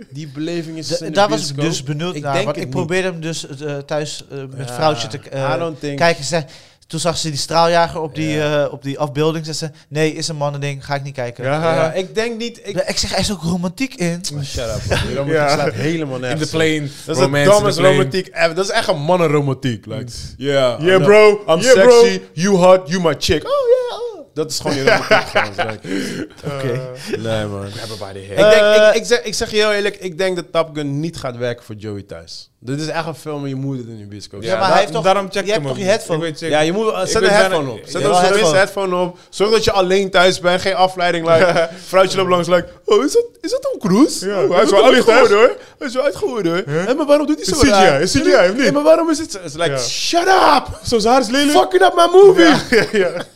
die beleving is? Da- in de daar was ik bioscoop? dus benieuwd Ik naar. denk Want het ik probeerde hem dus eh, thuis eh, met Ja, vrouwtje te eh, I don't think- kijken. Ze zei- toen zag ze die straaljager op die, Ja. eh, op die afbeelding. Ze zei, nee, is een mannending, ga ik niet kijken. Ja. Ja, ik denk niet. Ik, Ik, ik zeg, er is ook romantiek in. Oh, shut up. man. Die romantiek Ja. slaat helemaal nergens. op. plane. Dat is de dumbest romantiek ever. Dat is echt een mannenromantiek. Like, Mm. yeah, Yeah, I'm- bro. I'm Yeah, bro. sexy. You hot. You my chick. Oh yeah. oh. Dat is gewoon die romantiek. gewoon. Like, Oké. nee man. Eh. Everybody Ik, denk, ik, ik, zeg, ik zeg je heel eerlijk, ik denk dat Top Gun niet gaat werken voor Joey thuis. Dit is echt een film en je moet het in je bioscoop Ja, zien. maar hij heeft toch- daarom check je hebt toch je headphone? Ja, je moet, eh, Ik zet ben een headphone bijna- op. Ja, Zet wel een headphone. headphone. headphone op. Zorg dat je alleen thuis bent. Geen afleiding. Like, vrouwtje loopt langs. Like, oh, is dat, is dat Tom Cruise? Ja, Oh, hij is wel uitgehoord hoor. Hij is wel uitgehoord hoor. Hé, maar waarom doet hij Is zo CGI, raar? is CGI of niet? Hé, maar waarom is het zo? It's like, Ja. shut up. Zo'n haar is lelijk. Fucking up my movie.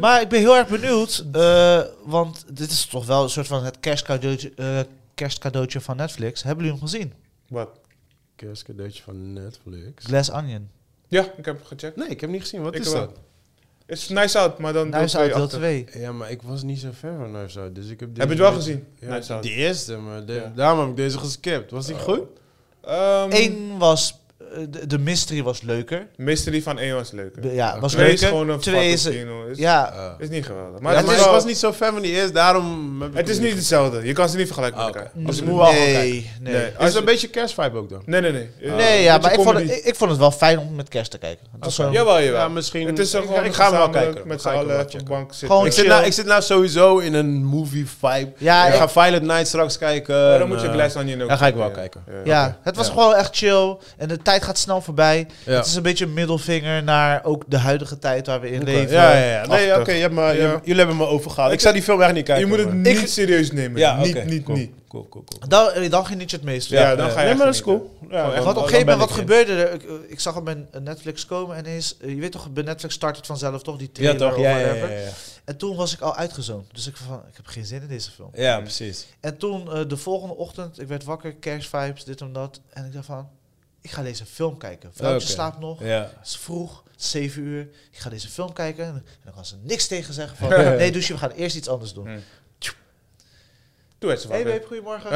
Maar ik ben heel erg benieuwd, eh, want dit is toch wel een soort van het kerstcadeautje, eh, kerstcadeautje van Netflix. Hebben jullie hem gezien? Wat? Kerstcadeautje van Netflix. Glass Onion. Ja, ik heb gecheckt. Nee, ik heb niet gezien. Wat Ik is wel. dat? Is Nice Out, maar dan Nice Out deel achter. 2. Ja, maar ik was niet zo fan van Knives Out, dus ik heb... Heb je deze het wel beetje- gezien? Ja, Knives Out. de eerste, maar de- Ja. daarom heb ik deze geskipt. Was die goed? Ehm, Eén was, eh, de, de mystery was leuker. Mystery van één was leuker. De- ja, was Twee is leuker. gewoon een Twee is, Fatofino. Is, ja, Ja, is niet geweldig. Maar Maar het, is ik wel- was niet zo fan van die eerste, daarom... heb ik het is hem niet hetzelfde. Je kan ze niet vergelijken Ah, met oké. elkaar. Dus ik nee, moet wel gewoon kijken. nee, nee. Nee. Is Als het je- een beetje kerstvibe ook dan? Nee, nee, nee. Eh, Nee, ja, beetje maar ik vond, het, comedy. ik, ik vond het wel fijn om met kerst te kijken. Het was gewoon- Jawel, jawel. Ja, misschien... het is ik, er gewoon ik ga hem wel gezamenlijk kijken. Met z'n Ga ik hem wel allen op de checken. bank zitten. Gewoon Ik zit, chill. nou, ik zit nou sowieso in een movie vibe. Ja, ik ja. ga Violet Night straks kijken. Ja, dan en, moet je eh, Glass Onion ook dan ga ik wel ja. kijken. ja, het was Ja. gewoon echt chill. En de tijd gaat snel voorbij. Ja. Het is een beetje een middelvinger naar ook de huidige tijd waar we in leven. Ja, ja, ja. Nee, Achtig. oké, je hebt me- je Ja. hebt- jullie hebben me overgehaald. Ik Ik- zou die film echt niet kijken. Je moet het maar- niet serieus nemen. Ja, niet, oké, niet, cool. niet. Cool, cool, cool. Dan, eh, dan geniet je het meest. Ja, dan ga je Nee, echt maar dat is genieten. cool. Ja, Want dan- Want op dan een gegeven ben moment, wat ik in. gebeurde er? Ik, eh, ik zag op mijn eh, Netflix komen en eens, eh, je weet toch, bij Netflix start het vanzelf toch, die Ja, trailer toch? of Ja, ja, whatever. ja, ja. En toen was ik al uitgezoomd. Dus ik van, ik heb geen zin in deze film. Ja, precies. En toen eh, de volgende ochtend, ik werd wakker, kerstvibes, dit en dat. En ik dacht van, ik ga deze film kijken. Vrouwtje Oké. slaapt nog. Ja. Het is vroeg, het is 7 uur. Ik ga deze film kijken. En dan kan ze niks tegen zeggen van... nee, douche, we gaan eerst iets anders doen. Hmm. Doe het zo Hey wel. babe, goedemorgen.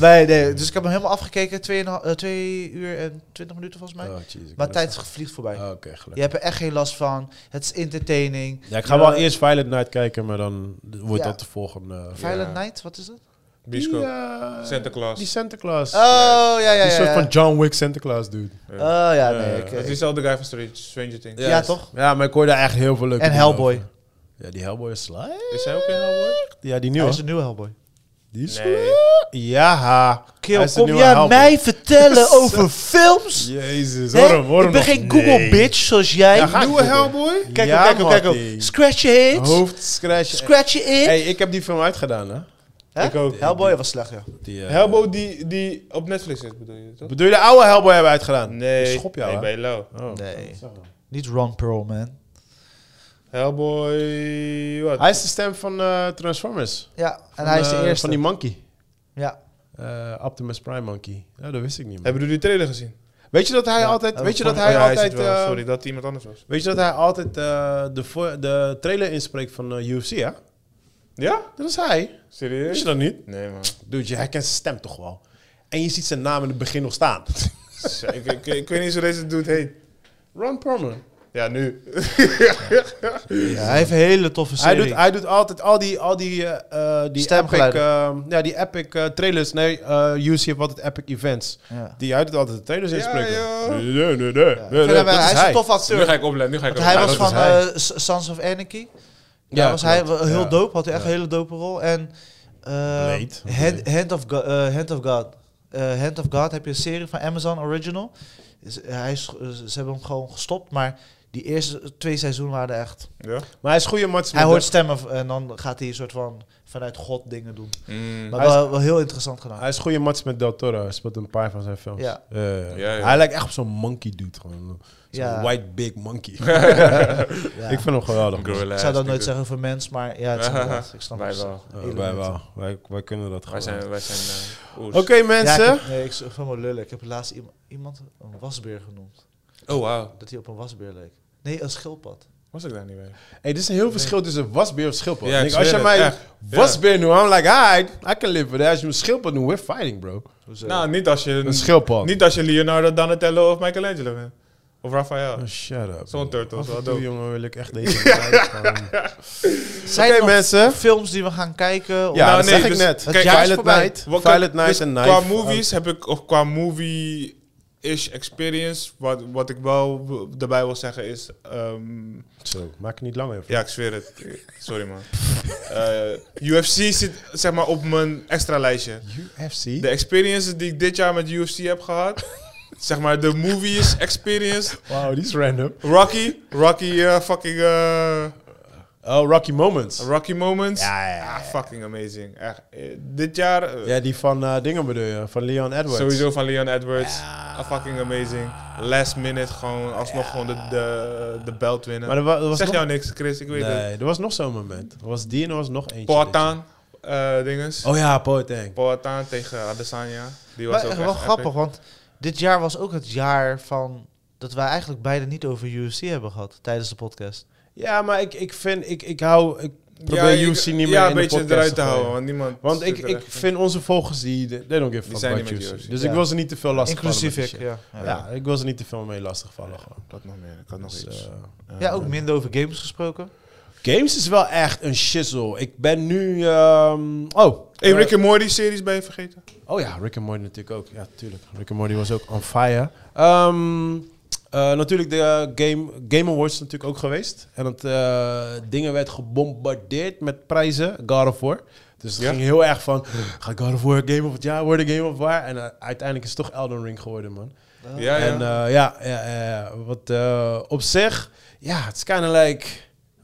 nee, nee. Dus ik heb hem helemaal afgekeken. 2 eh, uur en 20 minuten volgens mij. Oh, jeez, ik maar ben tijd vliegt voorbij. er- Oh, Oké, gelukkig. Je hebt er echt geen last van. Het is entertaining. Ja, ik ga Ja. wel eerst Violet Night kijken, maar dan wordt Ja. dat de volgende. Violent Ja. Night, wat is het? Bioscoop. Die, eh, Santa Claus. Die Santa Claus. Oh, ja, ja, ja. Die soort ja. van John Wick Santa Claus, dude. Oh, ja, nee. Ja. ik- Het is al de guy van Stranger- Stranger Things. Ja, toch? Ja, maar ik hoorde echt heel veel leuke En dingen Hellboy. over. Ja, die Hellboy is slecht. Is hij ook in Hellboy? Ja, die Hij nieuwe. is een nieuwe Hellboy. Die is Nee. slecht. Ja. Hij Kill, is de kom nieuwe jij Hellboy. mij vertellen over films? Jezus, Hè? hoor hem, hoor ik hem ben nog. geen Google Nee. bitch zoals jij. Ja, ga ik Nieuwe googlen. Hellboy? Kijk Ja, op, kijk op, kijk mattie. op. Scratch je hit. Hoofdscratch. Scratch je hit. Hey, ik heb die film uitgedaan, hè? Hè? ik ook. Hellboy was slecht, ja. Die, eh, Hellboy die, die op Netflix is, bedoel je toch? Bedoel je de oude Hellboy hebben uitgedaan? Nee. Ik schop jou, nee, hè? bij Lau. Oh. Nee. Niet Ron Perlman. Hellboy... Wat? Hij is de stem van eh, Transformers. Ja, en Van, hij is de eh, eerste. Van die monkey. ja. Eh, Optimus Prime monkey. Ja, dat wist ik niet meer. Hebben jullie die trailer gezien? Weet je dat hij Ja, altijd... dat Weet je vond dat ik- hij Oh ja, altijd... zit wel. eh, Sorry, dat iemand anders was. Weet je dat hij altijd eh, de, vo- de trailer inspreekt van eh, UFC, hè? Ja? Dat is hij. Wist je Serieus? dat niet? Nee, man. Dude, je herkent zijn stem toch wel. En je ziet zijn naam in het begin nog staan. Zo, ik, ik, ik weet niet hoe deze dude heet. Ron Perlman. Ja, nu. Ja, hij heeft een hele toffe Hij serie. doet, hij doet altijd al die, al die, eh, eh, die epic, Stemgeluiden. eh, ja, die epic eh, trailers. Nee, eh UFC heeft altijd epic events. ja. Die, hij doet altijd de trailers Ja, inspreken. joh. Nee, nee, nee, nee. Ik vind Nee, hem- dat hij is is een tof Nu ga acteur. ik opletten. Nu ga ik Want hij opletten. was dat is van hij. eh, S- Sons of Anarchy. Ja, Daar was hij klopt. wel heel Ja. dope. Had hij echt Ja. een hele dope rol. En eh, Blade. Hand, Hand of Go- eh, Hand of God. Eh, Hand of God heb je een serie van Amazon Original. Is- eh, hij is, ze hebben hem gewoon gestopt, maar die eerste twee seizoenen waren echt Ja? Maar hij is goede match. Hij hoort stemmen v- en dan gaat hij een soort van vanuit God dingen doen. Mm. Maar Hij is- Ah, wel, wel heel interessant gedaan. Hij is goede match met Del Toro. Hij speelt een paar van zijn films. Ja. Eh, Ja, ja. Hij lijkt echt op zo'n monkey dude. Gewoon. Zo'n Ja. white big monkey. Ja. Ik Ik, vind hem geweldig. zou dat nooit zeggen voor mens, maar ja, het is inderdaad. Ik snap Wij het. wel. Eh, Hele wij mensen. wel. Wij, wij kunnen dat Wij gewoon. zijn... Wij zijn eh, oers. Oké mensen. Ja, ik, heb- nee, ik vond me lullig. Ik heb laatst iemand, iemand een wasbeer genoemd. Oh, wauw. Dat hij op een wasbeer leek. Nee, een schildpad. Was ik daar niet bij? Hey, dit is een heel verschil tussen wasbeer of schildpad. Ja, Ik ik denk, als je zweer mij het, echt. wasbeer noemt, I'm like, hi, I can live with that. Als je me schildpad noemt, we're fighting, bro. Hoezo? Nou, niet als je... Een schildpad. Niet als je Leonardo, Donatello of Michelangelo bent. Of Raphaël. Oh, shut up. Zo'n turtle is wel dood. dope. jongen, wil ik echt deze tijd van- Oké Zijn er nog mensen. films die we gaan kijken? Of- Ja, Nou, dat nee, zeg ik dus- net. het jaar is Violet voorbij. Night. Wat- Violet Night dus en Qua Knife. movies heb ik, of qua movie is experience. Wat, wat ik wel w- daarbij wil zeggen is... ehm, Zo, Oh, maak het niet langer. ja, ik zweer het. Sorry, man. Eh, UFC zit zeg maar op mijn extra lijstje. UFC? De experiences die ik dit jaar met UFC heb gehad... zeg maar de movies experience. Wauw, die is random. Rocky. Rocky eh, fucking... eh, Oh, Rocky Moments. Rocky moments. Ja, ja, ja, Ah, ja. fucking amazing. Echt. eh, dit jaar... eh, Ja, die van eh, dingen bedoel je, van Leon Edwards. Sowieso van Leon Edwards. Ja. Ah, fucking amazing. Last minute gewoon alsnog gewoon de, de, de belt winnen. Maar er, wa- er was zeg nog... jou niks, Chris. Ik weet het. Nee, er was nog zo'n moment. Er was die en er was nog eentje. Poatan eh dinges. Oh ja, Poatan. Poatan tegen Adesanya. Die was Maar ook echt echt wel epic. grappig, want dit jaar was ook het jaar van dat wij eigenlijk beide niet over UFC hebben gehad tijdens de podcast. Ja, maar ik, ik vind, ik, ik hou, ik Ja, probeer ik- UFC niet meer Ja, in een de beetje podcast eruit te gooien. houden. Want niemand Want stuurt ik, er ik echt in. vind onze volgers, die, they don't give a Die fuck zijn about niet met UFC. UFC. Dus Ja. ik wil ze niet te veel lastig Inclusief ik. vallen. met Ja. die shit. Ja. Ja, ik wil ze niet te veel mee lastig vallen gewoon. Dat nog meer. Ik had nog Dus, iets. eh, Eh, Ja, ook minder over games gesproken. games is wel echt een shizzle. Ik ben nu... ehm, oh. Hey, eh, Rick en Morty series ben je vergeten? Oh ja, Rick and Morty natuurlijk ook. Ja, tuurlijk. Rick and Morty was ook on fire. Ehm, eh, natuurlijk de eh, game, game Awards is natuurlijk ook geweest. En dat eh, dingen werd gebombardeerd met prijzen. God of War. Dus het Ja. ging heel erg van... Gaat God of War Game of het jaar worden? Game of War? En eh, uiteindelijk is het toch Elden Ring geworden, man. Ja. Ja, ja. En eh, ja, ja, ja, ja. wat eh, op zich... Ja, het is kind of like...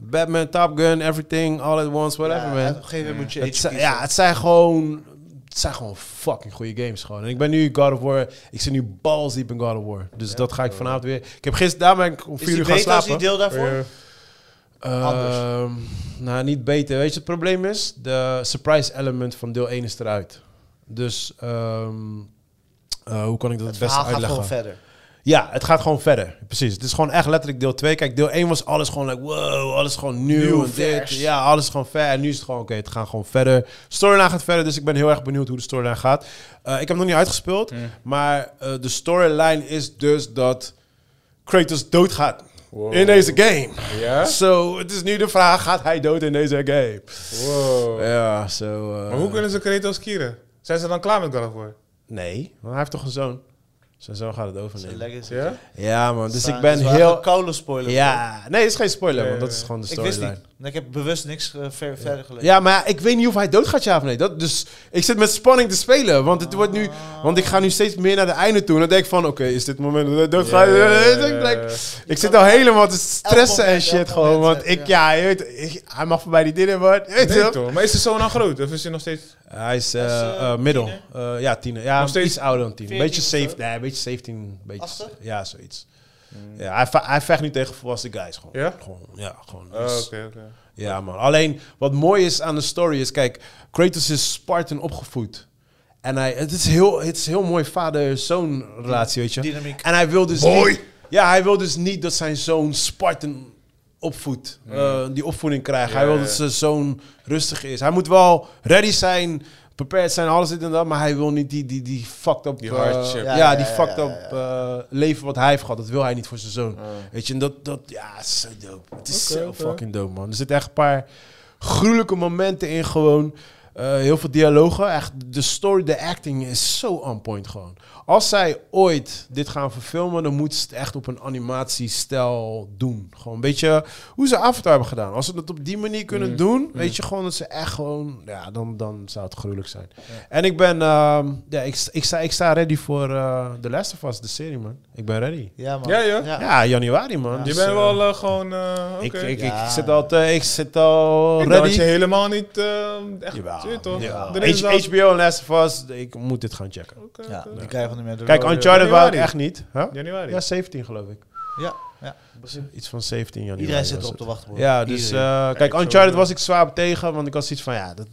Batman, Top Gun, everything, all at once, whatever, Ja, man. Op een gegeven moment moet je Het eentje zijn, kiezen. ja, het zijn gewoon... Het zijn gewoon fucking goede games gewoon. En ik ben nu God of War... Ik zit nu balls diep in God of War. Dus dat ga ik vanavond weer... Ik heb gisteren... Daar ben ik om Is vier die uur gaan beter als die slapen. deel daarvoor? Eh, anders? Ehm, nou, niet beter. Weet je, het probleem is... De surprise element van deel 1 is eruit. Dus... ehm, eh, hoe kan ik dat het, het beste verhaal gaat uitleggen? gewoon verder. Ja, het gaat gewoon verder. Precies. Het is gewoon echt letterlijk deel 2. Kijk, deel 1 was alles gewoon like, wow, alles gewoon nieuw. Nieuw, en dit. vers. Ja, alles gewoon ver. En nu is het gewoon, oké, het gaat gewoon verder. Storyline gaat verder, dus ik ben heel erg benieuwd hoe de storyline gaat. Eh, ik heb hem nog niet uitgespeeld, Mm. maar eh, de storyline is dus dat Kratos doodgaat in deze game. Ja? Zo, het is nu de vraag, gaat hij dood in deze game? Wow. Ja, zo... eh, Maar hoe kunnen ze Kratos kieren? Zijn ze dan klaar met God of War? Nee, want hij heeft toch een zoon? Zijn zoon gaat het Zijn overnemen. legacy. Ja? Ja, man, dus Staan- ik ben dat is wel heel... een koude spoiler. Eh, Ja, nee, het is geen spoiler, Nee, want dat nee. is gewoon de ik wist storyline. niet. Ik heb bewust niks eh, ver- verder gelezen. Ja, maar ik weet niet of hij doodgaat, ja of nee. Dat, dus ik zit met spanning te spelen, want het wordt nu... Want ik ga nu steeds meer naar de einde toe en dan denk ik van... Oké, is dit het moment dat hij doodgaat? Ja, ja, ja, ja, ja. Ik denk, Ik zit al helemaal te stressen en moment, shit elk gewoon, moment, want ja. ik... Ja, je weet, ik- hij mag voorbij die dingen, maar... je Weet Nee, wel. toch? Maar is de zoon nou groot? Of is hij nog steeds... Hij is eh Hij is, eh, eh, middel. tiener. Eh, ja, tiener. Ja, Nog steeds iets ouder dan tiener. 14 Beetje, of zeven, zo? nee, beetje 17. Beetje, Achter? Hmm. ja, zoiets. Ja, hij, ve- hij vecht nu tegen volwassen guys gewoon. Ja? Gewoon, ja, gewoon. Ah, Oh, Dus- Oké, oké. Ja, man. Alleen wat mooi is aan de story is, kijk, Kratos is Spartan opgevoed. En hij, het is heel, het is heel mooi vader-zoon relatie, weet je. Dynamiek. En hij wil dus Mooi. niet... Ja, hij wil dus niet dat zijn zoon Spartan opvoedt. eh, die opvoeding krijgt. Ja, hij wil ja, dat ja. zijn zoon rustig is. Hij moet wel ready zijn, prepared zijn, alles dit en dat. Maar hij wil niet die, die, die fucked up... Die eh, hardship. Ja, ja, ja, die ja, fucked ja, Ah. up eh, leven wat hij heeft gehad. Dat wil hij niet voor zijn zoon. Weet je, en dat, dat ja, is zo dope. Het is Oké, zo oké. fucking dope, man. Er zitten echt een paar gruwelijke momenten in gewoon. Eh, heel veel dialogen. Echt, de story, de acting is zo on point gewoon. Als zij ooit dit gaan verfilmen, dan moeten ze het echt op een animatiestijl doen. Gewoon een beetje hoe ze Avatar hebben gedaan. Als ze dat op die manier kunnen Mm. doen, weet je gewoon dat ze echt gewoon... Ja, dan, dan zou het gruwelijk zijn. En ik ben... ehm, ja, ik, ik, sta, ik sta ready voor eh The Last of Us, de serie, man. Ik ben ready. Ja, man. Ja, joh. Ja. Ja, januari, man. Ja. Dus, Je bent eh, wel eh, gewoon... eh, ik, oké. ik, Ja. ik zit al, te- ik zit al Ik dacht ready. dat je helemaal niet eh, echt... Jawel, zit, toch? jawel. Er is H- al- HBO en Last of Us, ik moet dit gaan checken. Oké, Ja, oké. die krijgen van de meer Kijk, wel, Uncharted wou ik januari. echt niet. Huh? Januari. Ja, 17 geloof ik. Ja, ja. Iets van 17 januari. Iedereen was zit op het. te wachten. bro. Ja, dus Iedereen. eh, Kijk, kijk, zo Uncharted doen. was ik zwaar op tegen, want ik was iets van ja, dat,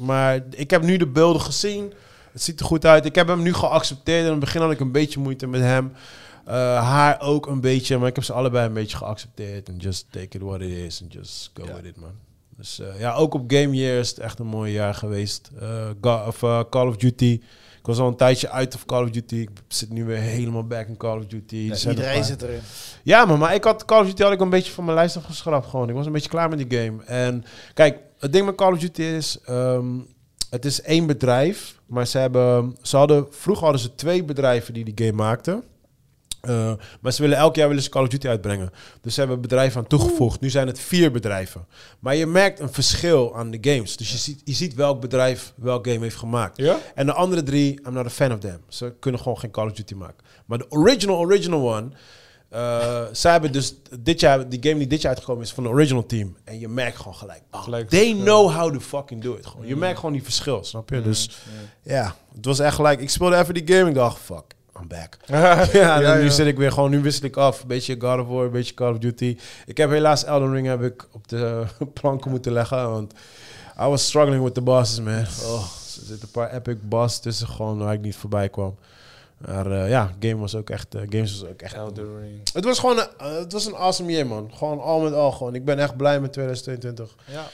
maar ik heb nu de beelden gezien. Het ziet er goed uit. Ik heb hem nu geaccepteerd. In het begin had ik een beetje moeite met hem. Eh, haar ook een beetje, maar ik heb ze allebei een beetje geaccepteerd. En just take it what it is and just go Ja. with it, man. Dus eh, ja, ook op Game Year is het echt een mooi jaar geweest. Eh, Ga- of, eh, Call of Duty. Ik was al een tijdje uit of Call of Duty. Ik zit nu weer helemaal back in Call of Duty. Er zijn Ja, een iedereen paar- zit erin. ja, maar, maar ik had Call of Duty had ik een beetje van mijn lijst afgeschrapt. Gewoon. Ik was een beetje klaar met die game. En kijk, het ding met Call of Duty is... ehm, het is één bedrijf, maar ze, hebben, ze hadden... Vroeger hadden ze twee bedrijven die die game maakten. Eh, maar ze willen elk jaar willen ze Call of Duty uitbrengen. Dus ze hebben bedrijven aan toegevoegd. Nu zijn het vier bedrijven. Maar je merkt een verschil aan de games. Dus je ziet, je ziet welk bedrijf welk game heeft gemaakt. Ja? En de andere drie, I'm not a fan of them. Ze kunnen gewoon geen Call of Duty maken. Maar de original, original one. eh, zij hebben dus dit jaar, die game die dit jaar uitgekomen is van de original team. En je merkt gewoon gelijk. oh, Gelijk they verschil. know how to fucking do it. Gewoon. Je merkt gewoon die verschil, snap je? Dus ja, het was echt gelijk. Ik speelde even die game. Ik dacht, fuck, I'm back. ja, Ja, en dan nu ja. zit ik weer gewoon, nu wissel ik af. Beetje God of War, beetje Call of Duty. Ik heb helaas Elden Ring heb ik op de planken moeten leggen, want I was struggling with the bosses, man. Oh, er zitten een paar epic boss tussen gewoon waar ik niet voorbij kwam. Maar eh, ja, game was ook echt, eh, games was ook echt. Elden Ring. Het was gewoon, een, eh, het was een awesome year, man. Gewoon al met al gewoon. Ik ben echt blij met 2022. Ja, Ik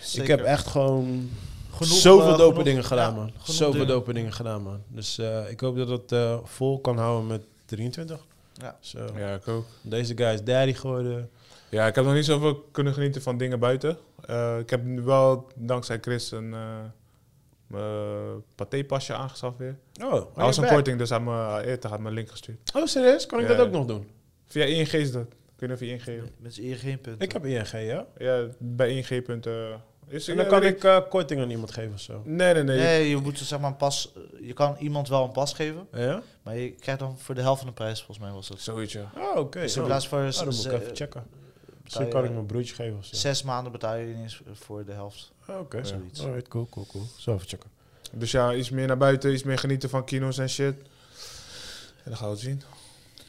zeker. heb echt gewoon Genoeg, zoveel eh, dope genoeg- dingen gedaan, ja, man. genoeg Zoveel dingen. dope dingen gedaan, man. Dus eh, ik hoop dat dat eh, vol kan houden met 23. Ja. Zo. Ja, ik ook. Deze guy is daddy geworden. Ja, ik heb nog niet zoveel kunnen genieten van dingen buiten. Eh, ik heb nu wel, dankzij Chris, een eh, eh, pathépasje aangeschaft weer. Oh, Hij was een korting, dus hij had me eerder had me een link gestuurd. Oh, serieus? Kan ik Ja. dat ook nog doen? Via ING is dat. Ik weet niet of je ING... Met z'n eer geen punt. Ik heb ING, ja. Ja, bij ING. Punt, eh, is En dan kan ik eh, korting aan iemand geven of zo. Nee, nee, nee. Nee, je moet zeg maar een pas. eh, Je kan iemand wel een pas geven, Ja? maar je krijgt dan voor de helft van de prijs, volgens mij was dat. Zoiets, ja. Oh, oké. Dus in Oh. plaats van Oh, dan moet ik ze- even checken. Misschien betaal kan je- ik mijn broertje geven of zo. zes maanden betaal je ineens voor de helft. Oh, oké. zo. Zoiets. Alright, cool, cool, cool. Zo even checken. Dus ja, iets meer naar buiten, iets meer genieten van kino's en shit. En dan gaan we het zien.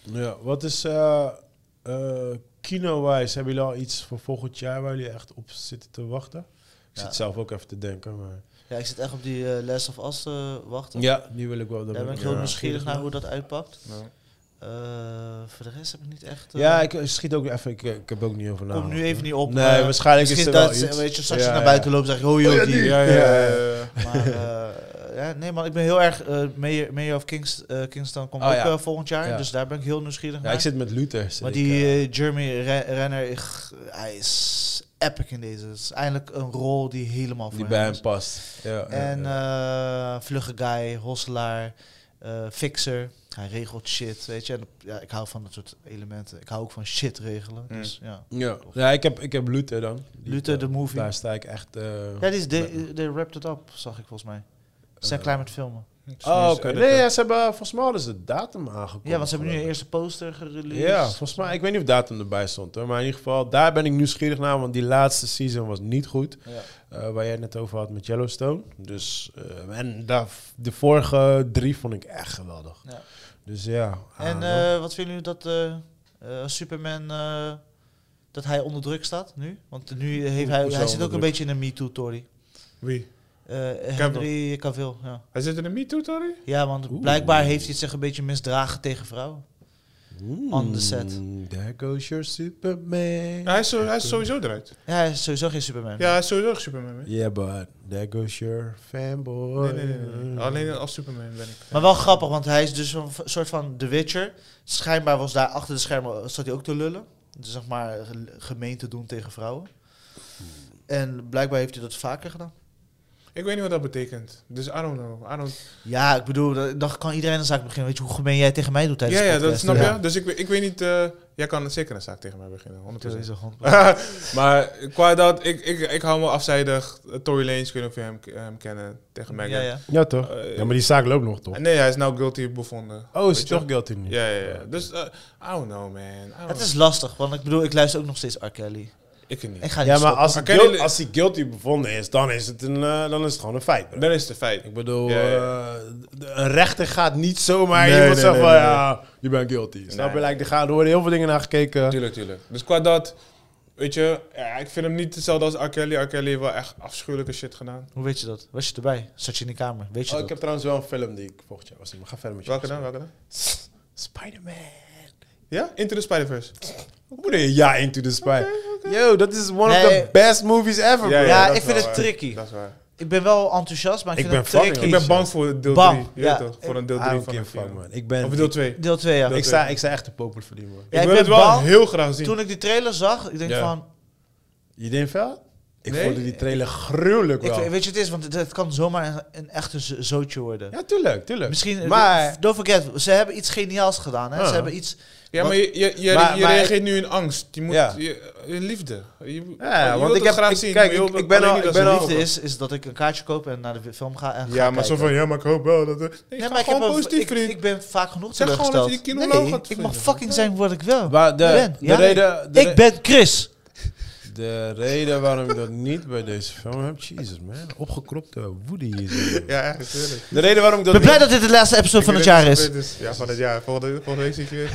Ja, wat is... eh eh, Kino-wise, hebben jullie al iets voor volgend jaar waar jullie echt op zitten te wachten? Ik Ja. zit zelf ook even te denken, maar... Ja, ik zit echt op die eh, Les of Us te wachten. Ja, die wil ik wel. Daar ben ik Ja. heel nieuwsgierig naar hoe dat uitpakt. Eh, voor de rest heb ik niet echt. eh, Ja, ik schiet ook even... Ik, eh, ik heb ook niet over na. kom nu even niet op. Nou, Nee, maar waarschijnlijk is misschien er wel dat ze- iets. Weet je, straks Ja, naar ja. buiten loopt en zeg ik, oh joh, die. Ja, ja, ja. ja. Maar eh, ja, nee man, ik ben heel erg... eh Mayor, Mayor of Kings, eh, Kingston komt Oh, ook ja. eh, volgend jaar, Ja. dus daar ben ik heel nieuwsgierig Ja, naar. ik zit met Luther. zit maar ik, die eh, eh, Jeremy Re- Renner, ik- hij is epic in deze. Het is eindelijk een rol die helemaal voor die hem bij is. hem past. Ja, En ja, eh, vlugge guy, hosselaar, eh, fixer. Hij regelt shit, weet je. En, ja, ik hou van dat soort elementen. Ik hou ook van shit regelen. Mm. Dus, ja. ja. Ja, ik heb, ik heb Luther dan. Die, Luther, de eh, movie. Daar sta ik echt... eh, Ja, die is de, de wrapped it up, zag ik volgens mij. Ze zijn klaar met filmen. Oh, oké. dus- Nee, ja, ze hebben volgens mij hadden ze de datum aangekomen. eh, Ja, want ze hebben nu een geloof eerste poster ik. gereleased. Ja, volgens mij. Ik weet niet of datum erbij stond. Hoor, maar in ieder geval, daar ben ik nieuwsgierig naar. Want die laatste season was niet goed. Ja. eh, waar jij het net over had met Yellowstone. Dus, eh, en daar, de vorige drie vond ik echt geweldig. Ja. Dus ja. En ah, eh, wat vinden jullie dat eh, eh, Superman... eh, dat hij onder druk staat nu? Want nu heeft hij, Hoezo hij zit ook onder een druk? beetje in een MeToo-tory. Wie? Eh Cavill. Henry Cavill, ja. Hij zit in de MeToo, Tori? Ja, want Oeh. blijkbaar heeft hij het zich een beetje misdragen tegen vrouwen. mm, on the set. There goes your Superman. Ja, hij, is zo- hij is sowieso eruit. Ja, hij is sowieso geen Superman. Ja, hij is sowieso Superman. hè? Yeah, but there goes your fanboy. Nee, nee, nee, nee, nee. Alleen als Superman ben ik. Maar wel grappig, want hij is dus een v- soort van The Witcher. Schijnbaar was daar achter de schermen, eh, zat hij ook te lullen. Dus zeg maar ge- gemeen te doen tegen vrouwen. En blijkbaar heeft hij dat vaker gedaan. Ik weet niet wat dat betekent. Dus I don't know. I don't... Ja, ik bedoel, dat- dan kan iedereen een zaak beginnen. Weet je hoe gemeen jij tegen mij doet tijdens Ja, ja, de dat podcast? snap je. Dus ik, weet- ik weet niet... eh, jij kan zeker een zaak tegen mij beginnen, 100%. Deze hond. maar qua dat, ik, ik, ik hou me afzijdig. Tory Lanez, ik weet niet of je hem, hem kennen, tegen Megan. Ja, ja. Ja, toch? Eh, ja, maar die zaak loopt nog, toch? Nee, hij is nou guilty bevonden. Oh, is Weet hij toch je? guilty nu? Ja, ja, ja. Dus, eh, I don't know, man. I don't Het is lastig, want ik bedoel, ik luister ook nog steeds R. Kelly. know. Ik niet. Ik ga niet Ja, maar stoppen. als, hij Maar ken guil- jullie- als hij guilty bevonden is, dan is het, een, eh, dan is het gewoon een feit. bro. Dan is het een feit. Ik bedoel, Ja, eh, de- een rechter gaat niet zomaar Nee, iemand nee, zeggen nee, van, nee. ja, je bent guilty. Snap je? nee. Like, er gaan- er worden heel veel dingen naar gekeken. Tuurlijk, tuurlijk. Dus qua dat, weet je, ja, ik vind hem niet hetzelfde als R. Kelly. R. Kelly heeft wel echt afschuwelijke shit gedaan. Hoe weet je dat? Was je erbij? Zat je in die kamer? Weet je Oh, dat? ik heb trouwens wel een film die ik volgend jaar was. Maar ga verder met je. Welke dan? Welke dan? Spider-Man. Ja? Into the Spider-Verse. Hoe bedoel je? Ja, Into the Spider. Yo, dat is one Nee. of the best movies ever, bro. ja. Ja, dat ik is vind wel het waar. tricky. Dat is waar. Ik ben wel enthousiast, maar ik, Ik vind ben het fucking- tricky. Ik ben bang voor deel Bam. 3. Ja. toch? Voor een deel I 3 don't van give de a fuck, film. man. Ik ben... Of deel 2. Deel 2, ja. Deel ik, sta, ik sta echt te popel voor die, man. Ja, ik ik wil ben het wel bang. heel graag zien. Toen ik die trailer zag, ik denk Ja. van... Je denkt wel? Ik Nee? vond die trailer gruwelijk Ik, wel. weet je, het is, want het, het kan zomaar een, een echte zo- zootje worden. ja, tuurlijk, tuurlijk. Misschien, Maar- maar, don't forget, ze hebben iets geniaals gedaan. Hè? Ah. Ze hebben iets. Ja, Wat- maar je, je, je, Maar- je maar- reageert nu in angst. Je moet Ja. je, je liefde. Je, je ja, wilt want ik het heb... graag ik- zien. kijk, maar je ik, wil ik ben alleen al... niet Ik dat ben ze de al liefde is, is dat ik een kaartje koop en naar de film ga. En ga Ja, maar kijken. zo van, ja, maar ik hoop wel dat... er- Nee, Nee, ga maar ik, heb gewoon wel- positief, ik, vriend. ik ben vaak genoeg Zeg gewoon dat teleurgesteld. je die kinoloog Nee, gaat ik mag vinden. fucking zijn wat ik wil. Maar de, Ben, de, ja. reden, de, Ik re- ben Chris. de reden waarom ik dat niet bij deze film heb... Jezus, man. Opgekropte woede hier. zo. Ja, ja, natuurlijk. De reden waarom ik Ik dat ben blij dat niet... dit de laatste episode van het jaar is. Ja, van het jaar. Volgende, volgende week zie ik je weer.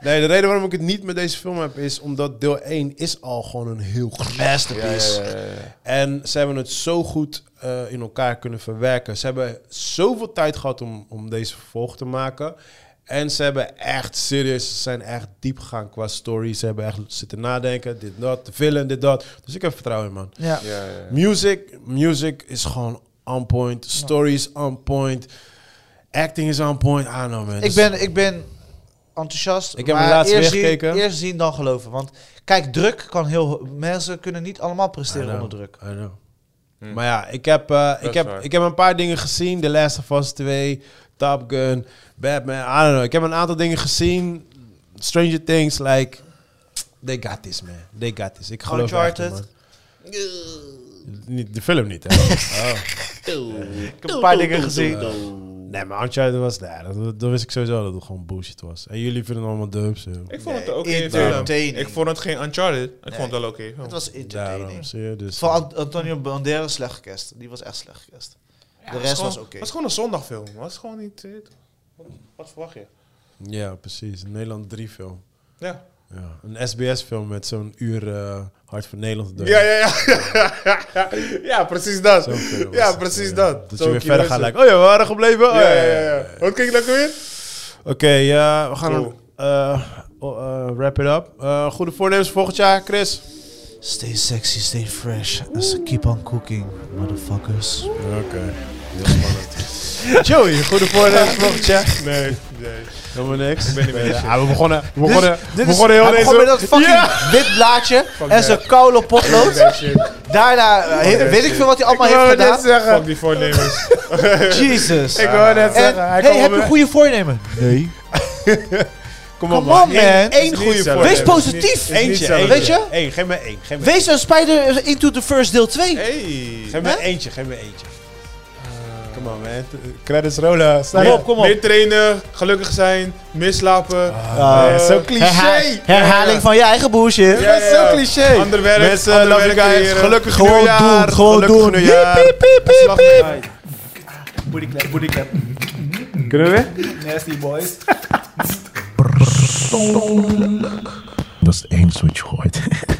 Nee, de reden waarom ik het niet met deze film heb... is omdat deel 1 is al gewoon een heel masterpiece. En ze hebben het zo goed eh, in elkaar kunnen verwerken. Ze hebben zoveel tijd gehad om, om deze vervolg te maken. En ze hebben echt serieus, ze zijn echt diep gegaan qua story. Ze hebben echt zitten nadenken, dit, dat, de villain, dit, dat. Dus ik heb vertrouwen in, man. Ja. Ja, ja, ja. Music, music is gewoon on point. Story is on point. Acting is on point. I don't know, man. Ik, ben, ik ben enthousiast. Ik heb hem maar laatst eerst weer zien- gekeken. Eerst zien dan geloven. Want kijk, druk kan heel... Mensen kunnen niet allemaal presteren onder druk. I know. Maar ja, ik heb, eh, Hm. is ik, heb, waar. ik heb een paar dingen gezien. The Last of Us 2, Top Gun, Batman, I don't know. Ik heb een aantal dingen gezien. Stranger Things, like... They got this, man. They got this. Ik geloof echt in, Uncharted. man. Niet, de film niet, hè? Ik heb een paar dingen gezien. nee, maar Uncharted was... Nee, dat- dat, dat wist ik sowieso dat het gewoon bullshit was. En jullie vinden het allemaal dubs. joh. Ik vond het Nee, oké. film. entertaining. ik vond het geen Uncharted. Ik vond het wel oké. film. Het was Daarom, entertaining. zie je. Dus, Van Ant- Antonio Banderas slecht gecast. Die was echt slecht gecast. De rest was oké. Het was gewoon een zondagfilm. Het was gewoon niet... eh, wat- Wat verwacht je? ja, precies. Een Nederland 3 film. Ja. Ja. Een SBS-film met zo'n uur eh, Hart voor Nederland. Ja, ja, ja. ja, precies dat. Zo'n film was Ja, het, precies ja. dat. Dat Zo je weer curieus. verder gaat lijken. Oh ja, we waren gebleven. Oh, Ja, ja, ja, ja. Wat kijk ik nou weer? Oké, ja, we gaan Cool. eh, oh, eh, wrap it up. Eh, goede voornemens voor volgend jaar, Chris. Stay sexy, stay fresh. And so keep on cooking, motherfuckers. Oké. Joey, goede voornemens voor volgend jaar. Nee, nee. Helemaal niks. Ik ben niet mee eens. Ja, we begonnen, we begonnen, we begonnen hij heel begon deze... met dat fucking Ja! wit blaadje en that. zijn koude potlood. Nee, shit. Daarna eh, he- that weet ik veel wat hij Ik allemaal wou heeft het net gedaan. zeggen. Fuck die voornemens. Jesus. Ik wou het net En, zeggen. Hij hey, kwam heb op- je goede voornemen? Nee. Kom Come op, on, man. Eén Niet goede zelf. voornemen. Wees positief. Eén- Niet Eentje, zelf. eentje. Weet je? Eén, geef me één. Geef me Wees een Spider Into the First deel 2. Hey. Geef me Hè? eentje, geef me eentje. Come on, man. Credits rollen. Eh. Kom op, kom op. Meer trainen, gelukkig zijn, meer slapen. Ah, Eh, zo cliché. Herha- herhaling van je eigen bullshit. Ja, dat is Ja, ja. zo cliché. Ander werk, Mensen, ander love werk you guys. creëren. Gelukkig Gewoon nieuwjaar. doen, gewoon Gelukkig doen. nieuwjaar. Piep, piep, piep, Slag piep, erbij. Booty clap, booty clap. Kunnen we weer? Nasty boys. Dat is het enige wat je hoort.